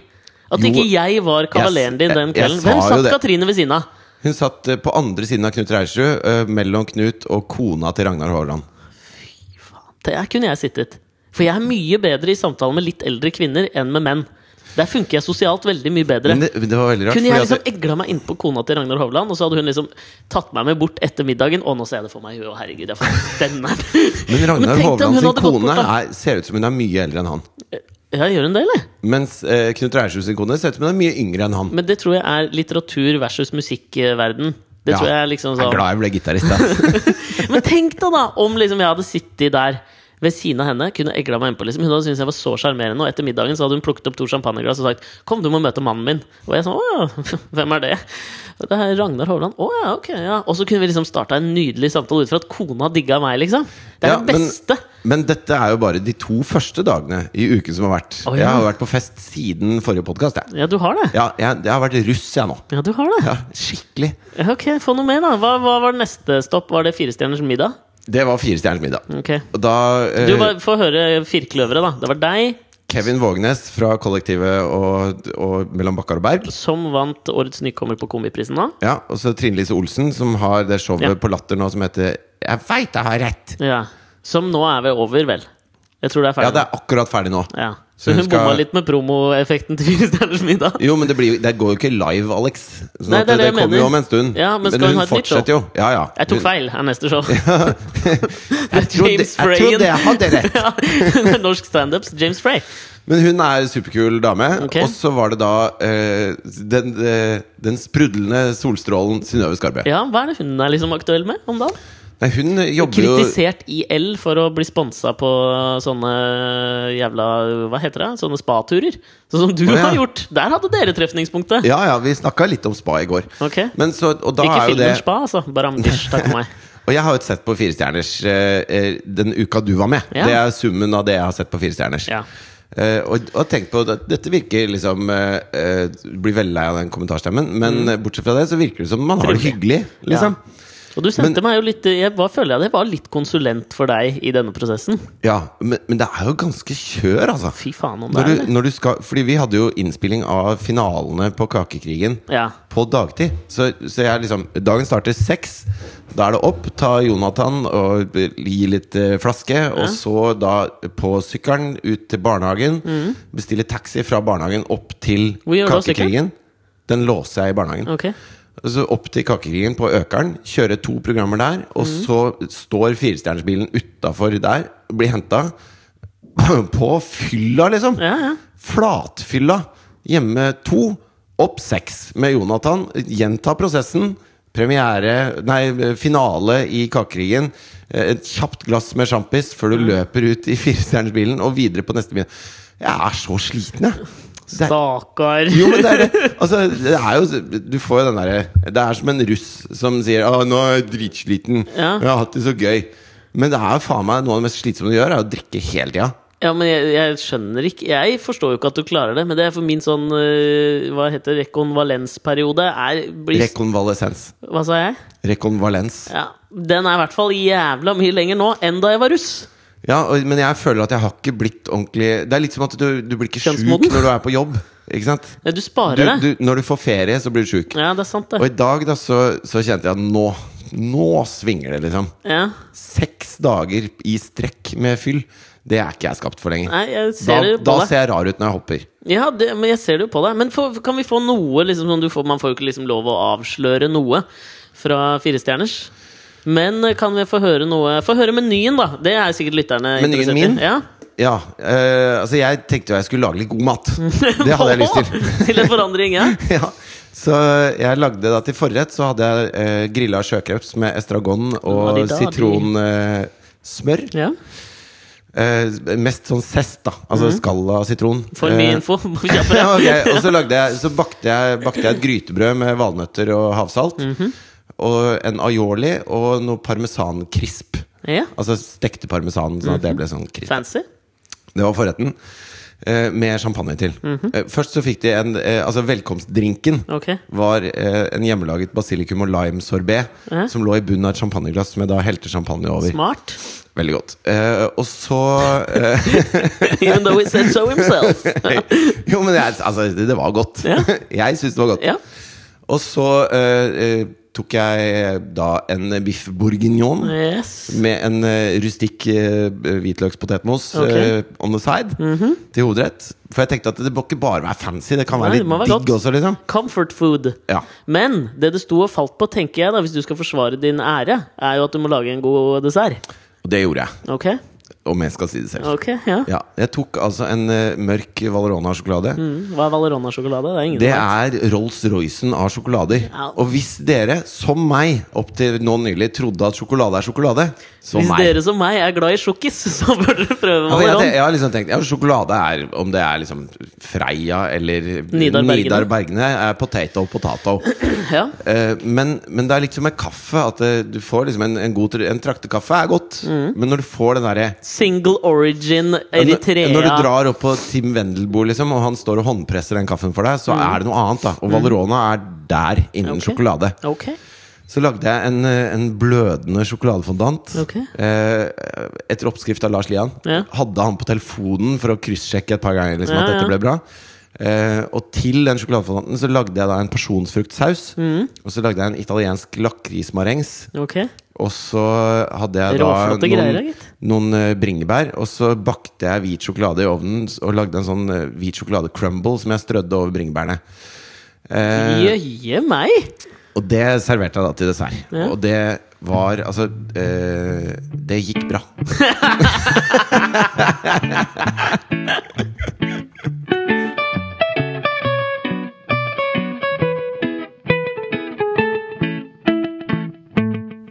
Speaker 2: At
Speaker 1: Jo.
Speaker 2: ikke jeg var kavaleren din
Speaker 1: Jeg-
Speaker 2: den
Speaker 1: jeg
Speaker 2: kvelden?
Speaker 1: sa
Speaker 2: Hvem
Speaker 1: jo
Speaker 2: satt
Speaker 1: det.
Speaker 2: Katrine ved siden av?
Speaker 1: Hun satt eh, på andre siden av Knut Reirsrud, eh, mellom Knut og kona til Ragnar Haaland.
Speaker 2: Der kunne jeg sittet. For jeg er mye bedre i samtale med litt eldre kvinner enn med menn. Der funker jeg sosialt veldig mye bedre.
Speaker 1: Men det, det var veldig rart.
Speaker 2: Kunne
Speaker 1: fordi
Speaker 2: jeg
Speaker 1: at-
Speaker 2: liksom egla meg innpå kona til Ragnar Hovland, og så hadde hun liksom tatt meg med bort etter middagen? Å, nå ser jeg det for meg i huet, å, herregud, jeg får [LAUGHS] den der.
Speaker 1: Men Ragnar
Speaker 2: tenk deg om hun
Speaker 1: Hovland sin
Speaker 2: hadde gått
Speaker 1: kone
Speaker 2: bort, da.
Speaker 1: er, ser ut som hun er mye eldre enn han.
Speaker 2: Ja, gjør hun det, eller?
Speaker 1: Mens eh, Knut Reirsrud sin kone ser ut som hun er mye yngre enn han.
Speaker 2: Men det tror jeg er litteratur versus musikkverden. Det
Speaker 1: Ja.
Speaker 2: tror jeg er liksom
Speaker 1: Jeg
Speaker 2: sånn
Speaker 1: er glad jeg ble gitarist.
Speaker 2: [LAUGHS]
Speaker 1: ass.
Speaker 2: Men tenk deg da om liksom jeg hadde sittet der ved siden av henne. Kunne egla meg innpå liksom Hun hadde syntes jeg var så sjarmerende, og etter middagen så hadde hun plukket opp to champagneglass og sagt 'Kom, du må møte mannen min'. Og jeg sånn 'Å ja, [LAUGHS] hvem er det?' Og det er Ragnar Hovland. 'Å ja, ok, ja'. Og så kunne vi liksom starta en nydelig samtale ut fra at kona digga meg, liksom. Det er
Speaker 1: Ja,
Speaker 2: det
Speaker 1: men-
Speaker 2: beste.
Speaker 1: Men dette er jo bare de to første dagene i uken som har vært.
Speaker 2: Å, ja.
Speaker 1: Jeg har jo vært på fest siden forrige podkast. Jeg.
Speaker 2: Ja, du har det.
Speaker 1: Ja, jeg, jeg har vært russ, jeg nå.
Speaker 2: Ja, du har det.
Speaker 1: Ja, skikkelig.
Speaker 2: Ja, Ok, få noe mer, da. Hva, hva var neste stopp? Var det Firestjerners middag?
Speaker 1: Det var Fire stjerners middag.
Speaker 2: Ok.
Speaker 1: Og da eh,
Speaker 2: Du, bare Få høre firkløveret, da. Det var deg
Speaker 1: Kevin Vågenes fra Kollektivet og, og Mellom Bakkar og Berg.
Speaker 2: som vant Årets nykommer på Komiprisen, da.
Speaker 1: Ja, Og så Trine Lise Olsen, som har det showet
Speaker 2: Ja.
Speaker 1: på Latter nå som heter 'Jeg veit jeg har rett'.
Speaker 2: Ja, Som nå er vel over, vel? Jeg tror det er
Speaker 1: Ja,
Speaker 2: ferdig.
Speaker 1: det er akkurat ferdig nå.
Speaker 2: Ja.
Speaker 1: Så
Speaker 2: hun
Speaker 1: hun skal-
Speaker 2: bomma litt med promoeffekten til Fire stjerners middag.
Speaker 1: Jo, men det, blir, jo- det går jo ikke live, Alex. Så
Speaker 2: Nei, det er
Speaker 1: det,
Speaker 2: det jeg
Speaker 1: kommer jo
Speaker 2: mener.
Speaker 1: om en stund.
Speaker 2: Ja, men skal hun
Speaker 1: hun,
Speaker 2: ha et nytt
Speaker 1: fortsetter jo. Ja, ja.
Speaker 2: Jeg tok
Speaker 1: Hun-
Speaker 2: feil, er neste
Speaker 1: [LAUGHS]
Speaker 2: show.
Speaker 1: Jeg trodde,
Speaker 2: James
Speaker 1: jeg trodde jeg hadde
Speaker 2: [LAUGHS]
Speaker 1: rett!
Speaker 2: ja, norsk standups. James Frey.
Speaker 1: Men hun er superkul dame.
Speaker 2: Ok.
Speaker 1: Og så var det da eh, den, eh, den sprudlende solstrålen Synnøve Skarbe.
Speaker 2: Ja, Hva er det hun er liksom aktuell med om dagen?
Speaker 1: Nei, hun jobber jo
Speaker 2: Kritisert IL for å bli sponsa på sånne jævla Hva heter det? Sånne spaturer. Sånn som du
Speaker 1: Å, ja.
Speaker 2: har gjort. Der hadde dere trefningspunktet.
Speaker 1: Ja, ja, vi snakka litt om spa i går.
Speaker 2: Ok.
Speaker 1: Men så, og da
Speaker 2: Ikke
Speaker 1: er jo
Speaker 2: filmen
Speaker 1: det
Speaker 2: Spa, altså. Bare Amdish, takk for meg.
Speaker 1: Og jeg har jo sett på Fire stjerners eh, eh, den uka du var med.
Speaker 2: Ja.
Speaker 1: Det er summen av det jeg har sett på Fire stjerners.
Speaker 2: Ja.
Speaker 1: Eh, og, og tenk på at dette virker liksom eh, eh, Blir veldig lei av den kommentarstemmen, men eh,
Speaker 2: Mm.
Speaker 1: bortsett fra det så virker det som man har det hyggelig. Liksom.
Speaker 2: Og du sendte meg jo litt Jeg var, føler jeg det var litt konsulent for deg i denne prosessen.
Speaker 1: Ja, men, men det er jo ganske kjør, altså.
Speaker 2: Fy faen om det er
Speaker 1: Når du,
Speaker 2: eller?
Speaker 1: når du skal, fordi vi hadde jo innspilling av finalene på Kakekrigen
Speaker 2: Ja.
Speaker 1: på dagtid. Så, så jeg liksom Dagen starter seks. Da er det opp, ta Jonathan og gi litt eh, flaske. Og så da på sykkelen ut til barnehagen. Bestille taxi fra barnehagen opp til
Speaker 2: Mm. Hvor gjør du av
Speaker 1: Kakekrigen. Den låser jeg i barnehagen.
Speaker 2: Ok.
Speaker 1: Og Så opp til Kakekrigen på Økeren, kjøre to programmer der, og
Speaker 2: Mm.
Speaker 1: så står firestjernersbilen utafor der, blir henta [CLEARS THROAT] på fylla, liksom!
Speaker 2: Ja, ja.
Speaker 1: Flatfylla. Hjemme to, opp seks med Jonathan. Gjenta prosessen. Premiere Nei, finale i Kakekrigen. Eh, Et kjapt glass med sjampis før du
Speaker 2: Mm.
Speaker 1: løper ut i [LAUGHS] firestjernersbilen og videre på neste bil. Jeg er så sliten, jeg. Det er
Speaker 2: Stakkar.
Speaker 1: jo, men det er det. Altså, det er jo Du får jo den derre Det er som en russ som sier Å, nå er jeg dritsliten.
Speaker 2: Ja.
Speaker 1: Jeg har hatt det så gøy. Men det er jo faen meg noe av det mest slitsomme du gjør, er å drikke hele tida.
Speaker 2: Ja, men jeg, jeg skjønner ikke Jeg forstår jo ikke at du klarer det, men det er for min sånn øh, Hva heter det, rekonvalensperiode er blir,
Speaker 1: Rekonvalesens.
Speaker 2: Hva sa jeg?
Speaker 1: Rekonvalens.
Speaker 2: Ja, Den er i hvert fall jævla mye lenger nå enn da jeg var russ.
Speaker 1: Ja, og, men jeg føler at jeg har ikke blitt ordentlig Det er litt som at du, du blir ikke sjuk
Speaker 2: Kjønnsmoden.
Speaker 1: når du er på jobb. Ikke sant?
Speaker 2: Nei, Du
Speaker 1: Du,
Speaker 2: sparer
Speaker 1: du, når du får ferie, så blir du sjuk.
Speaker 2: det. Ja, det er sant,
Speaker 1: Og
Speaker 2: det.
Speaker 1: i dag da, så, så kjente jeg at nå Nå svinger det, liksom.
Speaker 2: Ja.
Speaker 1: Seks dager i strekk med fyll. Det er ikke jeg skapt for lenger.
Speaker 2: Nei, jeg ser
Speaker 1: Da,
Speaker 2: det jo på
Speaker 1: da
Speaker 2: deg.
Speaker 1: ser jeg rar ut når jeg hopper.
Speaker 2: Ja, det, men jeg ser det jo på deg. Men få- kan vi få noe liksom, sånn du får, Man får jo ikke liksom lov å avsløre noe fra Firestjerners. Men eh, kan vi få høre noe Få høre menyen, da! Det er sikkert lytterne
Speaker 1: Menyen
Speaker 2: interessert
Speaker 1: min?
Speaker 2: i. Ja.
Speaker 1: Ja, eh, altså Jeg tenkte jo jeg skulle lage litt god
Speaker 2: [LAUGHS]
Speaker 1: mat. Det hadde jeg lyst til.
Speaker 2: til en forandring,
Speaker 1: [LAUGHS]
Speaker 2: ja.
Speaker 1: ja. Så jeg lagde da til forrett så hadde jeg eh, grilla sjøkreps med estragon og
Speaker 2: Adi dadi.
Speaker 1: sitronsmør.
Speaker 2: ja.
Speaker 1: Eh, mest sånn zest, da. Altså skall av sitron.
Speaker 2: Mhm. For mye [LAUGHS]
Speaker 1: Eh,
Speaker 2: info.
Speaker 1: [LAUGHS]
Speaker 2: Kjappere. Mhm.
Speaker 1: ja, ok. Og så, lagde jeg, så bakte, jeg, bakte jeg et grytebrød med valnøtter og havsalt. og en aioli og noe parmesankrisp.
Speaker 2: Ja.
Speaker 1: Altså stekte parmesan, sånn
Speaker 2: Mhm.
Speaker 1: at det ble sånn krisp.
Speaker 2: Fancy.
Speaker 1: Det var forretten. eh, Med champagne til. Eh, Først så fikk de en eh, Altså, velkomstdrinken
Speaker 2: Mhm. Ok.
Speaker 1: var eh, en hjemmelaget basilikum og lime-sorbet
Speaker 2: Ja.
Speaker 1: som lå i bunnen av et champagneglass, som jeg da helte champagne over.
Speaker 2: Smart. [LAUGHS]
Speaker 1: Veldig godt. Eh, og så eh,
Speaker 2: Even though he said so himself.
Speaker 1: [LAUGHS] Jo, men jeg, altså, det, det var godt.
Speaker 2: Ja.
Speaker 1: [LAUGHS] jeg syns det var godt.
Speaker 2: Ja.
Speaker 1: Og så eh, eh, tok jeg da en biff bourguignon.
Speaker 2: Yes.
Speaker 1: Med en eh, rustikk eh, hvitløkspotetmos
Speaker 2: Ok. Mhm.
Speaker 1: eh, on the side til hovedrett. For jeg tenkte at det må ikke bare være fancy, det kan være
Speaker 2: Nei, det
Speaker 1: litt
Speaker 2: må være
Speaker 1: digg
Speaker 2: godt.
Speaker 1: også, liksom.
Speaker 2: Comfort food.
Speaker 1: Ja.
Speaker 2: Men det det sto og falt på, tenker jeg da, hvis du skal forsvare din ære, er jo at du må lage en god dessert.
Speaker 1: Og det gjorde jeg,
Speaker 2: Ok?
Speaker 1: om jeg skal si det selv.
Speaker 2: Ok, ja.
Speaker 1: Ja, jeg tok altså en eh, mørk Valerona-sjokolade.
Speaker 2: Mm, Hva er Valerona-sjokolade? Det er ingen
Speaker 1: Det
Speaker 2: som vet.
Speaker 1: er Rolls-Roycen av sjokolader.
Speaker 2: Ja.
Speaker 1: Og hvis dere, som meg, opp til nå nylig trodde at sjokolade er sjokolade, så
Speaker 2: Hvis
Speaker 1: meg.
Speaker 2: dere som meg er glad i sjokkis, [LAUGHS] så bør dere prøve
Speaker 1: Ja, for jeg,
Speaker 2: Valeron.
Speaker 1: jeg har liksom tenkt ja, Sjokolade er om det er liksom Freia eller
Speaker 2: Nidar Bergene.
Speaker 1: Nidar Bergene. Er potato potato.
Speaker 2: Ja.
Speaker 1: Eh, men, men det er liksom med kaffe at eh, du får liksom en, en god tr- En traktekaffe er godt, men når du får den derre
Speaker 2: Single origin Eritrea.
Speaker 1: Når du drar opp på Tim Wendelboe, liksom, og han står og håndpresser den kaffen for deg, så er det noe annet. da Og Valerona er der innen
Speaker 2: Ok.
Speaker 1: sjokolade.
Speaker 2: Ok.
Speaker 1: Så lagde jeg en, eh, en blødende sjokoladefondant
Speaker 2: Ok.
Speaker 1: eh, etter oppskrift av Lars Lian.
Speaker 2: Ja.
Speaker 1: Hadde han på telefonen for å kryssjekke et par ganger liksom,
Speaker 2: Ja,
Speaker 1: at dette
Speaker 2: ja.
Speaker 1: ble bra. Eh, og til den sjokoladefondanten så lagde jeg da en pasjonsfruktsaus.
Speaker 2: Mm.
Speaker 1: Og så lagde jeg en italiensk lakrismarengs.
Speaker 2: ok
Speaker 1: Og så hadde jeg da
Speaker 2: Råflotte greier,
Speaker 1: noen,
Speaker 2: gitt.
Speaker 1: noen eh, bringebær. Og så bakte jeg hvit sjokolade i ovnen s- og lagde en sånn eh, hvit sjokolade-crumble som jeg strødde over bringebærene. Eh,
Speaker 2: Jøye meg!
Speaker 1: og det serverte jeg da til dessert.
Speaker 2: Ja.
Speaker 1: Og det var Altså, eh, det gikk
Speaker 2: [LAUGHS]
Speaker 1: bra.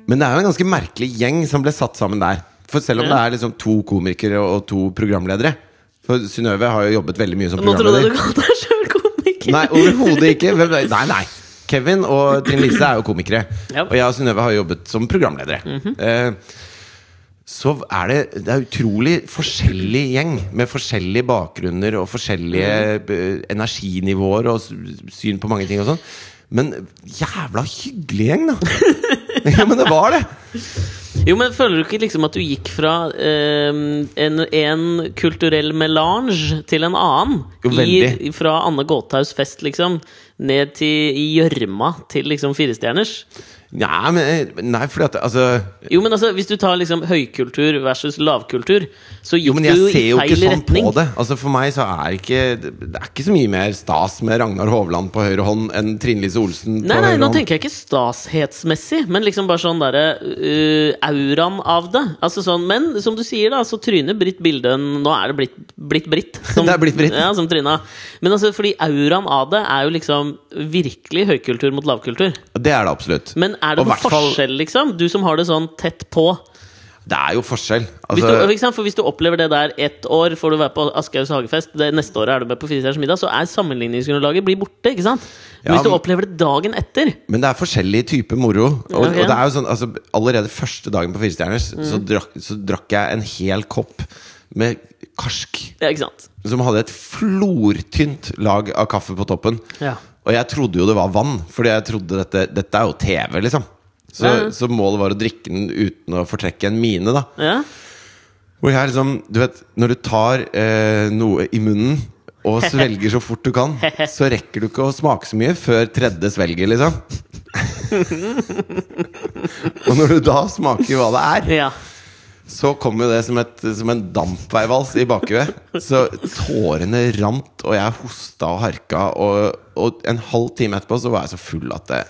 Speaker 1: Men det er jo en ganske merkelig gjeng som ble satt sammen der. For selv om det
Speaker 2: Ja.
Speaker 1: er liksom to komikere og to programledere For Synnøve har jo jobbet veldig mye som
Speaker 2: Nå trodde
Speaker 1: programleder.
Speaker 2: jeg du kalte deg sjøl komiker.
Speaker 1: [LAUGHS] Nei, overhodet ikke. Hvem, nei, nei. Kevin og Trine Lise er jo komikere.
Speaker 2: Ja.
Speaker 1: Og jeg og Synnøve har jobbet som programledere. Eh, så er det, det er utrolig forskjellig gjeng, med forskjellige bakgrunner og forskjellige eh, energinivåer og s- syn på mange ting og sånn. Men jævla hyggelig gjeng, da! ja, men det var det!
Speaker 2: Jo, men Føler du ikke liksom at du gikk fra eh, en, en kulturell melange til en annen?
Speaker 1: Jo, veldig.
Speaker 2: I, fra Anne Gåthaus fest, liksom, ned til i gjørma til liksom firestjerners?
Speaker 1: Nei, men, nei fordi at altså
Speaker 2: Jo, men altså, Hvis du tar liksom høykultur versus lavkultur, så gikk
Speaker 1: Jo, men
Speaker 2: du
Speaker 1: jeg
Speaker 2: jo
Speaker 1: ser
Speaker 2: i
Speaker 1: jo ikke
Speaker 2: feil
Speaker 1: sånn
Speaker 2: retning.
Speaker 1: på det. Altså For meg så er ikke det er ikke så mye mer stas med Ragnar Hovland på høyre hånd enn Trine Lise Olsen på
Speaker 2: Nei, nei,
Speaker 1: høyre
Speaker 2: nå
Speaker 1: hånd.
Speaker 2: tenker jeg ikke stashetsmessig, men liksom bare sånn derre øh, auraen av det. Altså sånn, Men som du sier, da, så tryner Britt Bildøen Nå er det blitt, blitt
Speaker 1: [LAUGHS]
Speaker 2: Britt. Som,
Speaker 1: Det er blitt Britt.
Speaker 2: Ja, som Trina. Men altså, fordi auraen av det er jo liksom virkelig høykultur mot lavkultur.
Speaker 1: Det er det absolutt.
Speaker 2: Men er det
Speaker 1: Og
Speaker 2: noen
Speaker 1: hvertfall-
Speaker 2: forskjell, liksom? Du som har det sånn tett på.
Speaker 1: Det er jo forskjell.
Speaker 2: Hvis
Speaker 1: Altså,
Speaker 2: du, ikke sant? For hvis du opplever det der ett år, får du være på Aschehougs hagefest, det neste året er du med på Firestjerners middag, så er sammenligningsgrunnlaget blir borte, ikke sant? Men
Speaker 1: Ja,
Speaker 2: hvis du
Speaker 1: men-
Speaker 2: opplever det dagen etter
Speaker 1: Men det er forskjellig type moro. Og,
Speaker 2: Ja, Mm. ok.
Speaker 1: og det er jo sånn, altså, allerede første dagen på Firestjerners så, drakk, så drakk jeg en hel kopp med karsk.
Speaker 2: Ja, ikke sant?
Speaker 1: Som hadde et flortynt lag av kaffe på toppen.
Speaker 2: Ja.
Speaker 1: Og jeg trodde jo det var vann, fordi jeg trodde dette, dette er jo TV, liksom. Så,
Speaker 2: Ja, ja.
Speaker 1: så målet var å drikke den uten å fortrekke en mine, da.
Speaker 2: Ja.
Speaker 1: Hvor jeg liksom, du vet, når du tar eh, noe i munnen og svelger så fort du kan, så rekker du ikke å smake så mye før tredje svelger, liksom. og når du da smaker hva det er,
Speaker 2: Ja.
Speaker 1: så kom jo det som, et, som en dampveivals i bakhuet. Så tårene rant, og jeg hosta og harka. Og, og en halv time etterpå så var jeg så full at det,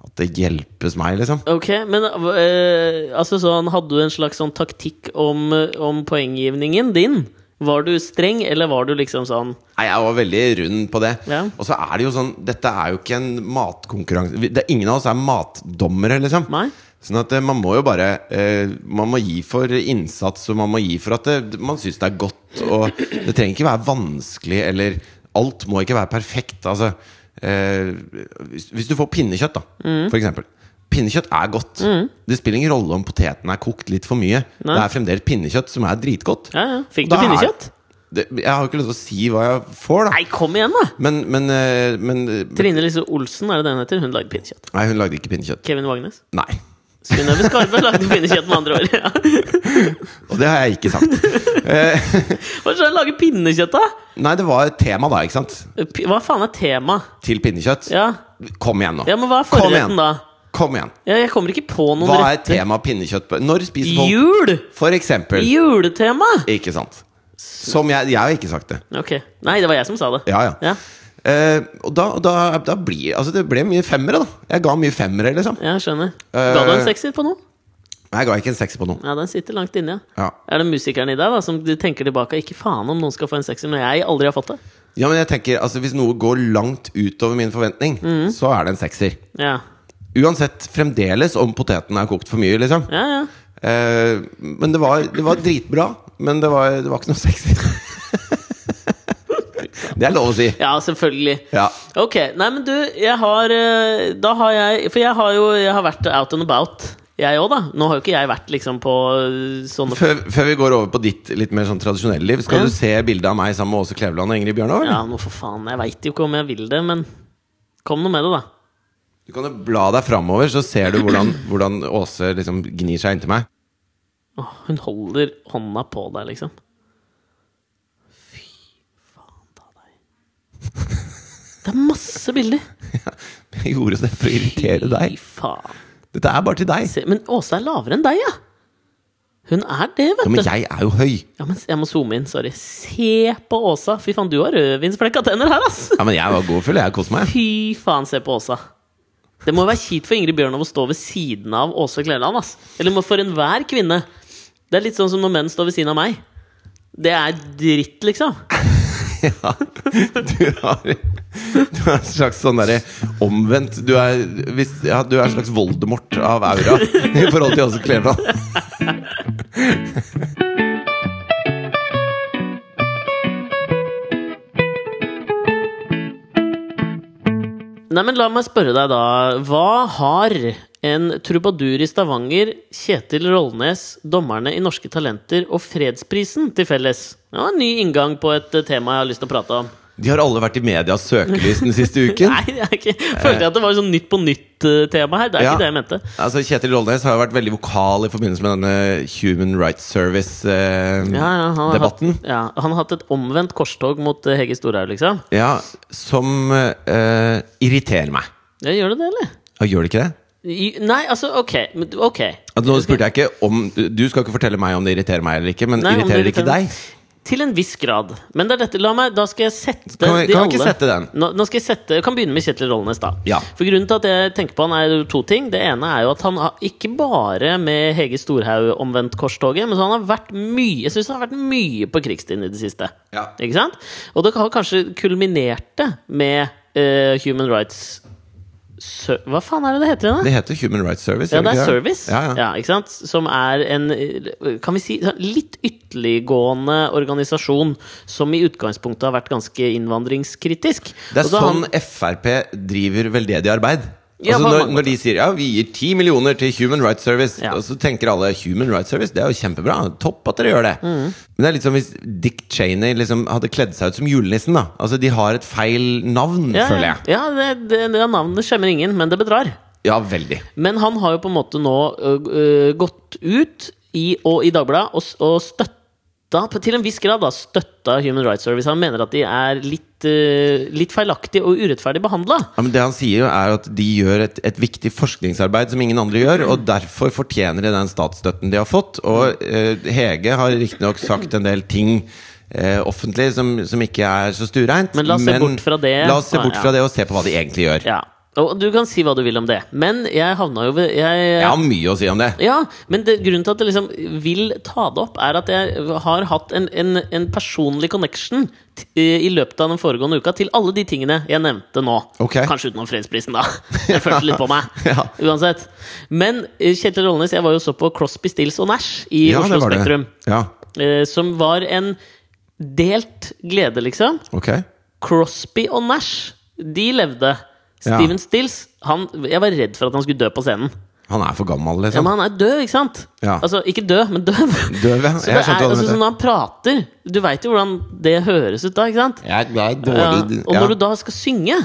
Speaker 1: at det hjelpes meg, liksom.
Speaker 2: Ok, men eh, altså sånn, hadde du en slags sånn taktikk om, eh, om poenggivningen din? Var du streng, eller var du liksom sånn
Speaker 1: Nei, Jeg var veldig rund på det.
Speaker 2: Ja.
Speaker 1: Og så er det jo sånn Dette er jo ikke en matkonkurranse. Vi- Det, ingen av oss er matdommere, liksom.
Speaker 2: Nei.
Speaker 1: Sånn at eh, man må jo bare eh, Man må gi for innsats, og man må gi for at det, man syns det er godt. Og det trenger ikke være vanskelig, eller Alt
Speaker 2: Mm.
Speaker 1: må ikke være perfekt. Altså, eh, hvis, hvis du får pinnekjøtt, da, for eksempel. Pinnekjøtt er godt. Det spiller ingen rolle om poteten er kokt litt for mye.
Speaker 2: Nei.
Speaker 1: Det er fremdeles pinnekjøtt, som er dritgodt.
Speaker 2: Ja, ja. Fikk
Speaker 1: Og
Speaker 2: du
Speaker 1: da er-
Speaker 2: pinnekjøtt?
Speaker 1: Det, jeg har jo ikke lyst til å si hva jeg får, da.
Speaker 2: Nei, kom igjen, da!
Speaker 1: Men, men, eh, men Nei,
Speaker 2: Trine Lise Olsen er det den heter. Hun lagde pinnekjøtt.
Speaker 1: hun lagde ikke pinnekjøtt.
Speaker 2: Kevin Vagnes.
Speaker 1: Nei.
Speaker 2: Synnøve Skarve [LAUGHS] lagde pinnekjøtt med andre ord. Ja.
Speaker 1: Og det har jeg ikke sagt.
Speaker 2: Hva skal jeg lage pinnekjøtt av?
Speaker 1: Nei, det var et tema, da, ikke sant?
Speaker 2: Pi- Hva faen er tema?
Speaker 1: Til pinnekjøtt.
Speaker 2: Ja.
Speaker 1: Kom igjen, nå.
Speaker 2: ja, men hva er
Speaker 1: Kom
Speaker 2: forretten
Speaker 1: igjen.
Speaker 2: da?
Speaker 1: Kom igjen.
Speaker 2: Ja, jeg kommer ikke på noen
Speaker 1: Hva er
Speaker 2: retter.
Speaker 1: tema pinnekjøtt på Når spiser folk
Speaker 2: Jul!
Speaker 1: For eksempel.
Speaker 2: Juletema!
Speaker 1: Ikke sant. Som jeg Jeg har ikke sagt det.
Speaker 2: Ok. Nei, det var jeg som sa det.
Speaker 1: Ja, ja.
Speaker 2: Ja,
Speaker 1: Eh, og da, da, da blir Altså, det ble mye femmere, da. Jeg ga mye femmere, liksom.
Speaker 2: jeg skjønner. Ga du en
Speaker 1: Eh.
Speaker 2: sekser på noen?
Speaker 1: Nei, Jeg ga ikke en sekser på noe.
Speaker 2: Ja, den sitter langt inne, ja.
Speaker 1: Ja.
Speaker 2: Er det musikeren i deg da, som du tenker tilbake Ikke faen om noen skal få en sekser, men jeg aldri har fått det?
Speaker 1: ja, men jeg tenker altså Hvis noe går langt utover min forventning,
Speaker 2: Mm.
Speaker 1: så er det en sekser.
Speaker 2: Ja,
Speaker 1: Uansett fremdeles om poteten er kokt for mye, liksom.
Speaker 2: ja, ja.
Speaker 1: Eh, men det var, det var dritbra. Men det var, det var ikke noe sekser. det er lov å si.
Speaker 2: ja selvfølgelig.
Speaker 1: Ja.
Speaker 2: Ok, nei men du, jeg har eh, Da har jeg, for jeg har jo Jeg har vært out and about Jeg også da, nå har jo ikke jeg vært liksom på eh, Sånne,
Speaker 1: Før, før vi går over på ditt litt mer sånn tradisjonelle liv, skal
Speaker 2: Ja.
Speaker 1: du se bildet av meg sammen med Åse Kleveland og Ingrid Bjørnov? eller?
Speaker 2: ja nå for faen, jeg vet jo ikke om jeg vil det Men kom noe med det da
Speaker 1: Du kan jo bla deg framover, så ser du hvordan, hvordan Åse liksom gnir seg inntil meg.
Speaker 2: Åh, Hun holder hånda på deg liksom Fy faen ta deg Det er masse bilder
Speaker 1: Jeg gjorde det for å irritere
Speaker 2: Fy
Speaker 1: deg.
Speaker 2: faen
Speaker 1: Dette er bare til deg.
Speaker 2: Se, Men Åsa er lavere enn deg ja Hun er det vet
Speaker 1: Ja,
Speaker 2: du
Speaker 1: men jeg er jo høy.
Speaker 2: Ja, men jeg må zoome inn, sorry. Se på Åsa. Fy faen, du har rødvinsflekka tenner her, ass!
Speaker 1: Ja, men jeg var godfull. Jeg koste meg.
Speaker 2: Fy faen, se på Åsa. Det må jo være kjipt for Ingrid Bjørnov å stå ved siden av Åse Kleveland, ass. Eller må- for enhver kvinne. Det er litt sånn som når menn står ved siden av meg. Det er dritt, liksom.
Speaker 1: [LAUGHS] Ja. Du har, du har en slags sånn derre omvendt Du er, hvis, ja, du er en slags Voldemort av aura i forhold til Åse Kleveland.
Speaker 2: Nei, men la meg spørre deg, da. Hva har en trubadur i Stavanger, Kjetil Rollnes, dommerne i Norske Talenter og Fredsprisen til felles? Det var en ny inngang på et eh, tema jeg har lyst til å prate om.
Speaker 1: De har alle vært i medias søkelys den siste uken.
Speaker 2: Nei, det er ikke Følte jeg at det var sånn Nytt på nytt-tema her. Det er
Speaker 1: Ja.
Speaker 2: ikke det jeg mente.
Speaker 1: Altså, Kjetil Rollnes har jo vært veldig vokal i forbindelse med denne Human Rights eh,
Speaker 2: Ja, ja, han, har
Speaker 1: Service-debatten.
Speaker 2: Hatt, ja, han har hatt et omvendt korstog mot eh, Hege Storhaug, liksom.
Speaker 1: ja, som eh, irriterer meg.
Speaker 2: Ja, gjør det det, eller?
Speaker 1: Ja, gjør det ikke det?
Speaker 2: I, nei, altså, ok. men du- ok
Speaker 1: Altså, nå spurte jeg ikke om Du skal ikke fortelle meg om det irriterer meg eller ikke, men
Speaker 2: Nei, om det
Speaker 1: irriterer det ikke
Speaker 2: irriterer meg.
Speaker 1: deg?
Speaker 2: Til en viss grad. Men det er dette, la meg, da skal jeg sette
Speaker 1: Kan vi-
Speaker 2: de
Speaker 1: kan vi ikke
Speaker 2: alle-
Speaker 1: sette den?
Speaker 2: Nå, nå skal jeg sette, jeg kan begynne med Kjetil Rollenes, da.
Speaker 1: Ja.
Speaker 2: For grunnen til at jeg tenker på han er to ting. Det ene er jo at han har ikke bare med Hege Storhaug omvendt korstoget, men så han har vært mye Jeg synes han har vært mye på krigsstien i det siste.
Speaker 1: Ja.
Speaker 2: Ikke sant? Og det har kanskje kulminert det med eh, Human Rights Ser- Hva faen er det det heter igjen? da?
Speaker 1: Det heter Human Rights Service.
Speaker 2: Ja,
Speaker 1: gjør
Speaker 2: det er
Speaker 1: ikke
Speaker 2: service,
Speaker 1: Ja, ja.
Speaker 2: ikke sant? som er en kan vi si, sånn litt ytterliggående organisasjon som i utgangspunktet har vært ganske innvandringskritisk.
Speaker 1: Det er
Speaker 2: Og da
Speaker 1: sånn
Speaker 2: han-
Speaker 1: Frp driver veldedig arbeid.
Speaker 2: Ja,
Speaker 1: altså
Speaker 2: på
Speaker 1: når,
Speaker 2: mange
Speaker 1: når de sier ja, vi gir 10 millioner til Human Rights Service,
Speaker 2: Ja.
Speaker 1: og så tenker alle Human Rights Service, det er jo kjempebra. Topp at dere gjør det.
Speaker 2: Mm.
Speaker 1: Men det er litt som hvis Dick Cheney liksom hadde kledd seg ut som julenissen. da Altså De har et feil navn,
Speaker 2: ja,
Speaker 1: føler
Speaker 2: ja,
Speaker 1: jeg.
Speaker 2: ja, det, det, det navnet skjemmer ingen, men det bedrar.
Speaker 1: Ja, veldig.
Speaker 2: Men han har jo på en måte nå ø, ø, gått ut i, og, i Dagbladet og, s- og støtta på- til en viss grad da, støtta Human Rights Service. Han mener at de er litt, ø, litt feilaktig og urettferdig behandla.
Speaker 1: Ja, men det han sier, jo er at de gjør et, et viktig forskningsarbeid som ingen andre gjør, og derfor fortjener de den statsstøtten de har fått. Og eh, Hege har riktignok sagt en del ting eh, offentlig som, som ikke er så stuereint.
Speaker 2: Men la oss se bort fra det.
Speaker 1: La oss se
Speaker 2: Ah,
Speaker 1: bort
Speaker 2: ja.
Speaker 1: fra det og se på hva de egentlig gjør.
Speaker 2: Ja. Og du kan si hva du vil om det, men jeg havna jo ved jeg,
Speaker 1: Jeg har mye å si om det.
Speaker 2: Ja, men det, grunnen til at jeg liksom vil ta det opp, er at jeg har hatt en, en, en personlig connection t i løpet av den foregående uka til alle de tingene jeg nevnte nå.
Speaker 1: Ok.
Speaker 2: Kanskje utenom fredsprisen, da. Jeg følte litt på meg.
Speaker 1: [LAUGHS] Ja.
Speaker 2: Uansett. Men eh, Kjetil Rollenes, jeg var jo så på Crosby, Stills og Nash i
Speaker 1: Ja,
Speaker 2: Oslo
Speaker 1: det var det.
Speaker 2: Spektrum.
Speaker 1: Ja,
Speaker 2: eh, Som var en delt glede, liksom.
Speaker 1: ok.
Speaker 2: Crosby og Nash, de levde.
Speaker 1: Ja.
Speaker 2: Steven Stills han, Jeg var redd for at han skulle dø på scenen.
Speaker 1: Han er for gammel,
Speaker 2: Ja,
Speaker 1: liksom.
Speaker 2: men han er død, ikke sant?
Speaker 1: Ja.
Speaker 2: Altså, ikke død, men døv.
Speaker 1: Døv,
Speaker 2: [LAUGHS]
Speaker 1: ja.
Speaker 2: Så det
Speaker 1: Jeg
Speaker 2: er,
Speaker 1: skjønte hva du
Speaker 2: altså, så
Speaker 1: mente.
Speaker 2: når han prater Du veit jo hvordan det høres ut da, ikke sant?
Speaker 1: Jeg er- jeg er
Speaker 2: Ja.
Speaker 1: dårlig
Speaker 2: Og når du da skal synge,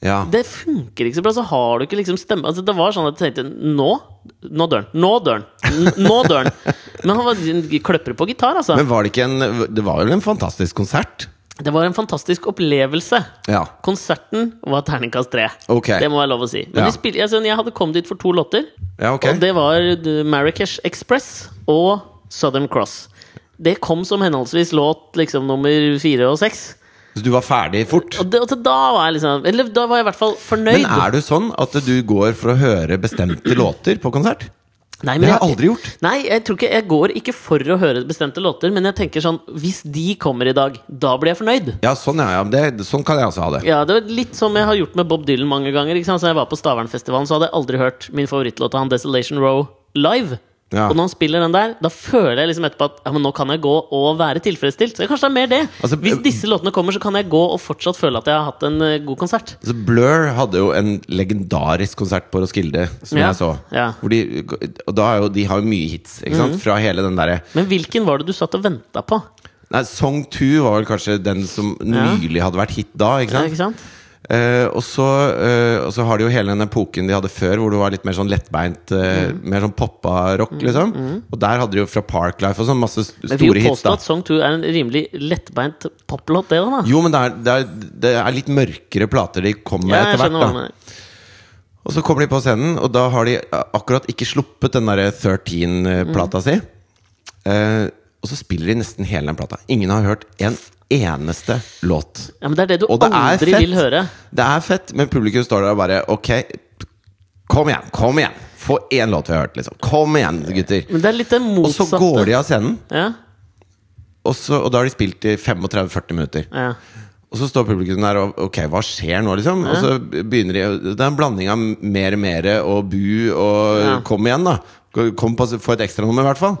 Speaker 1: ja.
Speaker 2: det funker ikke så bra. Så har du ikke liksom stemme altså, Det var sånn at jeg tenkte Nå nå dør han. Nå dør han. N- Nå dør han. [LAUGHS] Men han var kløpper på gitar, altså.
Speaker 1: Men var det ikke en Det var vel en fantastisk konsert?
Speaker 2: Det var en fantastisk opplevelse.
Speaker 1: Ja.
Speaker 2: Konserten var terningkast tre.
Speaker 1: Ok.
Speaker 2: Det må være lov å si. Men
Speaker 1: Ja.
Speaker 2: de spil, altså, jeg hadde kommet dit for to låter.
Speaker 1: Ja, ok.
Speaker 2: Og det var The Marrakesh Express og Southern Cross. Det kom som henholdsvis låt liksom, nummer fire og seks.
Speaker 1: Så du var ferdig fort?
Speaker 2: Og, det, og til da var jeg liksom Eller da var jeg i hvert fall fornøyd.
Speaker 1: Men er du sånn at du går for å høre bestemte låter på konsert?
Speaker 2: Nei,
Speaker 1: Det
Speaker 2: men
Speaker 1: har jeg aldri gjort.
Speaker 2: Nei, jeg tror ikke Jeg går ikke for å høre bestemte låter, men jeg tenker sånn Hvis de kommer i dag, da blir jeg fornøyd.
Speaker 1: Ja, sånn, ja, ja. Det, sånn kan jeg også ha det.
Speaker 2: Ja, det var Litt som jeg har gjort med Bob Dylan mange ganger. Ikke sant? Så jeg var på Stavernfestivalen, så hadde jeg aldri hørt min favorittlåt av han Desolation Row live.
Speaker 1: Ja.
Speaker 2: Og når han spiller den der, da føler jeg liksom etterpå at ja, men nå kan jeg gå og være tilfredsstilt. Så kanskje det er mer det.
Speaker 1: Altså,
Speaker 2: Hvis disse låtene kommer, så kan jeg gå og fortsatt føle at jeg har hatt en eh, god konsert.
Speaker 1: Så Blur hadde jo en legendarisk konsert på Roskilde, som
Speaker 2: Ja,
Speaker 1: jeg så.
Speaker 2: ja.
Speaker 1: Hvor de, og da er jo, de har jo mye hits, ikke sant? Fra hele den derre
Speaker 2: Men hvilken var det du satt og venta på?
Speaker 1: Nei, Song 2 var vel kanskje den som
Speaker 2: Ja.
Speaker 1: nylig hadde vært hit da, ikke
Speaker 2: Ja,
Speaker 1: sant?
Speaker 2: ikke sant?
Speaker 1: Eh, og, så, eh, og så har de jo hele den epoken de hadde før, hvor det var litt mer sånn lettbeint, eh, mer sånn poppa rock, liksom. Og der hadde de jo fra Parklife og sånn masse s-
Speaker 2: Jeg vil
Speaker 1: store
Speaker 2: jo påstå
Speaker 1: hits, da.
Speaker 2: at Song 2 er en rimelig lettbeint poplåt, det da. da.
Speaker 1: Jo, men det er, det, er, det er litt mørkere plater de kom med
Speaker 2: Ja, jeg
Speaker 1: etter
Speaker 2: skjønner hva du
Speaker 1: hvert. da
Speaker 2: mener.
Speaker 1: Og så kommer de på scenen, og da har de eh, akkurat ikke sluppet den derre
Speaker 2: Mm.
Speaker 1: 13-plata si. Eh, og så spiller de nesten hele den plata. Ingen har hørt en eneste låt.
Speaker 2: Ja, men det er det du
Speaker 1: Og det er
Speaker 2: aldri
Speaker 1: fett.
Speaker 2: vil høre.
Speaker 1: Det er fett, men publikum står der og bare Ok, kom igjen, kom igjen! Få én låt vi har hørt, liksom. Kom igjen, gutter!
Speaker 2: Men det er litt det
Speaker 1: Og
Speaker 2: motsatte.
Speaker 1: så går de av scenen,
Speaker 2: Ja,
Speaker 1: og, så, og da har de spilt i 35-40 minutter.
Speaker 2: ja.
Speaker 1: Og så står publikum der og Ok, hva skjer nå, liksom? Og så begynner de Det er en blanding av mer, mer og bu og
Speaker 2: Ja. Mm.
Speaker 1: kom igjen, da. Kom på, få et ekstranummer, i hvert fall.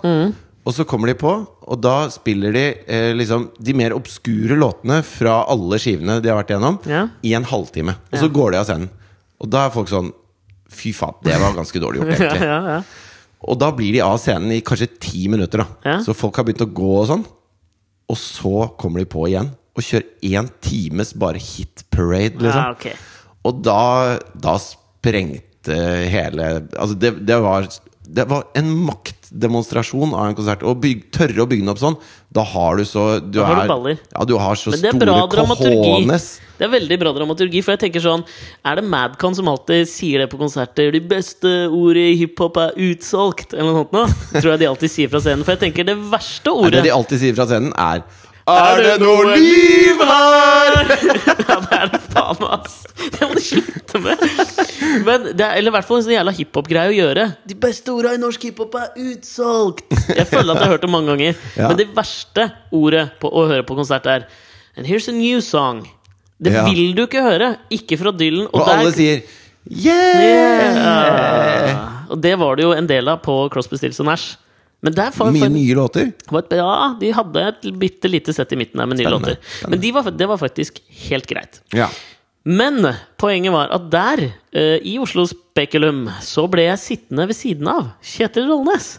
Speaker 1: Og så kommer de på, og da spiller de eh, liksom de mer obskure låtene fra alle skivene de har vært igjennom,
Speaker 2: Ja.
Speaker 1: i en halvtime. Og så går de av scenen. Og da er folk sånn Fy faen, det var ganske
Speaker 2: [LAUGHS]
Speaker 1: dårlig
Speaker 2: [LAUGHS]
Speaker 1: gjort,
Speaker 2: ja,
Speaker 1: egentlig.
Speaker 2: ja, ja.
Speaker 1: Og da blir de av scenen i kanskje ti minutter. da
Speaker 2: Ja.
Speaker 1: Så folk har begynt å gå og sånn. Og så kommer de på igjen og kjører én times bare hit parade.
Speaker 2: Ja,
Speaker 1: Liksom.
Speaker 2: Ah, ok.
Speaker 1: Og da, da sprengte hele Altså, det, det var det var en maktdemonstrasjon av en konsert. Å byg, tørre å bygge den opp sånn, da har du så Du,
Speaker 2: Da har du
Speaker 1: er-
Speaker 2: baller.
Speaker 1: Ja, du har så
Speaker 2: Men det er bra
Speaker 1: store
Speaker 2: dramaturgi.
Speaker 1: cojones.
Speaker 2: Det er veldig bra dramaturgi, for jeg tenker sånn Er det Madcon som alltid sier det på konserter? De beste ordet i hiphop er utsolgt, eller noe sånt noe? Tror jeg de alltid sier fra scenen. For jeg tenker det verste
Speaker 1: Nei,
Speaker 2: ordet
Speaker 1: Det de
Speaker 2: [LAUGHS] ja,
Speaker 1: alltid sier fra scenen, er Er det noe liv her?!
Speaker 2: Det er det faen meg, ass! Det må de slutte med! Men det er, eller i hvert fall en sånn jævla hiphop-greie å gjøre. De beste orda i norsk hiphop er utsolgt! Jeg føler at jeg har hørt det mange ganger.
Speaker 1: [LAUGHS] Ja.
Speaker 2: Men det verste ordet på, å høre på konsert er And here's a new song. Det
Speaker 1: Ja.
Speaker 2: vil du ikke høre! Ikke fra Dylan.
Speaker 1: Og
Speaker 2: der-
Speaker 1: alle sier yeah!
Speaker 2: Ja. Og det var det jo en del av på Crosby, Stills og Nash. Men der var,
Speaker 1: Mye nye låter.
Speaker 2: var et, ja, de hadde et bitte lite sett i midten der med nye
Speaker 1: Spennende,
Speaker 2: låter. Men de var, det var faktisk helt greit.
Speaker 1: Ja.
Speaker 2: Men poenget var at der, eh, i Oslo Spekulum, så ble jeg sittende ved siden av Kjetil Rollnes.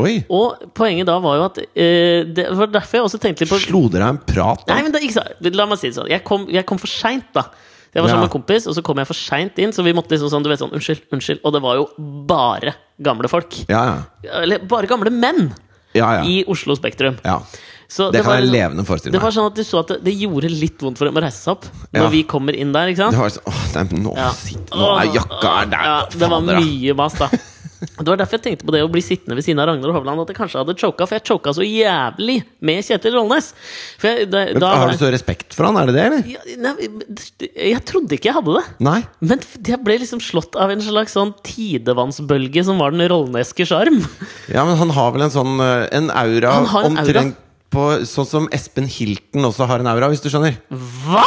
Speaker 1: Oi.
Speaker 2: Og poenget da var jo at eh, Det var derfor jeg også tenkte litt på
Speaker 1: Slo dere av en prat? da?
Speaker 2: Nei, men det, ikke sant? La meg si det sånn. Jeg kom, jeg kom for seint, da. Jeg var
Speaker 1: Ja.
Speaker 2: sammen med en kompis, og så kom jeg for seint inn. Så vi måtte liksom sånn, du vet sånn, unnskyld, unnskyld. Og det var jo bare gamle folk.
Speaker 1: Ja, ja.
Speaker 2: Eller bare gamle menn
Speaker 1: ja, ja.
Speaker 2: i Oslo Spektrum.
Speaker 1: ja.
Speaker 2: Så
Speaker 1: Det kan
Speaker 2: var
Speaker 1: jeg
Speaker 2: liksom-
Speaker 1: levende forestille
Speaker 2: Det var
Speaker 1: meg.
Speaker 2: sånn at du så at det, det gjorde litt vondt for dem å reise seg opp når
Speaker 1: Ja.
Speaker 2: vi kommer inn der. ikke sant?
Speaker 1: Det var sånn, åh, nei, men nå,
Speaker 2: Ja.
Speaker 1: sitter, nå er jakka er der!
Speaker 2: Ja, det var
Speaker 1: Fader, da.
Speaker 2: mye mas,
Speaker 1: [LAUGHS]
Speaker 2: da. Det var derfor jeg tenkte på det å bli sittende ved siden av Ragnar Hovland. At jeg kanskje hadde choka, for jeg choka så jævlig med Kjetil Rollnes. For jeg, da,
Speaker 1: Men,
Speaker 2: da,
Speaker 1: har du så respekt for han, er det det, eller?
Speaker 2: ja, nei, jeg trodde ikke jeg hadde det.
Speaker 1: Nei?
Speaker 2: Men jeg ble liksom slått av en slags sånn tidevannsbølge som var den rollneske sjarm.
Speaker 1: Ja, men han har vel en sånn eh, En aura
Speaker 2: Han har en aura.
Speaker 1: omtrent på Sånn som Espen Hilton også har en aura, hvis du skjønner. [LAUGHS]
Speaker 2: Hva?!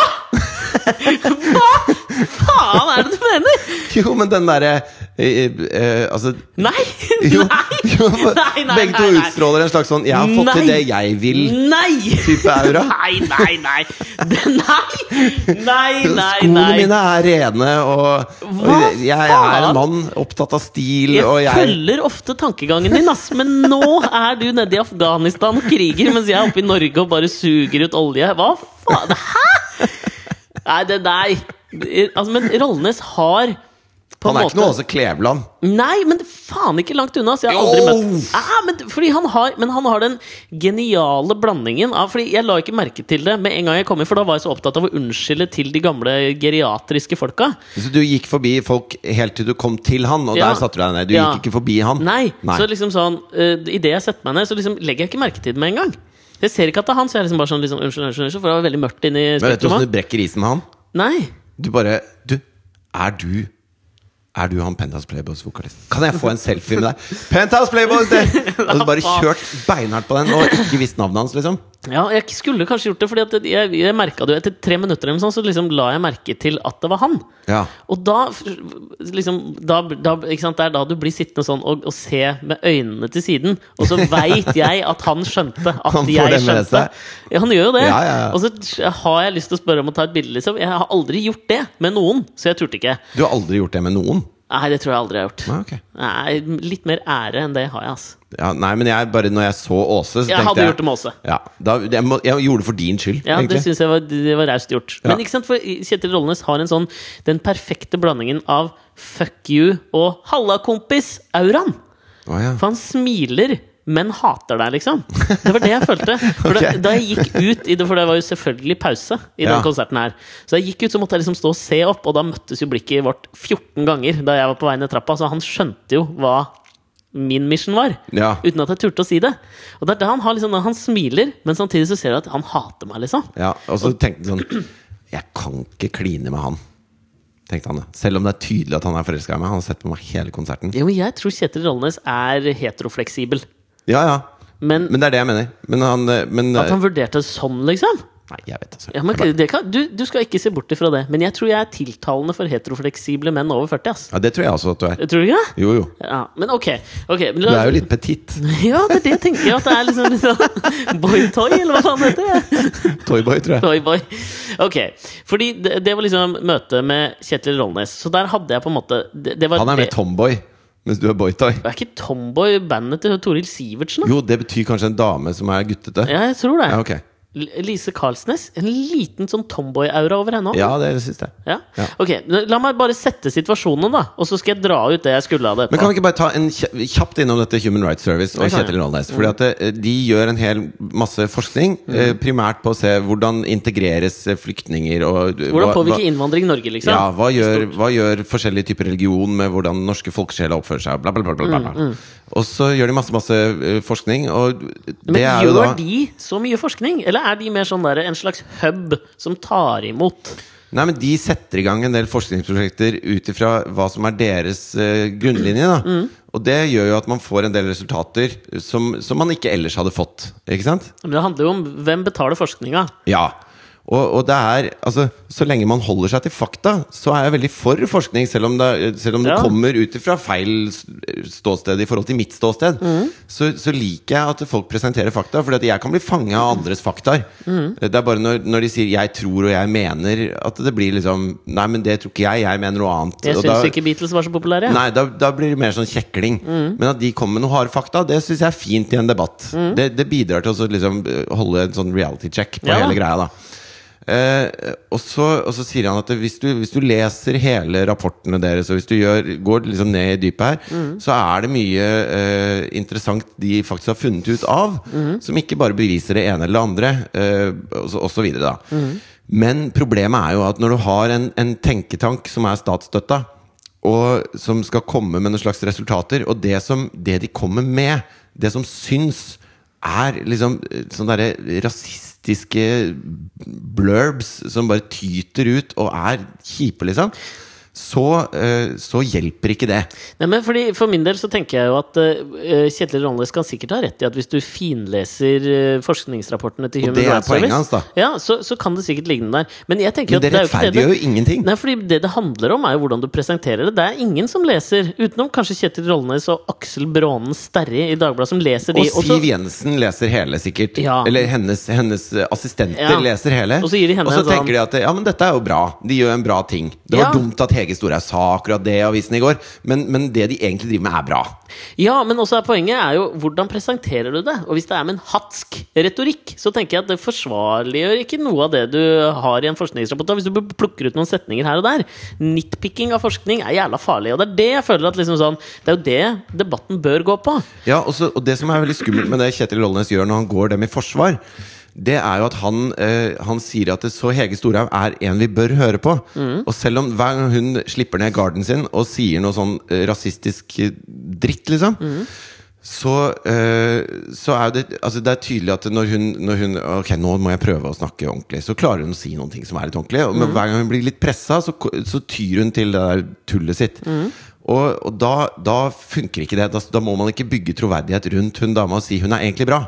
Speaker 2: Hva faen er det du mener?!
Speaker 1: Jo, men den derre eh, eh, Altså
Speaker 2: Nei!
Speaker 1: jo,
Speaker 2: Nei!
Speaker 1: [LAUGHS] jo,
Speaker 2: Nei, nei,
Speaker 1: Begge to
Speaker 2: nei, nei.
Speaker 1: utstråler en slags sånn 'jeg har fått til
Speaker 2: Nei.
Speaker 1: det jeg vil'.
Speaker 2: Nei!
Speaker 1: Type aura?
Speaker 2: Nei, nei, nei! Det- Nei, nei, [LAUGHS] nei!
Speaker 1: Skoene
Speaker 2: nei.
Speaker 1: mine er rene, og,
Speaker 2: Hva
Speaker 1: og jeg er
Speaker 2: faen?
Speaker 1: en mann opptatt av stil,
Speaker 2: Jeg
Speaker 1: og jeg
Speaker 2: følger ofte tankegangen din, ass, men nå er du nede i Afghanistan og kriger, mens jeg er oppe i Norge og bare suger ut olje. Hva faen? Hæ?! Nei, det Nei! Det- Altså, men Rollnes har på
Speaker 1: Han
Speaker 2: en
Speaker 1: er
Speaker 2: måte
Speaker 1: ikke noe Åse Kleveland.
Speaker 2: Nei, men faen ikke langt unna. Så jeg har aldri
Speaker 1: Jo!
Speaker 2: møtt ah, men, fordi han har, men han har den geniale blandingen av Fordi jeg la ikke merke til det med en gang jeg kom inn, for da var jeg så opptatt av å unnskylde til de gamle geriatriske folka.
Speaker 1: Så du gikk forbi folk helt til du kom til han, og
Speaker 2: Ja.
Speaker 1: der satte du deg ned. Du
Speaker 2: Ja.
Speaker 1: gikk ikke forbi han.
Speaker 2: Nei, så liksom sånn uh, Idet jeg setter meg ned, så liksom legger jeg ikke merke til det med en gang. Jeg ser ikke at det er han, så jeg er liksom bare sånn liksom, unnskyld, unnskyld, unnskyld, for det var veldig mørkt inne i
Speaker 1: Men vet du
Speaker 2: spektrumet.
Speaker 1: hvordan du brekker isen med han?
Speaker 2: Nei.
Speaker 1: Du bare Du, er du er du han Penthouse Playboys-vokalisten? Kan jeg få en selfie med
Speaker 2: [LAUGHS]
Speaker 1: deg? Penthouse Playboys! Det! Og så bare kjørt beinhardt på den, og ikke visst navnet hans, liksom.
Speaker 2: Ja, jeg skulle kanskje gjort det, Fordi at jeg, jeg merket det jo etter tre minutter, eller noe sånt, så liksom la jeg merke til at det var han.
Speaker 1: Ja.
Speaker 2: Og da, f- liksom, da, da ikke sant? Det er da du blir sittende sånn og, og se med øynene til siden. Og
Speaker 1: [LAUGHS]
Speaker 2: så veit jeg at han skjønte at
Speaker 1: Han får
Speaker 2: jeg
Speaker 1: det med
Speaker 2: skjønte.
Speaker 1: seg.
Speaker 2: Ja, han gjør jo det.
Speaker 1: Ja, ja, ja.
Speaker 2: Og så sk- har jeg lyst til å spørre om å ta et bilde, liksom. Jeg har aldri gjort det med noen, så jeg turte ikke.
Speaker 1: Du har aldri gjort det med noen?
Speaker 2: Nei, det tror jeg aldri jeg har gjort.
Speaker 1: Nei, ok.
Speaker 2: Nei, litt mer ære enn det har jeg, altså.
Speaker 1: Ja, nei, men jeg bare når jeg så Åse, så
Speaker 2: Jeg
Speaker 1: tenkte
Speaker 2: hadde
Speaker 1: jeg
Speaker 2: gjort det med Åse.
Speaker 1: Ja, da, jeg, må, jeg gjorde det for din skyld,
Speaker 2: Ja, det
Speaker 1: egentlig.
Speaker 2: syns jeg var, det var raust gjort. Men ikke sant, for Kjetil Rollenes har en sånn den perfekte blandingen av fuck you og halla, kompis-auraen.
Speaker 1: Å, ja.
Speaker 2: For han smiler, men hater deg, liksom. Det var det jeg følte. For da,
Speaker 1: Ok.
Speaker 2: da jeg gikk ut i det, for det var jo selvfølgelig pause i
Speaker 1: Ja.
Speaker 2: den konserten her. Så jeg gikk ut, så måtte jeg liksom stå og se opp, og da møttes jo blikket vårt 14 ganger da jeg var på vei ned trappa, så han skjønte jo hva min mission var.
Speaker 1: Ja.
Speaker 2: Uten at jeg turte å si det. Og det er da han har liksom Han smiler, men samtidig så ser du at han hater meg, liksom.
Speaker 1: ja, og så tenkte han sånn Jeg kan ikke kline med han. Tenkte han det. Selv om det er tydelig at han er forelska i meg. Han har sett på meg hele konserten.
Speaker 2: Jo, men jeg tror Kjetil Rollenes er heterofleksibel.
Speaker 1: Ja, ja.
Speaker 2: Men
Speaker 1: Men det er det jeg mener. Men han, eh, men,
Speaker 2: at
Speaker 1: eh,
Speaker 2: han vurderte det sånn, liksom?
Speaker 1: Nei, jeg vet altså.
Speaker 2: Ja, men det kan, du, du skal ikke se bort ifra det, men jeg tror jeg er tiltalende for heterofleksible menn over 40. ass
Speaker 1: Ja, det tror jeg også at du er.
Speaker 2: Tror du ikke det?
Speaker 1: Jo, jo.
Speaker 2: Ja, men ok. ok, men la-
Speaker 1: Du er jo litt petit.
Speaker 2: Ja, det er det jeg tenker. At det er liksom litt sånn [LAUGHS] boy-toy, eller hva faen det heter det? [LAUGHS]
Speaker 1: Toyboy, tror jeg.
Speaker 2: Toy-boy. Ok. Fordi det, det var liksom møtet med Kjetil Rollnes. Så der hadde jeg på en måte det, det var,
Speaker 1: Han er mer
Speaker 2: det-
Speaker 1: tomboy, mens du er boytoy.
Speaker 2: Er ikke Tomboy bandet til Toril Sivertsen? da?
Speaker 1: Jo, det betyr kanskje en dame som er guttete.
Speaker 2: Ja, jeg tror det.
Speaker 1: Ja, ok.
Speaker 2: L- Lise Karlsnes. En liten sånn tomboy-aura over henne òg.
Speaker 1: Ja, det syns jeg.
Speaker 2: Ja?
Speaker 1: Ja.
Speaker 2: Ok, men La meg bare sette situasjonen, da. Og så skal jeg dra ut det jeg skulle av det.
Speaker 1: Men
Speaker 2: etterpå.
Speaker 1: kan vi ikke bare ta en kja- kjapt innom dette Human Rights Service og
Speaker 2: Ah. Det kan jeg. Mm.
Speaker 1: Kjetil Rollnes? Fordi at eh, de gjør en hel masse forskning, eh, primært på å se hvordan integreres eh, flyktninger og eh,
Speaker 2: Hvordan
Speaker 1: hva-
Speaker 2: påvirker
Speaker 1: hva-
Speaker 2: innvandring Norge, liksom?
Speaker 1: ja, hva gjør, hva gjør forskjellige typer religion med hvordan norske folkesjeler oppfører seg? Bla, bla, bla, bla, bla.
Speaker 2: Mm,
Speaker 1: Og så gjør de masse masse eh, forskning, og
Speaker 2: Men
Speaker 1: det er jo
Speaker 2: gjør
Speaker 1: da
Speaker 2: de så mye forskning? Eller er de mer sånn der, en slags hub som tar imot?
Speaker 1: Nei, men De setter i gang en del forskningsprosjekter ut ifra hva som er deres eh, grunnlinje. da Og det gjør jo at man får en del resultater som, som man ikke ellers hadde fått. Ikke sant?
Speaker 2: Men det handler jo om hvem betaler forskninga.
Speaker 1: Ja. Og, og det er, altså, så lenge man holder seg til fakta, så er jeg veldig for forskning. Selv om det, selv om det
Speaker 2: Ja.
Speaker 1: kommer ut fra feil s- ståsted i forhold til mitt ståsted,
Speaker 2: Mm.
Speaker 1: så, så liker jeg at folk presenterer fakta. For jeg kan bli fanget av andres faktaer.
Speaker 2: Mm.
Speaker 1: Det er bare når, når de sier 'jeg tror' og 'jeg mener', at det blir liksom Nei, men det tror ikke jeg. Jeg mener noe annet.
Speaker 2: Jeg
Speaker 1: Og
Speaker 2: syns
Speaker 1: da-
Speaker 2: ikke Beatles var så populære.
Speaker 1: Nei, da, da blir det mer sånn kjekling. Men at de kommer med noen harde fakta, det syns jeg er fint i en debatt. Det, det bidrar til å så liksom eh, holde en sånn reality check på
Speaker 2: Ja.
Speaker 1: hele greia, da. Eh, og, så, og så sier han at hvis du, hvis du leser hele rapportene deres, og hvis du gjør, går liksom ned i dypet her, så er det mye eh, interessant de faktisk har funnet ut av, som ikke bare beviser det ene eller det andre, eh, og, så, og så videre, da. Men problemet er jo at når du har en, en tenketank som er statsstøtta, og som skal komme med noen slags resultater. Og det, som, det de kommer med, det som syns, er liksom eh, sånne derre rasistiske blurbs som bare tyter ut og er kjipe, liksom. så, eh, så hjelper ikke det.
Speaker 2: Nei, men fordi, For min del så tenker jeg jo at eh, Kjetil Ronnes kan sikkert ha rett i at hvis du finleser eh, forskningsrapportene til
Speaker 1: Og
Speaker 2: Human
Speaker 1: det er
Speaker 2: Rights Service,
Speaker 1: poenget hans, da.
Speaker 2: Ja, så, så kan det sikkert ligne der. Men jeg tenker at
Speaker 1: Men
Speaker 2: det
Speaker 1: det
Speaker 2: er jo ikke det
Speaker 1: rettferdiggjør
Speaker 2: det
Speaker 1: jo ingenting.
Speaker 2: Nei, fordi det det handler om, er jo hvordan du presenterer det. Det er ingen som leser, utenom kanskje Kjetil Rollnes og Aksel Brånen Sterri i Dagbladet, som leser de. så-
Speaker 1: Og Siv Jensen leser hele, sikkert.
Speaker 2: Ja.
Speaker 1: Eller hennes, hennes eh, assistenter
Speaker 2: Ja.
Speaker 1: leser hele.
Speaker 2: Og så gir de henne
Speaker 1: Og så
Speaker 2: en sånn-
Speaker 1: tenker de at ja, men dette er jo bra. De gjør en bra ting. Det var
Speaker 2: Ja.
Speaker 1: dumt at Hege Storhaug sa akkurat det i avisen i går, men, men det de egentlig driver med, er bra.
Speaker 2: Ja, men også er poenget er jo hvordan presenterer du det? Og hvis det er med en hatsk retorikk, så tenker jeg at det forsvarliggjør ikke noe av det du har i en forskningsrapport. da, Hvis du plukker ut noen setninger her og der. Nitpicking av forskning er jævla farlig. Og det er det jeg føler at liksom sånn Det er jo det debatten bør gå på.
Speaker 1: Ja, og, så, og det som er veldig skummelt med det Kjetil Rollnes gjør når han går dem i forsvar, det er jo at han, eh, han sier at det så Hege Storhaug er en vi bør høre på.
Speaker 2: Mm.
Speaker 1: Og selv om hver gang hun slipper ned garden sin og sier noe sånn eh, rasistisk eh, dritt, liksom
Speaker 2: Mm.
Speaker 1: Så, eh, så er det altså Det er tydelig at når hun, når hun Ok, nå må jeg prøve å snakke ordentlig. Så klarer hun å si noen ting som er litt ordentlig. og- Men hver gang hun blir litt pressa, så, ko- så tyr hun til det der tullet sitt. Og, og da, da funker ikke det. Da, da må man ikke bygge troverdighet rundt hun dama og si hun er egentlig bra.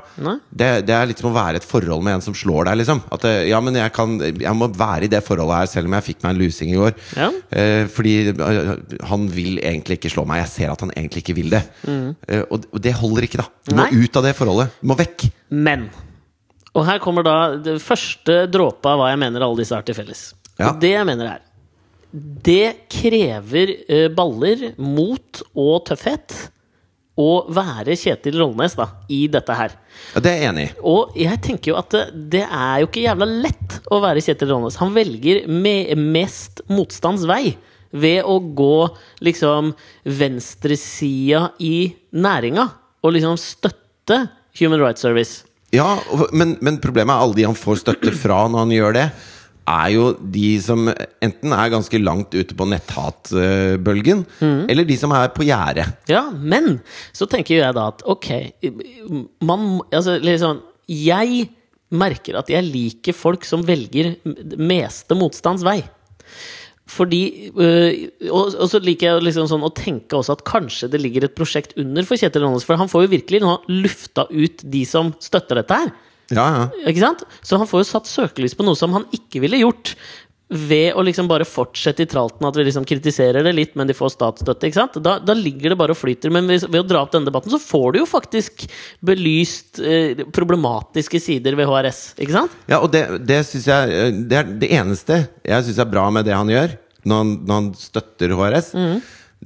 Speaker 1: Det, det er litt som å være i et forhold med en som slår deg. Liksom. At eh, ja, men jeg, kan, jeg må være i det forholdet her, selv om jeg fikk meg en lusing i går.
Speaker 2: Ja.
Speaker 1: Eh, fordi eh, han vil egentlig ikke slå meg. Jeg ser at han egentlig ikke vil det. Eh, og, og det holder ikke, da. Du må
Speaker 2: Nei.
Speaker 1: ut av det forholdet. Du må vekk.
Speaker 2: Men Og her kommer da det første dråpa av hva jeg mener alle disse har til felles.
Speaker 1: Ja.
Speaker 2: Og det jeg mener er Det krever eh, baller, mot og tøffhet å være Kjetil Rollnes da, i dette her.
Speaker 1: Ja, det er jeg enig i.
Speaker 2: Og jeg tenker jo at det, det er jo ikke jævla lett å være Kjetil Rollnes. Han velger me mest motstands vei ved å gå liksom venstresida i næringa og liksom støtte Human Rights Service.
Speaker 1: Ja, og- men, men problemet er alle de han får støtte fra når han gjør det, er jo de som enten er ganske langt ute på netthatbølgen, eller de som er på gjerdet.
Speaker 2: Ja, men så tenker jeg da at ok man, altså, liksom, Jeg merker at jeg liker folk som velger det meste motstands vei. Fordi øh, og, og så liker jeg liksom sånn å tenke også at kanskje det ligger et prosjekt under for Kjetil Ronnes. For han får jo virkelig nå lufta ut de som støtter dette her.
Speaker 1: Ja, ja.
Speaker 2: Ikke sant? Så han får jo satt søkelys på noe som han ikke ville gjort. Ved å liksom bare fortsette i tralten at vi liksom kritiserer det litt, men de får statsstøtte. ikke sant? Da, da ligger det bare og flyter. Men hvis, ved å dra opp denne debatten, så får du jo faktisk belyst eh, problematiske sider ved HRS. ikke sant?
Speaker 1: Ja, og det, det synes jeg eh, Det er det eneste jeg syns er bra med det han gjør, når han, når han støtter HRS,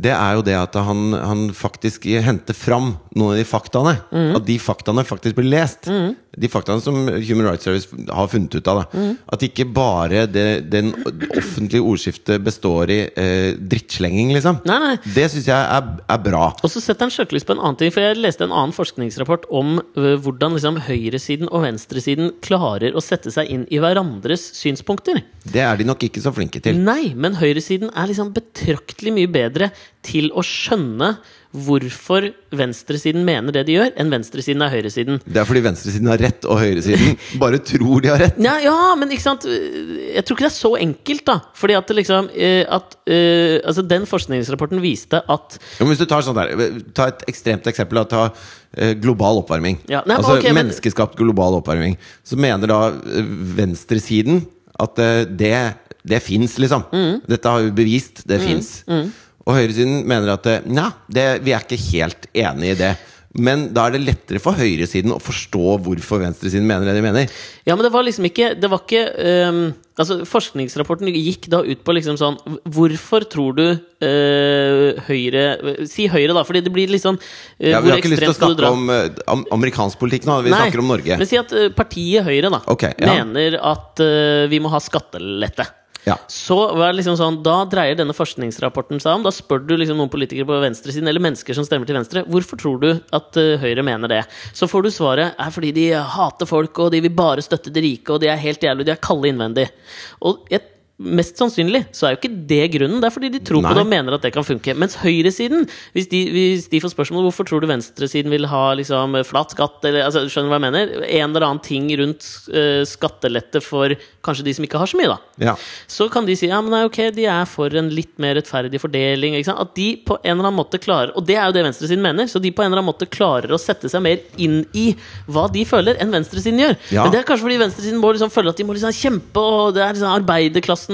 Speaker 1: det er jo det at han, han faktisk henter fram noen av de faktaene. At de faktaene faktisk blir lest. De faktaene som Human Rights Service har funnet ut av. Da. At ikke bare det, den offentlige ordskiftet består i eh, drittslenging, liksom.
Speaker 2: Nei, nei.
Speaker 1: Det syns jeg er, er bra.
Speaker 2: Og så setter han søkelys på en annen ting, for jeg leste en annen forskningsrapport om øh, hvordan liksom høyresiden og venstresiden klarer å sette seg inn i hverandres synspunkter.
Speaker 1: Det er de nok ikke så flinke til.
Speaker 2: Nei, men høyresiden er liksom betraktelig mye bedre til å skjønne hvorfor venstresiden mener det de gjør, enn venstresiden er høyresiden.
Speaker 1: Det er fordi venstresiden har rett, og høyresiden [LAUGHS] bare tror de har rett.
Speaker 2: Ja, ja, men ikke sant Jeg tror ikke det er så enkelt, da. Fordi at det liksom eh, at, eh, Altså, den forskningsrapporten viste at
Speaker 1: Ja, men hvis du tar, sånn der, ta et ekstremt eksempel. Da, ta eh, global oppvarming.
Speaker 2: Ja, nei, men
Speaker 1: altså
Speaker 2: ok, men-
Speaker 1: menneskeskapt global oppvarming. Så mener da eh, venstresiden at eh, det, det fins, liksom.
Speaker 2: Mm.
Speaker 1: Dette har vi bevist. Det fins. Og høyresiden mener at eh, nei, det, vi er ikke helt enig i det. Men da er det lettere for høyresiden å forstå hvorfor venstresiden mener det de mener.
Speaker 2: Ja, men det var liksom ikke Det var ikke ehm, Altså, forskningsrapporten gikk da ut på liksom sånn Hvorfor tror du eh, Høyre Si Høyre, da, fordi det blir litt sånn eh,
Speaker 1: Ja, vi
Speaker 2: hvor
Speaker 1: har ikke lyst til å
Speaker 2: ekstremt skal du dra?
Speaker 1: snakke om eh, am amerikansk politikk nå. Vi
Speaker 2: Nei,
Speaker 1: snakker om Norge.
Speaker 2: Men si at eh, partiet Høyre da
Speaker 1: Ok, ja.
Speaker 2: mener at eh, vi må ha skattelette.
Speaker 1: Ja.
Speaker 2: Så var det liksom sånn, Da dreier denne forskningsrapporten seg om Da spør du liksom noen politikere på venstresiden eller mennesker som stemmer til venstre hvorfor tror du at eh, Høyre mener det. Så får du svaret er fordi de hater folk og de vil bare støtte de rike og de er helt jævlig, de er kalde innvendig. Og jeg mest sannsynlig så er jo ikke det grunnen. Det er fordi de tror
Speaker 1: Nei.
Speaker 2: på det og mener at det kan funke. Mens høyresiden, hvis de, hvis de får spørsmål hvorfor tror du venstresiden vil ha liksom, flat skatt eller, altså, Skjønner du hva jeg mener? En eller annen ting rundt eh, skattelette for kanskje de som ikke har så mye, da.
Speaker 1: Ja.
Speaker 2: Så kan de si ja, men nei, ok, de er for en litt mer rettferdig fordeling. Ikke sant? At de på en eller annen måte klarer Og det er jo det venstresiden mener. Så de på en eller annen måte klarer å sette seg mer inn i hva de føler, enn venstresiden gjør.
Speaker 1: Ja.
Speaker 2: Men det er kanskje fordi venstresiden må liksom føle at de må liksom kjempe, og det er liksom arbeiderklassens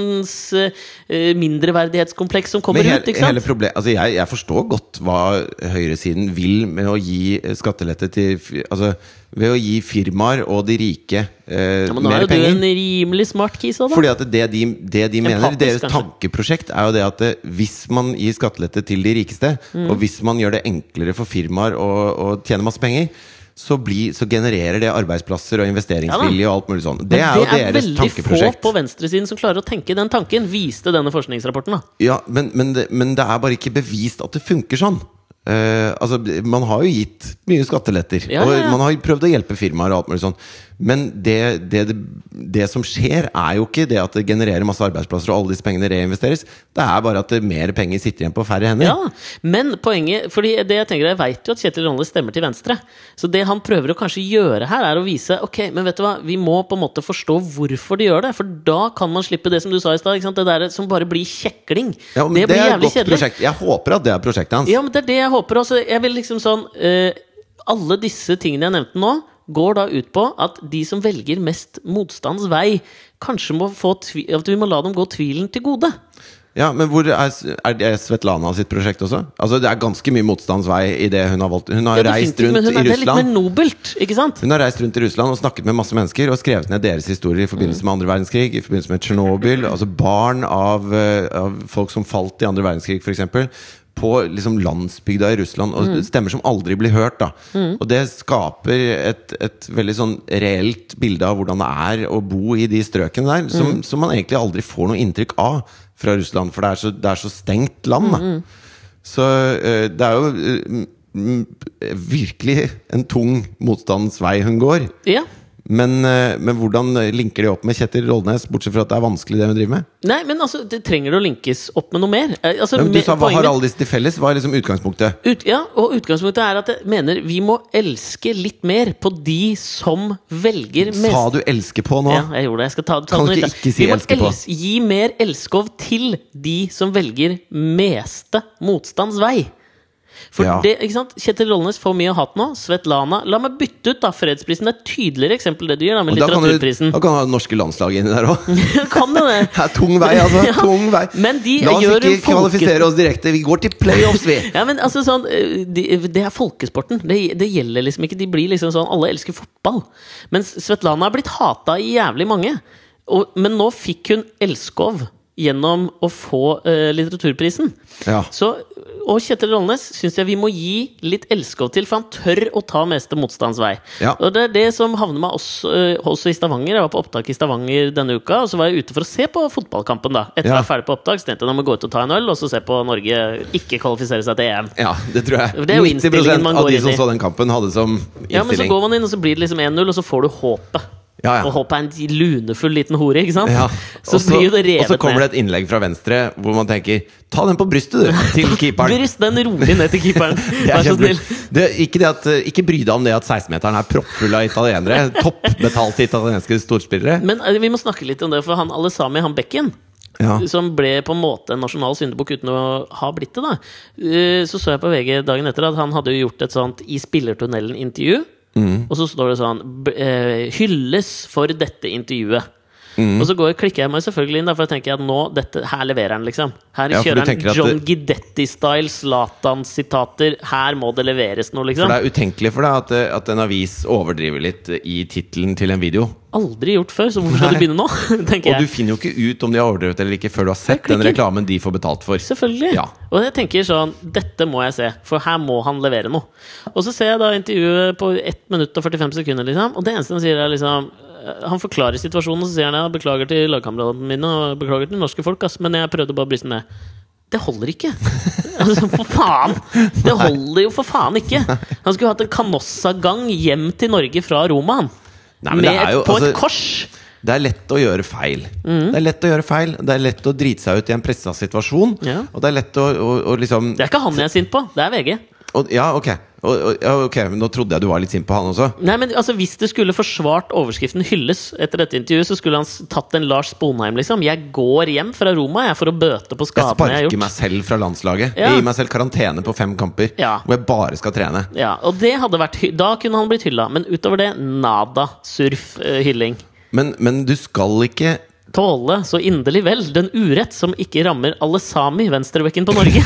Speaker 2: eh, mindreverdighetskompleks som kommer
Speaker 1: Men hele,
Speaker 2: ut. ikke sant?
Speaker 1: hele proble- altså jeg, jeg forstår godt hva høyresiden vil med å gi eh, skattelette til fi- altså, Ved å gi firmaer og de rike eh,
Speaker 2: ja, men nå er
Speaker 1: mer
Speaker 2: jo du
Speaker 1: penger.
Speaker 2: en rimelig smart kis òg, da.
Speaker 1: Fordi at det de, det de mener,
Speaker 2: Empatisk,
Speaker 1: deres
Speaker 2: kanskje.
Speaker 1: tankeprosjekt, er jo det at eh, hvis man gir skattelette til de rikeste,
Speaker 2: Mm.
Speaker 1: og hvis man gjør det enklere for firmaer å, å tjene masse penger, så, blir- så genererer det arbeidsplasser og investeringsvilje og alt mulig sånn. Det er jo deres
Speaker 2: veldig få
Speaker 1: tankeprosjekt.
Speaker 2: på venstresiden som klarer å tenke den tanken, viste denne forskningsrapporten. da
Speaker 1: Ja, men, men, det, men det er bare ikke bevist at det funker sånn. Eh, altså, man har jo gitt mye skatteletter,
Speaker 2: Ja, ja, ja.
Speaker 1: og man har prøvd å hjelpe firmaer. og alt mulig sånn Men det, det, det, det som skjer, er jo ikke det at det genererer masse arbeidsplasser og alle disse pengene reinvesteres. Det er bare at det mer penger sitter igjen på færre hender.
Speaker 2: Ja, men poenget Fordi det jeg tenker, jeg vet jo at Kjetil Rolle stemmer til venstre. Så det han prøver å kanskje gjøre her, er å vise Ok, men vet du hva, vi må på en måte forstå hvorfor de gjør det. For da kan man slippe det som du sa i stad, ikke sant? det der som bare blir kjekling.
Speaker 1: Ja, men
Speaker 2: det, blir
Speaker 1: det, er et
Speaker 2: jævlig
Speaker 1: godt
Speaker 2: kjedelig.
Speaker 1: prosjekt. Jeg håper at det er prosjektet hans.
Speaker 2: Ja, men det er det jeg håper også. Jeg vil liksom sånn eh, Alle disse tingene jeg nevnte nå, går da ut på at de som velger mest motstands vei, kanskje må få tvi At vi må la dem gå tvilen til gode.
Speaker 1: Ja, Men hvor er, er det Svetlana sitt prosjekt også? Altså, Det er ganske mye motstandsvei i det hun har valgt. Hun har
Speaker 2: Ja,
Speaker 1: reist
Speaker 2: definitivt, men hun
Speaker 1: rundt
Speaker 2: er, det
Speaker 1: i
Speaker 2: er litt
Speaker 1: Russland.
Speaker 2: mer nobelt, ikke sant?
Speaker 1: Hun har reist rundt i Russland og snakket med masse mennesker og skrevet ned deres historier i forbindelse med andre verdenskrig, i forbindelse med Tsjernobyl, altså barn av, eh, av folk som falt i andre verdenskrig, f.eks. På liksom landsbygda i Russland, og stemmer som aldri blir hørt. da Og det skaper et, et veldig sånn reelt bilde av hvordan det er å bo i de strøkene der, som, som man egentlig aldri får noe inntrykk av fra Russland, for det er så, det er så stengt land. da så eh, det er jo eh, m- m- virkelig en tung motstandsvei hun går.
Speaker 2: Ja
Speaker 1: Men, eh, men hvordan linker de opp med Kjetil Rollnes, bortsett fra at det er vanskelig det hun driver med?
Speaker 2: Nei, men altså, det trenger det å linkes opp med noe mer? Eh, Altså,
Speaker 1: Ja, men du
Speaker 2: med-
Speaker 1: sa Hva
Speaker 2: poenget
Speaker 1: har
Speaker 2: mitt-
Speaker 1: alle disse til felles? Hva er liksom utgangspunktet?
Speaker 2: ut, ja, og utgangspunktet er at jeg mener vi må elske litt mer på de som velger mest.
Speaker 1: Sa du 'elsker på' nå?
Speaker 2: Ja, jeg gjorde det. Jeg skal ta, ta
Speaker 1: Kan
Speaker 2: den
Speaker 1: du ikke
Speaker 2: litt.
Speaker 1: ikke si
Speaker 2: Vi må
Speaker 1: elsker på?
Speaker 2: els- Gi mer elskov til de som velger meste motstands vei. For
Speaker 1: Ja.
Speaker 2: det, ikke sant? Kjetil Rollnes får mye hat nå. Svetlana La meg bytte ut da fredsprisen. Det er et tydeligere eksempel det du gjør da med
Speaker 1: Og da kan du,
Speaker 2: litteraturprisen.
Speaker 1: da kan du ha det norske landslaget inni der [LAUGHS]
Speaker 2: [LAUGHS]
Speaker 1: òg.
Speaker 2: kan jo det!
Speaker 1: Det er tung vei,
Speaker 2: [LAUGHS]
Speaker 1: altså.
Speaker 2: Ja,
Speaker 1: Tung vei.
Speaker 2: men de
Speaker 1: La oss
Speaker 2: gjør en
Speaker 1: ikke
Speaker 2: folke-
Speaker 1: kvalifisere oss direkte. Vi går til playoffs, vi!
Speaker 2: [LAUGHS] Ja, men altså sånn eh, de- Det er folkesporten. Det, det gjelder liksom ikke. De blir liksom sånn Alle elsker fotball. Mens Svetlana er blitt hata i jævlig mange. Og, men nå fikk hun Elskov gjennom å få eh, litteraturprisen.
Speaker 1: Ja.
Speaker 2: Så, og Kjetil Rollnes syns jeg vi må gi litt elskov til, for han tør å ta meste motstands vei.
Speaker 1: Ja.
Speaker 2: Og det er det som havner meg også, eh, også i Stavanger. Jeg var på opptak i Stavanger denne uka, og så var jeg ute for å se på fotballkampen. da Etter
Speaker 1: Ja.
Speaker 2: å være ferdig på opptak, så tenkte jeg nå må jeg gå ut og ta en øl, og så se på Norge ikke kvalifisere seg til EM.
Speaker 1: Ja, det tror jeg.
Speaker 2: Det er jo innstillingen man
Speaker 1: av
Speaker 2: går
Speaker 1: de
Speaker 2: inn
Speaker 1: som
Speaker 2: i.
Speaker 1: så den kampen, hadde som
Speaker 2: Ja, men så
Speaker 1: innstilling.
Speaker 2: går man inn, og så blir det liksom 1-0, og så får du håpet.
Speaker 1: Ja, ja.
Speaker 2: Og håpet er en lunefull liten hore, ikke sant?
Speaker 1: Ja.
Speaker 2: Så
Speaker 1: Også-
Speaker 2: blir jo det revet
Speaker 1: Og så kommer det et innlegg fra venstre hvor man tenker Ta den på brystet, du! Til keeperen.
Speaker 2: Bryst den rolig ned til keeperen.
Speaker 1: [LAUGHS] Det er
Speaker 2: Vær så snill.
Speaker 1: kjempebra. det, ikke, det at, ikke bry deg om det at 16-meteren er proppfull
Speaker 2: [LAUGHS]
Speaker 1: av italienere. Toppbetalte italienske storspillere.
Speaker 2: Men eh, vi må snakke litt om det, for han Alesami, han bekken
Speaker 1: Ja.
Speaker 2: Som ble på en måte en nasjonal syndebukk uten å ha blitt det, da. Eh, Så så jeg på VG dagen etter at han hadde jo gjort et sånt I spillertunnelen-intervju.
Speaker 1: Mm.
Speaker 2: Og så står det sånn b- eh, Hylles for dette intervjuet.
Speaker 1: Mm.
Speaker 2: Og så går, klikker jeg meg selvfølgelig inn, da, for jeg tenker at nå dette, her leverer han, liksom. Her
Speaker 1: Ja, for du
Speaker 2: kjører han
Speaker 1: tenker at
Speaker 2: John
Speaker 1: det-
Speaker 2: Gidetti-style, Zlatan-sitater. Her må det leveres noe,
Speaker 1: For
Speaker 2: liksom.
Speaker 1: det er utenkelig for deg at, at en avis overdriver litt i tittelen til en video.
Speaker 2: Aldri gjort før, så hvorfor skal du begynne nå? [LAUGHS] tenker
Speaker 1: Og
Speaker 2: jeg.
Speaker 1: du finner jo ikke ut om de har overdrevet eller ikke før du har sett
Speaker 2: Jeg klikker.
Speaker 1: den reklamen de får betalt for.
Speaker 2: Selvfølgelig.
Speaker 1: Ja.
Speaker 2: Og jeg tenker sånn Dette må jeg se, for her må han levere noe. Og så ser jeg da intervjuet på 1 minutt og 45 sekunder, liksom, og det eneste han sier, er liksom eh, Han forklarer situasjonen, og så sier han ja, beklager til lagkameratene mine og beklager til det norske folk, ass, men jeg prøvde bare å bryste meg ned. Det holder
Speaker 1: [LAUGHS]
Speaker 2: ikke! Altså, for faen! Det holder jo for faen ikke! Han skulle hatt en Canossa-gang hjem til Norge fra Roma, han.
Speaker 1: Nei, men
Speaker 2: Med
Speaker 1: det er
Speaker 2: et,
Speaker 1: jo-
Speaker 2: på
Speaker 1: altså-
Speaker 2: et kors!
Speaker 1: Det er lett å gjøre feil.
Speaker 2: Mm.
Speaker 1: Det er lett å gjøre feil Det er lett å drite seg ut i en pressa situasjon.
Speaker 2: Ja.
Speaker 1: Og det er lett å, å, å liksom
Speaker 2: Det er ikke han jeg er sint på, det er VG.
Speaker 1: og, Ja, ok. Og, og, ja, ok, men Nå trodde jeg du var litt sint på han også.
Speaker 2: Nei, men altså, Hvis det skulle forsvart overskriften 'hylles' etter dette intervjuet, så skulle han s- tatt en Lars Sponheim, liksom. Jeg går hjem fra Roma jeg, for å bøte på
Speaker 1: Jeg
Speaker 2: skadene jeg har
Speaker 1: sparker
Speaker 2: gjort.
Speaker 1: meg selv fra landslaget.
Speaker 2: Ja.
Speaker 1: Jeg gir meg selv karantene på fem kamper
Speaker 2: Ja.
Speaker 1: hvor jeg bare skal trene.
Speaker 2: Ja, og det hadde vært hy Da kunne han blitt hylla. Men utover det, nada surf eh, hylling.
Speaker 1: Men, men du skal ikke
Speaker 2: Tåle så inderlig vel den urett som ikke rammer alle sami venstrebekken på
Speaker 1: [LAUGHS]
Speaker 2: Norge.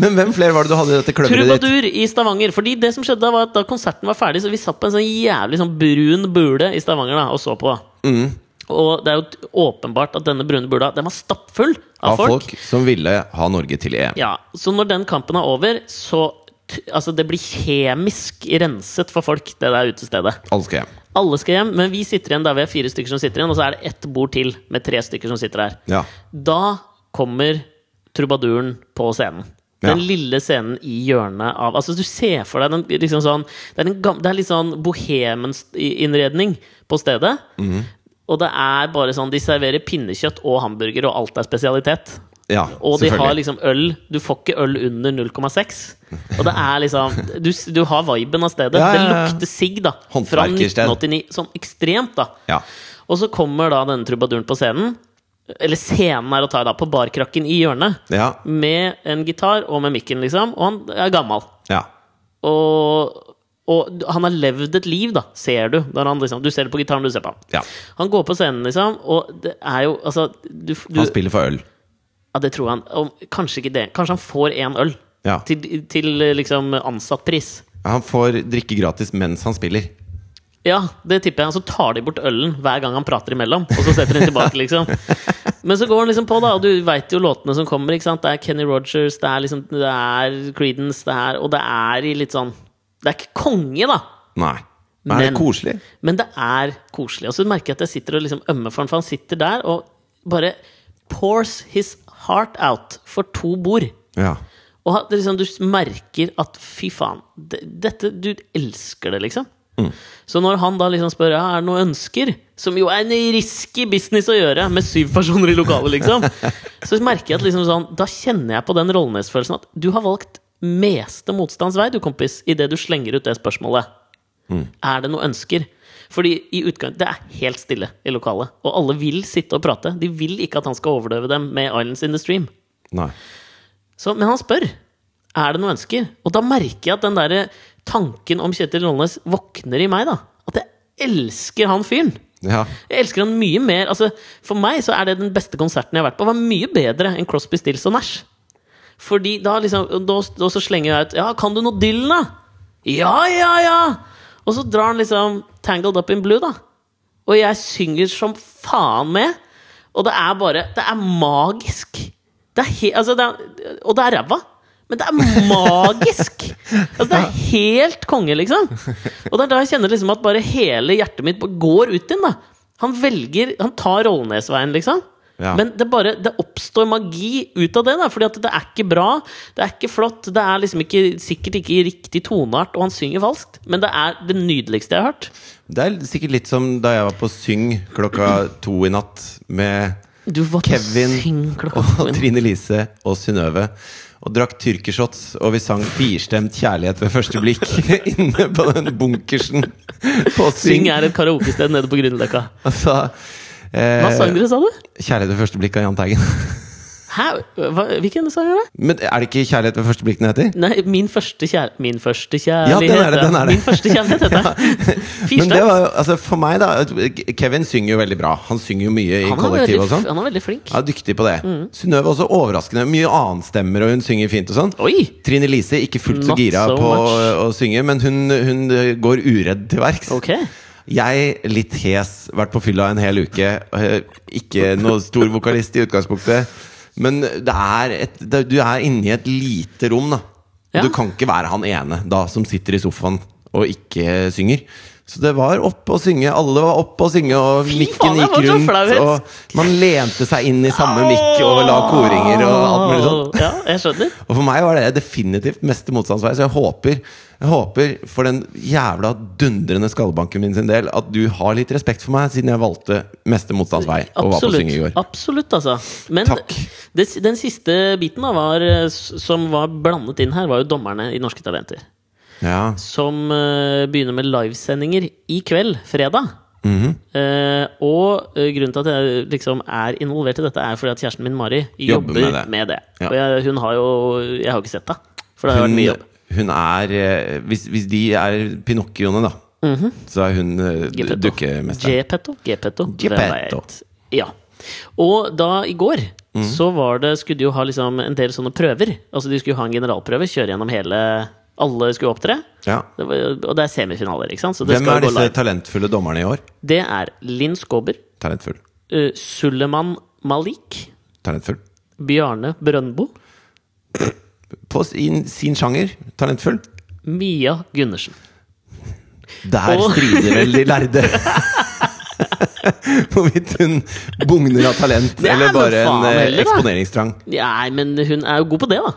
Speaker 1: Men hvem flere var det du hadde i dette kløveret ditt?
Speaker 2: Trubadur i Stavanger. Fordi det som skjedde da var at da konserten var ferdig, så vi satt på en sånn jævlig sånn brun bule i Stavanger da, og så på.
Speaker 1: Mm.
Speaker 2: Og det er jo t- åpenbart at denne brune bula den var stappfull av,
Speaker 1: Av folk.
Speaker 2: folk.
Speaker 1: som ville ha Norge til EM.
Speaker 2: Ja, Så når den kampen er over, så t Altså, det blir kjemisk renset for folk, det der utestedet.
Speaker 1: Alle skal hjem.
Speaker 2: Alle skal hjem, men vi sitter igjen der vi er fire stykker som sitter igjen, og så er det ett bord til med tre stykker som sitter her.
Speaker 1: Ja.
Speaker 2: Da kommer trubaduren på scenen. Den
Speaker 1: Ja.
Speaker 2: lille scenen i hjørnet av Altså, du ser for deg den liksom sånn Det er, en gam, det er litt sånn bohemen-innredning på stedet. Og det er bare sånn De serverer pinnekjøtt og hamburger, og alt er spesialitet.
Speaker 1: Ja,
Speaker 2: Og de har
Speaker 1: selvfølgelig.
Speaker 2: liksom øl Du får ikke øl under 0,6. Og det er liksom Du, du har viben av stedet.
Speaker 1: Ja, ja, ja.
Speaker 2: Det lukter sigg, da. Fra
Speaker 1: Håndverkersted.
Speaker 2: 1989. Sånn ekstremt, da.
Speaker 1: Ja.
Speaker 2: Og så kommer da denne trubaduren på scenen. Eller scenen er å ta da, på barkrakken i hjørnet.
Speaker 1: Ja.
Speaker 2: Med en gitar og med mikken, liksom. Og han er gammel.
Speaker 1: ja.
Speaker 2: Og, og han har levd et liv, da, ser du. Når han, liksom, du ser det på gitaren, du ser på han.
Speaker 1: Ja.
Speaker 2: Han går på scenen, liksom, og det er jo Altså, du, du
Speaker 1: Han spiller for øl.
Speaker 2: Ja, det tror han. Om, kanskje ikke det. Kanskje han får én øl.
Speaker 1: Ja.
Speaker 2: Til, til liksom ansattpris.
Speaker 1: Han får drikke gratis mens han spiller.
Speaker 2: Ja, det tipper jeg. Og så tar de bort ølen hver gang han prater imellom. Og så setter de tilbake, liksom. Men så går han liksom på, da, og du veit jo låtene som kommer. ikke sant? Det er Kenny Rogers, det er liksom, det er Creedence, det er Og det er i litt sånn Det er ikke konge, da,
Speaker 1: Nei. Men er det
Speaker 2: Men-
Speaker 1: koselig?
Speaker 2: men det er koselig. Og så merker jeg at jeg sitter og liksom ømmer for han, for han sitter der og bare pours his heart out for to bord.
Speaker 1: Ja.
Speaker 2: Og at det liksom, du merker at fy faen, det- dette, du elsker det, liksom. Så når han da liksom spør ja, er det noen ønsker, som jo er en risky business å gjøre med syv personer i lokalet, liksom, så merker jeg at liksom sånn, da kjenner jeg på den rollenesfølelsen at du har valgt meste motstands vei, du kompis, idet du slenger ut det spørsmålet. Er det noen ønsker? Fordi i utgang, Det er helt stille i lokalet, og alle vil sitte og prate. De vil ikke at han skal overdøve dem med 'Islands in the Stream'.
Speaker 1: Nei.
Speaker 2: Så, men han spør er det noe ønsker. Og da merker jeg at den der tanken om Kjetil Rollnes våkner i meg. da At jeg elsker han fyren.
Speaker 1: Ja.
Speaker 2: Jeg elsker han mye mer. Altså, for meg så er det den beste konserten jeg har vært på. Den var mye bedre enn Crosby, Stills og Nash. Fordi da liksom Da, da så slenger jeg ut Ja, kan du noe Dylan, da? Ja, ja, ja! Og så drar han liksom Tangled Up in Blue, da. Og jeg synger som faen med. Og det er bare Det er magisk. Det er he, altså det er, og det er ræva. Men det er magisk! Altså Det er helt konge, liksom. Og det er da jeg kjenner liksom at bare hele hjertet mitt bare går ut inn. da Han velger Han tar Rollnesveien, liksom.
Speaker 1: Ja.
Speaker 2: Men det, bare, det oppstår magi ut av det. Da, fordi at det er ikke bra, det er ikke flott, det er liksom ikke, sikkert ikke i riktig toneart, og han synger falskt. Men det er det nydeligste jeg har hørt.
Speaker 1: Det er sikkert litt som da jeg var på Syng klokka to i natt med
Speaker 2: Du var på syng
Speaker 1: Kevin [LAUGHS]
Speaker 2: klokka to
Speaker 1: og
Speaker 2: i natt.
Speaker 1: Trine Lise og Synnøve. Og drakk tyrkershots, og vi sang firstemt kjærlighet ved
Speaker 2: [LAUGHS]
Speaker 1: første blikk inne på den bunkersen på
Speaker 2: Syng
Speaker 1: Syng.
Speaker 2: er et karaokested nede på Grünerløkka.
Speaker 1: Altså, eh,
Speaker 2: Hva sang dere, sa du?
Speaker 1: Kjærlighet ved første blikk av Jahn Teigen. [LAUGHS]
Speaker 2: Hæ? Hva, hvilken sang er det?
Speaker 1: Men er det ikke Kjærlighet ved første blikk den heter?
Speaker 2: Nei, Min første kjær... Min første
Speaker 1: Ja,
Speaker 2: kjærlighet.
Speaker 1: den er det, den er det.
Speaker 2: Min første kjærlighet
Speaker 1: [LAUGHS]
Speaker 2: heter det.
Speaker 1: Men det
Speaker 2: Firstemt.
Speaker 1: var jo, altså For meg, da Kevin synger jo veldig bra. Han synger jo mye i
Speaker 2: Han er,
Speaker 1: kollektiv
Speaker 2: veldig, Mm.
Speaker 1: og sånn.
Speaker 2: han er veldig flink.
Speaker 1: Han er dyktig på det. Synnøve også overraskende. Mye annenstemmer, og hun synger fint og sånn.
Speaker 2: Oi!
Speaker 1: Trine Lise ikke fullt så
Speaker 2: Not
Speaker 1: gira
Speaker 2: so
Speaker 1: på å,
Speaker 2: much.
Speaker 1: å synge, men hun, hun eh, går uredd til verks.
Speaker 2: Ok.
Speaker 1: Jeg, litt hes, vært på fylla en hel uke. eh, Ikke noe stor vokalist i utgangspunktet. Men det er et, det, du er inni et lite rom, da.
Speaker 2: Ja.
Speaker 1: Du kan ikke være han ene da som sitter i sofaen og ikke synger. Så det var opp å synge. Alle var opp å synge, og
Speaker 2: Fy faen,
Speaker 1: mikken
Speaker 2: jeg
Speaker 1: gikk
Speaker 2: får så
Speaker 1: rundt.
Speaker 2: flauhet.
Speaker 1: Og man lente seg inn i samme mikk og la koringer og alt mulig sånn. sånt.
Speaker 2: Ja, jeg skjønner.
Speaker 1: Og for meg var det definitivt meste motstandsvei, så jeg håper, jeg håper for den jævla dundrende skallebanken min sin del at du har litt respekt for meg, siden jeg valgte meste motstandsvei [LAUGHS] og var på synge i
Speaker 2: Absolutt.
Speaker 1: går.
Speaker 2: Absolutt, altså. Men
Speaker 1: Takk.
Speaker 2: Det, den siste biten da var, eh, s- som var blandet inn her, var jo dommerne i Norske Talenter.
Speaker 1: Ja.
Speaker 2: Som eh, begynner med livesendinger i kveld, fredag.
Speaker 1: Mhm.
Speaker 2: Eh, og eh, grunnen til at jeg liksom er involvert i dette, er fordi at kjæresten min Mari
Speaker 1: Jobber
Speaker 2: jobber,
Speaker 1: med
Speaker 2: med
Speaker 1: det.
Speaker 2: det.
Speaker 1: Ja.
Speaker 2: Og jeg, hun har jo Jeg har jo ikke sett det. For det har vært
Speaker 1: Hun, eh,
Speaker 2: mye jobb.
Speaker 1: hun er eh, hvis, hvis de er Pinocchioene, da,
Speaker 2: Mhm.
Speaker 1: så er hun eh,
Speaker 2: Geppetto.
Speaker 1: dukkemesteren.
Speaker 2: Gepetto. Gepetto. hvem
Speaker 1: Gepetto.
Speaker 2: vet? Ja. Og da i går
Speaker 1: Mhm.
Speaker 2: så var det, skulle de jo ha liksom en del sånne prøver. Altså De skulle jo ha en generalprøve, kjøre gjennom hele Alle skulle opptre.
Speaker 1: Ja.
Speaker 2: Det var, og det er semifinaler, ikke sant? Så det
Speaker 1: Hvem
Speaker 2: skal
Speaker 1: er
Speaker 2: gå
Speaker 1: disse
Speaker 2: live.
Speaker 1: talentfulle dommerne i år?
Speaker 2: Det er Linn Skåber,
Speaker 1: Talentfull.
Speaker 2: uh, Suleman Malik,
Speaker 1: Talentfull.
Speaker 2: Bjarne Brøndbo,
Speaker 1: På sin, sin sjanger. Talentfull.
Speaker 2: Mia Gundersen.
Speaker 1: Der
Speaker 2: Og-
Speaker 1: strider vel
Speaker 2: [LAUGHS]
Speaker 1: de lærde. Hvorvidt hun bugner av talent
Speaker 2: Ja,
Speaker 1: eller
Speaker 2: men
Speaker 1: bare en
Speaker 2: faen
Speaker 1: eh,
Speaker 2: heller, da.
Speaker 1: eksponeringstrang.
Speaker 2: Nei, men hun er jo god på det, da.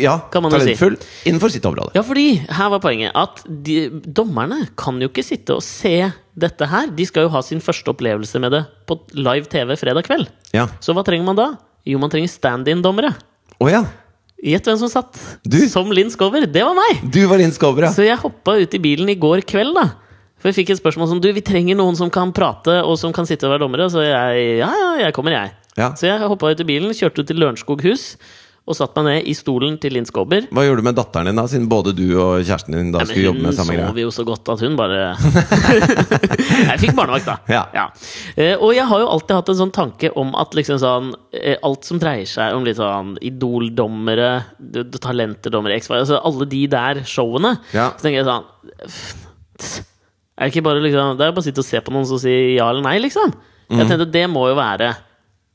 Speaker 1: Ja,
Speaker 2: Kan man jo si.
Speaker 1: talentfull innenfor sitt område.
Speaker 2: Ja, fordi her var poenget at de, dommerne kan jo ikke sitte og se dette her. De skal jo ha sin første opplevelse med det på live TV fredag kveld.
Speaker 1: Ja.
Speaker 2: Så hva trenger man da? Jo, man trenger stand-in-dommere.
Speaker 1: Å ja.
Speaker 2: Gjett hvem som satt.
Speaker 1: Du.
Speaker 2: Som Linn Skåber. Det var meg!
Speaker 1: Du var Linn Skåber, ja.
Speaker 2: Så jeg hoppa ut i bilen i går kveld, da. For jeg fikk et spørsmål som du, vi trenger noen som kan prate og som kan sitte og være dommere. Så jeg ja, ja, jeg kommer, jeg.
Speaker 1: Ja.
Speaker 2: Så jeg hoppa ut i bilen, kjørte ut til Lørenskog hus og satte meg ned i stolen til Linn Skåber.
Speaker 1: Hva gjorde du med datteren din, da, siden både du og kjæresten din da
Speaker 2: Ja,
Speaker 1: skulle jobbe med
Speaker 2: hun
Speaker 1: samme
Speaker 2: sov
Speaker 1: greie?
Speaker 2: jo så godt at hun bare
Speaker 1: [LAUGHS]
Speaker 2: Jeg fikk barnevakt, da.
Speaker 1: Ja.
Speaker 2: Eh, og jeg har jo alltid hatt en sånn tanke om at liksom sånn eh, Alt som dreier seg om litt sånn idoldommere, d- d- talenterdommere, X-Files, altså alle de der showene,
Speaker 1: Ja.
Speaker 2: så tenker jeg sånn pff, Er det ikke bare liksom Det er jo bare å sitte og se på noen som sier ja eller nei, liksom.
Speaker 1: Mhm.
Speaker 2: Jeg tenkte det må jo være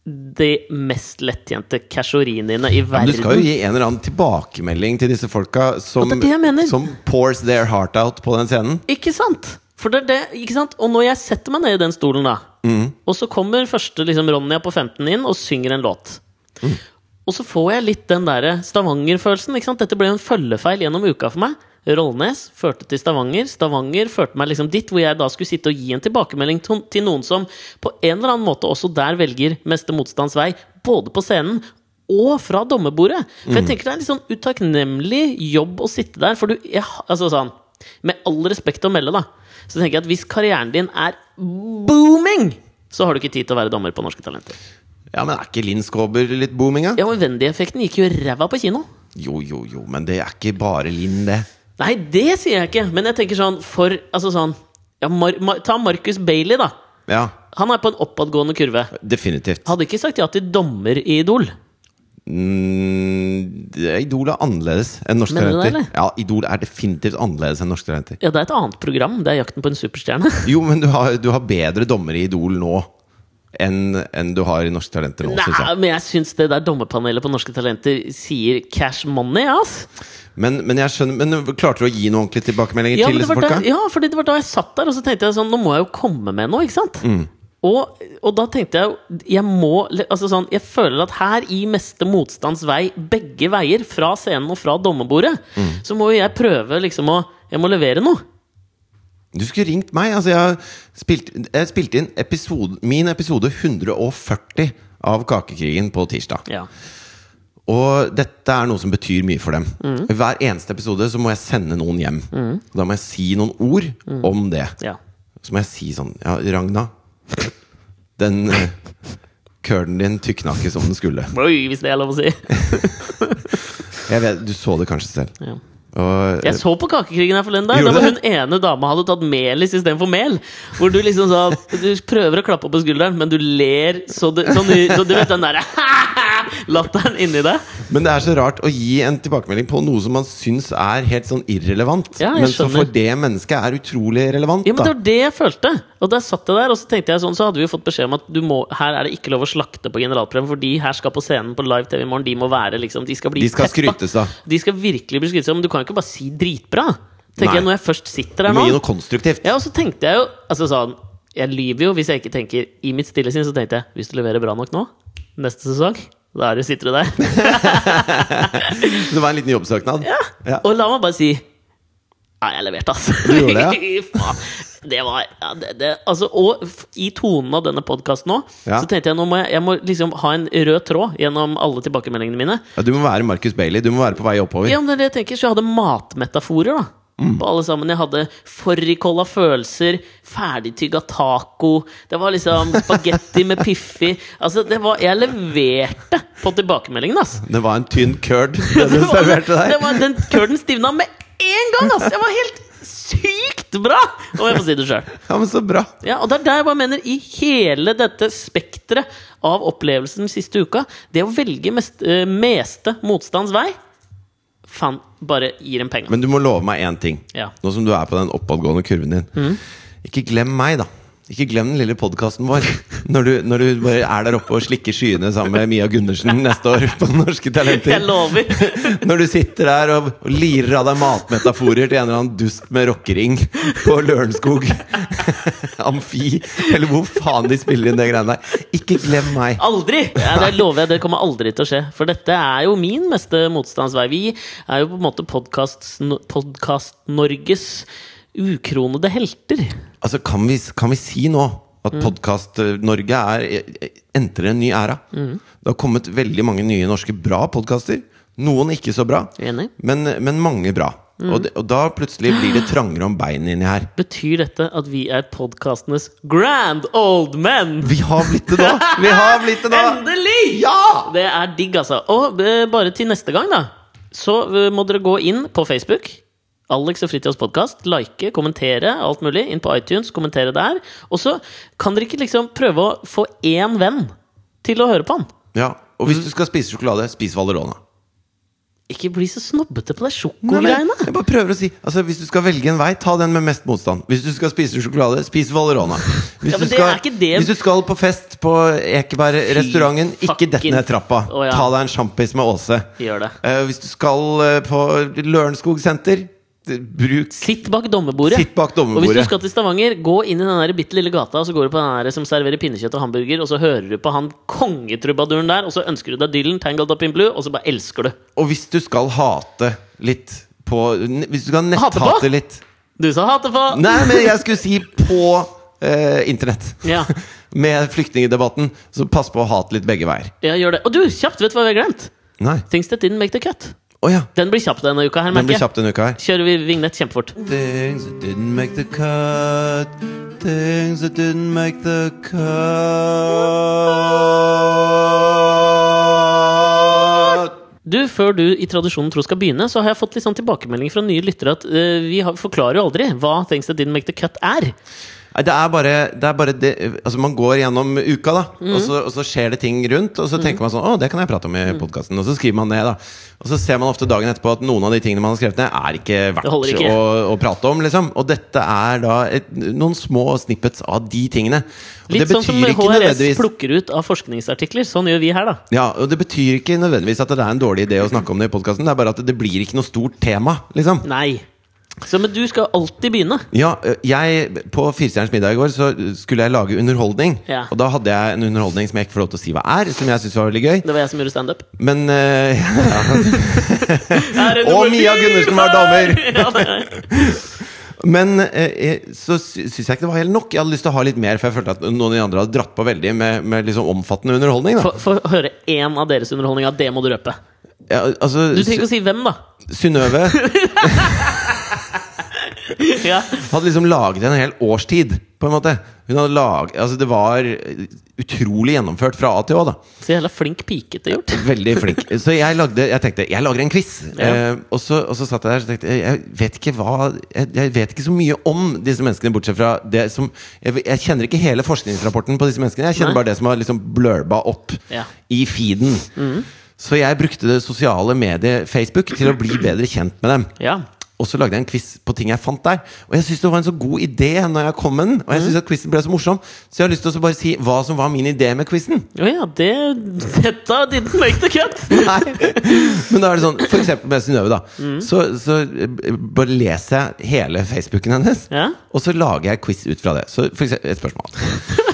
Speaker 2: de mest lettjente cashorinene i
Speaker 1: Men
Speaker 2: verden.
Speaker 1: du skal jo gi en eller annen tilbakemelding til disse folka som,
Speaker 2: det er det jeg mener.
Speaker 1: som pours their heart out på den scenen.
Speaker 2: Ikke sant? For det er det, ikke sant? Og når jeg setter meg ned i den stolen, da, og så kommer første liksom, Ronja på 15 inn og synger en låt. Og så får jeg litt den der Stavanger-følelsen. ikke sant? Dette ble jo en følgefeil gjennom uka for meg. Rollnes førte til Stavanger. Stavanger førte meg liksom dit, hvor jeg da skulle sitte og gi en tilbakemelding til til noen som på en eller annen måte også der velger meste motstands vei, både på scenen og fra dommerbordet. For jeg tenker det er en litt sånn utakknemlig jobb å sitte der, for du jeg, Altså sånn Med all respekt å melde, da, så tenker jeg at hvis karrieren din er booming, så har du ikke tid til å være dommer på Norske Talenter.
Speaker 1: Ja, men er ikke Linn Skåber litt booming, da?
Speaker 2: Ja, men Wendy-effekten gikk jo ræva på kino.
Speaker 1: Jo, jo, jo, men det er ikke bare Linn, det.
Speaker 2: Nei, det sier jeg ikke. Men jeg tenker sånn for Altså sånn ja, Mar Mar Ta Marcus Bailey, da.
Speaker 1: Ja,
Speaker 2: Han er på en oppadgående kurve.
Speaker 1: definitivt.
Speaker 2: Hadde ikke sagt ja til dommer i Idol.
Speaker 1: Mm, det- Idol er annerledes enn norske
Speaker 2: Mener du det,
Speaker 1: talenter. Ja, Idol er definitivt annerledes enn norske talenter.
Speaker 2: Ja, det er et annet program. Det er Jakten på en superstjerne.
Speaker 1: Jo, men du har, du har bedre dommere i Idol nå enn enn du har i norske talenter nå, synes
Speaker 2: Nei,
Speaker 1: jeg.
Speaker 2: men jeg syns det der dommerpanelet på Norske Talenter sier cash money, ass.
Speaker 1: Men, men jeg skjønner Men klarte du å gi noen ordentlige tilbakemeldinger
Speaker 2: Ja,
Speaker 1: til
Speaker 2: men det
Speaker 1: disse
Speaker 2: var da,
Speaker 1: folka?
Speaker 2: ja, fordi det var da jeg satt der, og så tenkte jeg sånn Nå må jeg jo komme med noe, ikke sant?
Speaker 1: Mm.
Speaker 2: Og, og da tenkte jeg jo Jeg må Altså sånn Jeg føler at her i meste motstands vei, begge veier, fra scenen og fra dommerbordet,
Speaker 1: Mm.
Speaker 2: så må jo jeg prøve liksom å Jeg må levere noe.
Speaker 1: Du skulle ringt meg. Altså, jeg har spilt, jeg spilte inn episode, min episode 140 av Kakekrigen på tirsdag.
Speaker 2: Ja.
Speaker 1: Og dette er noe som betyr mye for dem.
Speaker 2: Mm.
Speaker 1: Hver eneste episode så må jeg sende noen hjem. Da må jeg si noen ord
Speaker 2: Mm.
Speaker 1: om det.
Speaker 2: ja.
Speaker 1: Så må jeg si sånn Ja, Ragna. Den uh, curlen din tykna ikke som den skulle.
Speaker 2: Oi, hvis det er lov å si.
Speaker 1: Jeg vet, Du så det kanskje selv.
Speaker 2: Ja.
Speaker 1: Og,
Speaker 2: Jeg så på Kakekrigen her forleden. Der,
Speaker 1: Gjorde
Speaker 2: da var
Speaker 1: du
Speaker 2: hun ene dama hadde tatt melis istedenfor mel. Hvor du liksom sa Du prøver å klappe på skulderen, men du ler så du, sånn, så du vet den derre [LAUGHS] latteren inni deg.
Speaker 1: men det er så rart å gi en tilbakemelding på noe som man syns er helt sånn irrelevant.
Speaker 2: Ja, jeg
Speaker 1: men som for
Speaker 2: skjønner.
Speaker 1: det mennesket er utrolig relevant.
Speaker 2: Ja, men Det
Speaker 1: da.
Speaker 2: var det jeg følte. Og der satt jeg der, og så tenkte jeg sånn, så hadde vi jo fått beskjed om at du må, her er det ikke lov å slakte på generalprøven, for de her skal på scenen på live TV i morgen. De må være liksom De skal bli
Speaker 1: De skal
Speaker 2: peppa.
Speaker 1: skrytes av.
Speaker 2: De skal virkelig bli skrytet av, men du kan jo ikke bare si dritbra. Tenker
Speaker 1: Nei.
Speaker 2: jeg når jeg først sitter
Speaker 1: Du
Speaker 2: der
Speaker 1: må
Speaker 2: nå
Speaker 1: gi noe konstruktivt.
Speaker 2: Ja, og så tenkte jeg jo Altså sånn Jeg lyver jo hvis jeg ikke tenker I mitt stille sinn så tenkte jeg Hvis du leverer bra nok nå Neste sesong Da er du, sitter du der
Speaker 1: [LAUGHS] Det var en liten jobbsøknad. Ja.
Speaker 2: Og la meg bare si Ja, jeg leverte, altså.
Speaker 1: Du gjorde det,
Speaker 2: [LAUGHS] Fy faen. Det var ja, det, det, altså, Og f- i tonen av denne podkasten nå,
Speaker 1: Ja.
Speaker 2: så tenkte jeg nå må jeg, jeg må liksom ha en rød tråd gjennom alle tilbakemeldingene mine.
Speaker 1: Ja, du må være Marcus Bailey. Du må være på vei oppover.
Speaker 2: Ja, men det er det jeg tenker, Så jeg hadde matmetaforer, da.
Speaker 1: Mm.
Speaker 2: På alle sammen. Jeg hadde forrikolla følelser, ferdigtygga taco Det var liksom spagetti med Piffi. Altså, det var Jeg leverte på tilbakemeldingene, ass.
Speaker 1: Det var en tynn curd det
Speaker 2: [LAUGHS]
Speaker 1: du
Speaker 2: Det var-
Speaker 1: serverte
Speaker 2: Det
Speaker 1: der.
Speaker 2: var, den curden stivna med en gang! Ass. Jeg var helt sykt bra! Om jeg får si det sjøl.
Speaker 1: Ja, men så bra.
Speaker 2: Ja, og det er der jeg bare mener, i hele dette spekteret av opplevelsen den siste uka, det å velge mest, eh, meste motstands vei Faen, bare gir dem penga.
Speaker 1: Men du må love meg én ting,
Speaker 2: Ja. Mm.
Speaker 1: nå som du er på den oppadgående kurven din. Ikke glem meg, da. Ikke glem den lille podkasten vår. Når du, når du bare er der oppe og slikker skyene sammen med Mia Gundersen neste år på Norske Talenter.
Speaker 2: Jeg lover!
Speaker 1: [LAUGHS] Når du sitter der og, og lirer av deg matmetaforer til en eller annen dust med rockering på Lørenskog, [LAUGHS] Amfi, eller hvor faen de spiller inn det greiene der. Ikke glem meg.
Speaker 2: Aldri! Ja, det lover jeg, det kommer aldri til å skje. For dette er jo min meste motstandsvei. Vi er jo på en måte Podkast-Norges ukronede helter.
Speaker 1: Altså, kan vi, kan vi si nå at Podkast-Norge er eh, entrer en ny æra? Det har kommet veldig mange nye norske bra podkaster. Noen ikke så bra,
Speaker 2: Enig.
Speaker 1: men, eh, men mange bra. Og, det, og da plutselig blir det trangere om beinet inni her.
Speaker 2: Betyr dette at vi er podkastenes grand old men?
Speaker 1: Vi har blitt det nå! Vi har blitt det nå!
Speaker 2: Endelig!
Speaker 1: Ja!
Speaker 2: Det er digg, altså. Og eh, bare til neste gang, da, så eh, må dere gå inn på Facebook. Alex og Fritjofs podkast. Like, kommentere, alt mulig. Inn på iTunes, kommentere der. Og så kan dere ikke liksom prøve å få én venn til å høre på han.
Speaker 1: Ja, Og hvis du skal spise sjokolade, spis Valerona.
Speaker 2: Ikke bli så snobbete på de
Speaker 1: Nei, men
Speaker 2: sjokogreiene.
Speaker 1: Jeg bare prøver å si altså, Hvis du skal velge en vei, ta den med mest motstand. Hvis du skal spise sjokolade, spis Valerona. Hvis,
Speaker 2: Ja, men
Speaker 1: du
Speaker 2: det
Speaker 1: skal,
Speaker 2: er ikke det-
Speaker 1: hvis du skal på fest på Ekeberg-restauranten,
Speaker 2: Fy
Speaker 1: ikke dett
Speaker 2: fucking-
Speaker 1: ned trappa.
Speaker 2: Å, ja.
Speaker 1: Ta deg en sjampis med Åse.
Speaker 2: Gjør det.
Speaker 1: Eh, hvis du skal eh, på Lørenskog senter, d- bruk
Speaker 2: Sitt bak dommerbordet.
Speaker 1: Sitt bak dommerbordet.
Speaker 2: Og hvis du skal til Stavanger, gå inn i den der bitte lille gata, og så går du på den der som serverer pinnekjøtt og hamburger, og så hører du på han kongetrubaduren der, og så ønsker du deg Dylan, Tangled Up in Blue, og så bare elsker du.
Speaker 1: Og hvis du skal hate litt på n- Hvis du skal
Speaker 2: Hate på?
Speaker 1: netthate litt
Speaker 2: Du sa hate på!
Speaker 1: Nei, men jeg skulle si på eh, internett.
Speaker 2: Ja.
Speaker 1: [LAUGHS] Med flyktningdebatten, så pass på å hate litt begge veier.
Speaker 2: ja, gjør det. Og du, kjapt, vet du hva vi har glemt?
Speaker 1: Nei.
Speaker 2: Things that didn't make the cut.
Speaker 1: Å ja.
Speaker 2: Den blir kjapp denne uka her,
Speaker 1: Den blir
Speaker 2: merker jeg.
Speaker 1: kjapp denne uka her.
Speaker 2: Kjører vi vignett kjempefort.
Speaker 1: Things that didn't make the cut. Things that didn't make the cut.
Speaker 2: Du, Før du i tradisjonen tro skal begynne, så har jeg fått litt sånn tilbakemelding fra nye lyttere at eh, vi har, forklarer jo aldri hva Things That Didn't Make The Cut er.
Speaker 1: Nei, Det er bare, det er bare det, altså Man går gjennom uka, da
Speaker 2: Mm.
Speaker 1: og, så, og så skjer det ting rundt. Og så tenker man sånn Å, det kan jeg prate om i
Speaker 2: Mm.
Speaker 1: podkasten. Og så skriver man ned, da. Og så ser man ofte dagen etterpå at noen av de tingene man har skrevet ned, er ikke verdt
Speaker 2: holder ikke.
Speaker 1: Å, å prate om. liksom Og dette er da et, noen små snippets av de tingene. Og
Speaker 2: Litt
Speaker 1: det
Speaker 2: sånn som
Speaker 1: betyr ikke
Speaker 2: HRS
Speaker 1: nødvendigvis
Speaker 2: plukker ut av forskningsartikler. Sånn gjør vi her, da.
Speaker 1: Ja, og Det betyr ikke nødvendigvis at det er en dårlig idé å snakke om det i podkasten. Det er bare at det blir ikke noe stort tema. liksom
Speaker 2: Nei. Så, men du skal alltid begynne.
Speaker 1: Ja, ø, jeg, På Firestjerners middag i går så skulle jeg lage underholdning.
Speaker 2: Ja.
Speaker 1: Og da hadde jeg en underholdning som jeg ikke får lov til å si hva er, som jeg syntes var veldig gøy.
Speaker 2: Det var jeg som gjorde standup.
Speaker 1: Men ø, [LAUGHS] Og Mia Gundersen var dommer!
Speaker 2: [LAUGHS] Ja, det-
Speaker 1: Men eh, eh, så sy- syns jeg ikke det var helt nok. Jeg hadde lyst til å ha litt mer, for jeg følte at noen av de andre hadde dratt på veldig med, med liksom omfattende underholdning. Da.
Speaker 2: Få få høre én av deres underholdninger. Det må du røpe.
Speaker 1: Ja, altså,
Speaker 2: Du trenger ikke å si hvem, da.
Speaker 1: Sy- Synnøve
Speaker 2: [LAUGHS] Ja.
Speaker 1: hadde liksom laget en hel årstid, på en måte. Hun hadde lag, altså, det var eh, utrolig gjennomført fra A til Å. da
Speaker 2: Så jævla flink pike det er gjort.
Speaker 1: [LAUGHS] Veldig flink. Så jeg, lagde, jeg tenkte jeg lager en quiz.
Speaker 2: Ja.
Speaker 1: Eh, og, så, og så satt jeg der og tenkte jeg vet ikke hva jeg, jeg vet ikke så mye om disse menneskene, bortsett fra det som Jeg, jeg kjenner ikke hele forskningsrapporten på disse menneskene. Jeg kjenner
Speaker 2: Nei.
Speaker 1: bare det som har liksom blurba opp
Speaker 2: Ja. Mm.
Speaker 1: i feeden. Så jeg brukte det sosiale mediet Facebook til å bli bedre kjent med dem.
Speaker 2: Ja.
Speaker 1: Og så lagde jeg en quiz på ting jeg fant der. Og jeg syns det var en så god idé når jeg kom med den.
Speaker 2: Mm.
Speaker 1: Og jeg synes at quizen ble så morsom, så jeg har lyst til å så bare si hva som var min idé med quizen.
Speaker 2: Å ja, det Dette didn't make the cut!
Speaker 1: [LAUGHS]
Speaker 2: [LAUGHS]
Speaker 1: Nei. Men da er det sånn, for eksempel med Synnøve, da. Så, så eh, bare leser jeg hele Facebooken hennes,
Speaker 2: Ja.
Speaker 1: og så lager jeg quiz ut fra det. Så for eksempel, et spørsmål.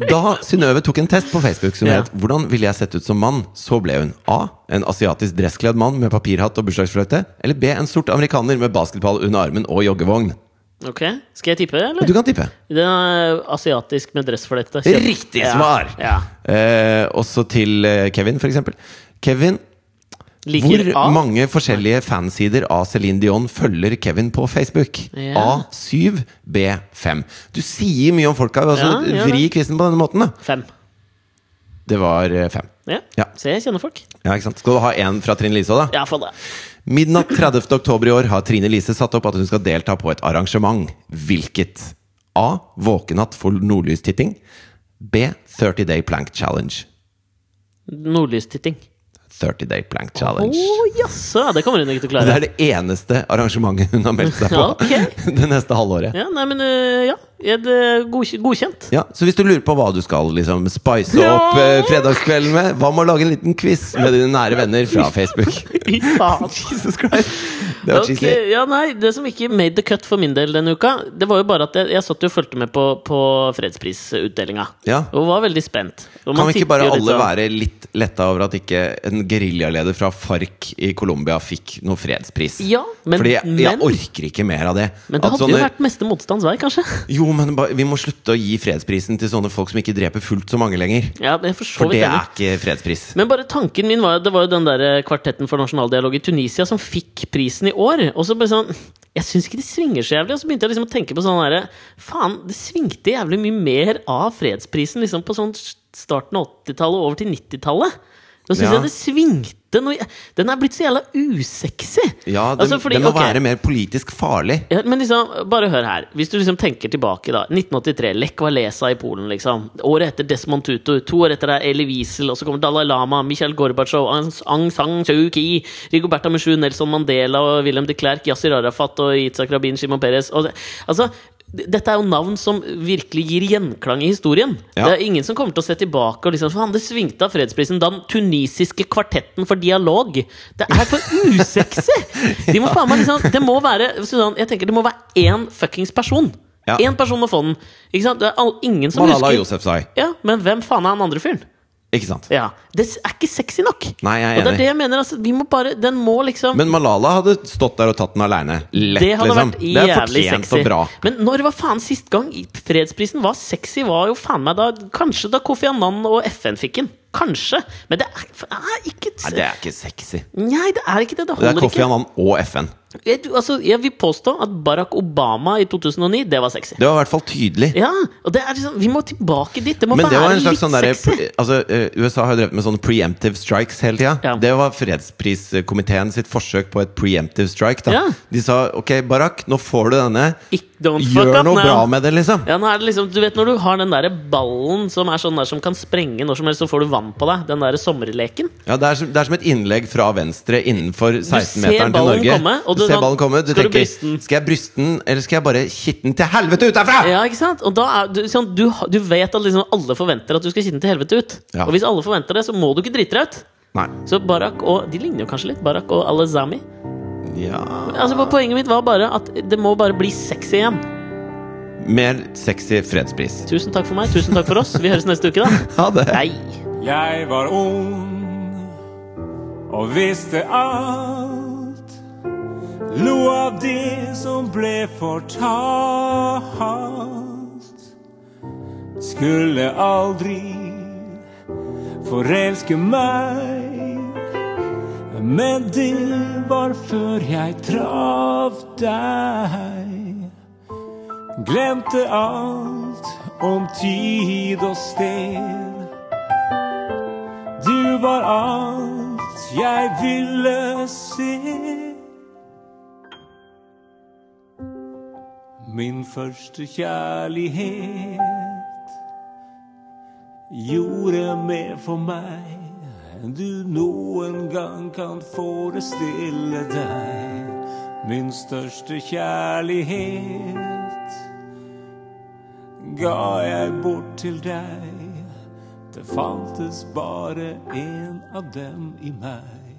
Speaker 1: Da Synnøve tok en test på Facebook som
Speaker 2: Ja.
Speaker 1: het 'Hvordan ville jeg sett ut som mann?', så ble hun A. En asiatisk dresskledd mann med papirhatt og bursdagsfløyte. Eller B. En sort amerikaner med basketball under armen og joggevogn.
Speaker 2: Ok, Skal jeg tippe,
Speaker 1: Du
Speaker 2: eller?
Speaker 1: kan tippe.
Speaker 2: Det er asiatisk med dressflette. Kjempe-
Speaker 1: Riktig
Speaker 2: Ja,
Speaker 1: svar!
Speaker 2: Ja.
Speaker 1: Eh, også til eh, Kevin, for eksempel. Kevin,
Speaker 2: Liker
Speaker 1: Hvor
Speaker 2: A.
Speaker 1: mange forskjellige fansider av Céline Dion følger Kevin på Facebook?
Speaker 2: Ja.
Speaker 1: A7, B5. Du sier mye om folka. Altså,
Speaker 2: Ja, gjør
Speaker 1: vri quizen på denne måten, da.
Speaker 2: Fem.
Speaker 1: Det var eh, fem.
Speaker 2: Ja.
Speaker 1: Ja.
Speaker 2: Se, jeg kjenner folk.
Speaker 1: Ja, ikke sant? Skal du ha én fra Trine Lise òg, da?
Speaker 2: Ja, faen det.
Speaker 1: Midnatt 30. oktober i år har Trine Lise satt opp at hun skal delta på et arrangement. Hvilket? A. Våkenatt for nordlystitting. B. 30 Day Plank Challenge.
Speaker 2: Nordlystitting.
Speaker 1: 30 Day Plank
Speaker 2: Å
Speaker 1: Challenge.
Speaker 2: jaså! Det kommer hun ikke til å
Speaker 1: Det
Speaker 2: klare.
Speaker 1: er det eneste arrangementet hun har meldt seg på
Speaker 2: Ok.
Speaker 1: [LAUGHS] det neste halvåret.
Speaker 2: Ja, nei, men øh, ja. Er det godk- godkjent? [LAUGHS]
Speaker 1: Ja, Så hvis du lurer på hva du skal liksom spice
Speaker 2: Ja!
Speaker 1: opp eh, fredagskvelden med, hva med å lage en liten quiz med dine nære venner fra Facebook?
Speaker 2: [LAUGHS] Fy faen.
Speaker 1: Jesus Christ [LAUGHS] Det var
Speaker 2: Ok,
Speaker 1: cheesy.
Speaker 2: ja, nei, Det som ikke made the cut for min del denne uka, det var jo bare at jeg, jeg satt jo og fulgte med på, på fredsprisutdelinga.
Speaker 1: Ja.
Speaker 2: Og var veldig spent. Og
Speaker 1: Kan
Speaker 2: man
Speaker 1: vi ikke
Speaker 2: tipper
Speaker 1: bare
Speaker 2: jo litt
Speaker 1: alle
Speaker 2: sånn-
Speaker 1: være litt letta over at ikke en geriljaleder fra FARC i Colombia fikk noen fredspris?
Speaker 2: Ja, men-
Speaker 1: Fordi jeg, jeg
Speaker 2: men-
Speaker 1: orker ikke mer av det.
Speaker 2: Men det
Speaker 1: At
Speaker 2: hadde jo vært meste motstands vei, kanskje. [LAUGHS]
Speaker 1: jo, men ba- vi må slutte å gi fredsprisen til sånne folk som ikke dreper fullt så mange lenger.
Speaker 2: Ja, men jeg er for så
Speaker 1: For
Speaker 2: vidt
Speaker 1: det
Speaker 2: enig.
Speaker 1: er ikke fredspris.
Speaker 2: Men bare tanken min var Det var jo den der eh, kvartetten for nasjonaldialog i Tunisia som fikk prisen i år. Og så bare sånn Jeg syns ikke det svinger så jævlig. Og så begynte jeg liksom å tenke på sånn derre Faen, det svingte jævlig mye mer av fredsprisen liksom på sånn starten av 80-tallet over til 90-tallet. Da syns
Speaker 1: Ja.
Speaker 2: jeg det svingte noe Den er blitt så jævla usexy!
Speaker 1: Ja, det,
Speaker 2: Altså, fordi,
Speaker 1: det må
Speaker 2: ok,
Speaker 1: være mer politisk farlig.
Speaker 2: ja, men liksom, bare hør her. Hvis du liksom tenker tilbake, da. 1983. Lech Walesa i Polen, liksom. Året etter Desmond Tutu. To år etter er Elie Wiesel. Og så kommer Dalai Lama, Mikhail Gorbatsjov, Aung Aung San Suu Kyi, Rigoberta Menchu, Nelson Mandela og Wilhelm de Klerk, Yasir Arafat og Yitzhak Rabin, Shimon Peres. Og det, altså, d- dette er jo navn som virkelig gir gjenklang i historien.
Speaker 1: Ja.
Speaker 2: Det er ingen som kommer til å se tilbake og liksom Faen, det svingte av fredsprisen da den tunisiske kvartetten for dialog Det er for usexy! De
Speaker 1: [LAUGHS]
Speaker 2: må faen meg liksom Det må være Susanne, jeg tenker det må være én fuckings person.
Speaker 1: Ja.
Speaker 2: Én person må få den. Ikke sant? Det er all, ingen som
Speaker 1: Malala
Speaker 2: husker
Speaker 1: Yousafzai.
Speaker 2: Ja, Men hvem faen er han andre fyren?
Speaker 1: Ikke sant?
Speaker 2: Ja, Det er ikke sexy nok.
Speaker 1: Nei, jeg er
Speaker 2: Og det
Speaker 1: enig.
Speaker 2: er det jeg mener. Altså, vi må bare Den må liksom
Speaker 1: Men Malala hadde stått der og tatt den aleine. Lett,
Speaker 2: det hadde
Speaker 1: liksom.
Speaker 2: vært
Speaker 1: Det er
Speaker 2: jævlig
Speaker 1: fortjent
Speaker 2: sexy.
Speaker 1: og bra.
Speaker 2: Men når var faen sist gang i- fredsprisen var sexy? Var jo faen meg da Kanskje da Kofi Annan og FN fikk den. Kanskje. Men det er, det er ikke
Speaker 1: Nei, det er ikke sexy.
Speaker 2: Nei, det er ikke det. Det
Speaker 1: Det er
Speaker 2: holder
Speaker 1: Kofi
Speaker 2: ikke.
Speaker 1: Annan og FN.
Speaker 2: Jeg, altså, jeg vil påstå at Barack Obama i 2009, det var sexy.
Speaker 1: Det var i hvert fall tydelig.
Speaker 2: Ja, og det er liksom Vi må tilbake dit. Det må
Speaker 1: Men det var
Speaker 2: være
Speaker 1: en
Speaker 2: litt
Speaker 1: slags sånn derre
Speaker 2: sexy.
Speaker 1: altså, eh, USA har jo drevet med sånne preemptive strikes hele tida.
Speaker 2: Ja.
Speaker 1: Det var fredspriskomiteen sitt forsøk på et preemptive strike. Da.
Speaker 2: Ja.
Speaker 1: De sa ok, Barack, nå får du denne.
Speaker 2: Ikke- don't fuck
Speaker 1: Gjør
Speaker 2: up
Speaker 1: noe
Speaker 2: now.
Speaker 1: bra med det, liksom.
Speaker 2: Ja, nå er det liksom, du vet når du har den der ballen som er sånn der som kan sprenge når som helst, så får du vann på deg. Den der sommerleken.
Speaker 1: Ja, det, er som, det er som et innlegg fra venstre innenfor
Speaker 2: ser
Speaker 1: 16-meteren til
Speaker 2: ballen
Speaker 1: Norge.
Speaker 2: komme, og
Speaker 1: du
Speaker 2: du
Speaker 1: ser
Speaker 2: sånn,
Speaker 1: ballen komme, du
Speaker 2: skal du
Speaker 1: tenker
Speaker 2: bryste den?
Speaker 1: Skal jeg bryste den, eller skal jeg bare kitte den til helvete ut derfra?!
Speaker 2: Ja, ikke sant? Og da er du, sånn, du, ha- du vet at liksom alle forventer at du skal kinne til helvete ut.
Speaker 1: Ja.
Speaker 2: Og hvis alle forventer det, så må du ikke drite deg ut.
Speaker 1: Nei.
Speaker 2: Så Barack og De ligner jo kanskje litt, Barack og Alezami.
Speaker 1: Ja
Speaker 2: Altså, på- poenget mitt var bare at det må bare bli sexy igjen.
Speaker 1: Mer sexy fredspris.
Speaker 2: Tusen takk for meg. Tusen takk for oss. Vi høres neste uke,
Speaker 1: [LAUGHS]
Speaker 2: da.
Speaker 1: Ha det!
Speaker 2: Nei.
Speaker 3: Jeg var ond og visste alt. Lo av det som ble fortalt. Skulle aldri forelske meg. Men det var før jeg traff deg. Glemte alt om tid og sted. Du var alt jeg ville se. Min første kjærlighet gjorde mer for meg enn du noen gang kan forestille deg. Min største kjærlighet ga jeg bort til deg. Det fantes bare en av dem i meg.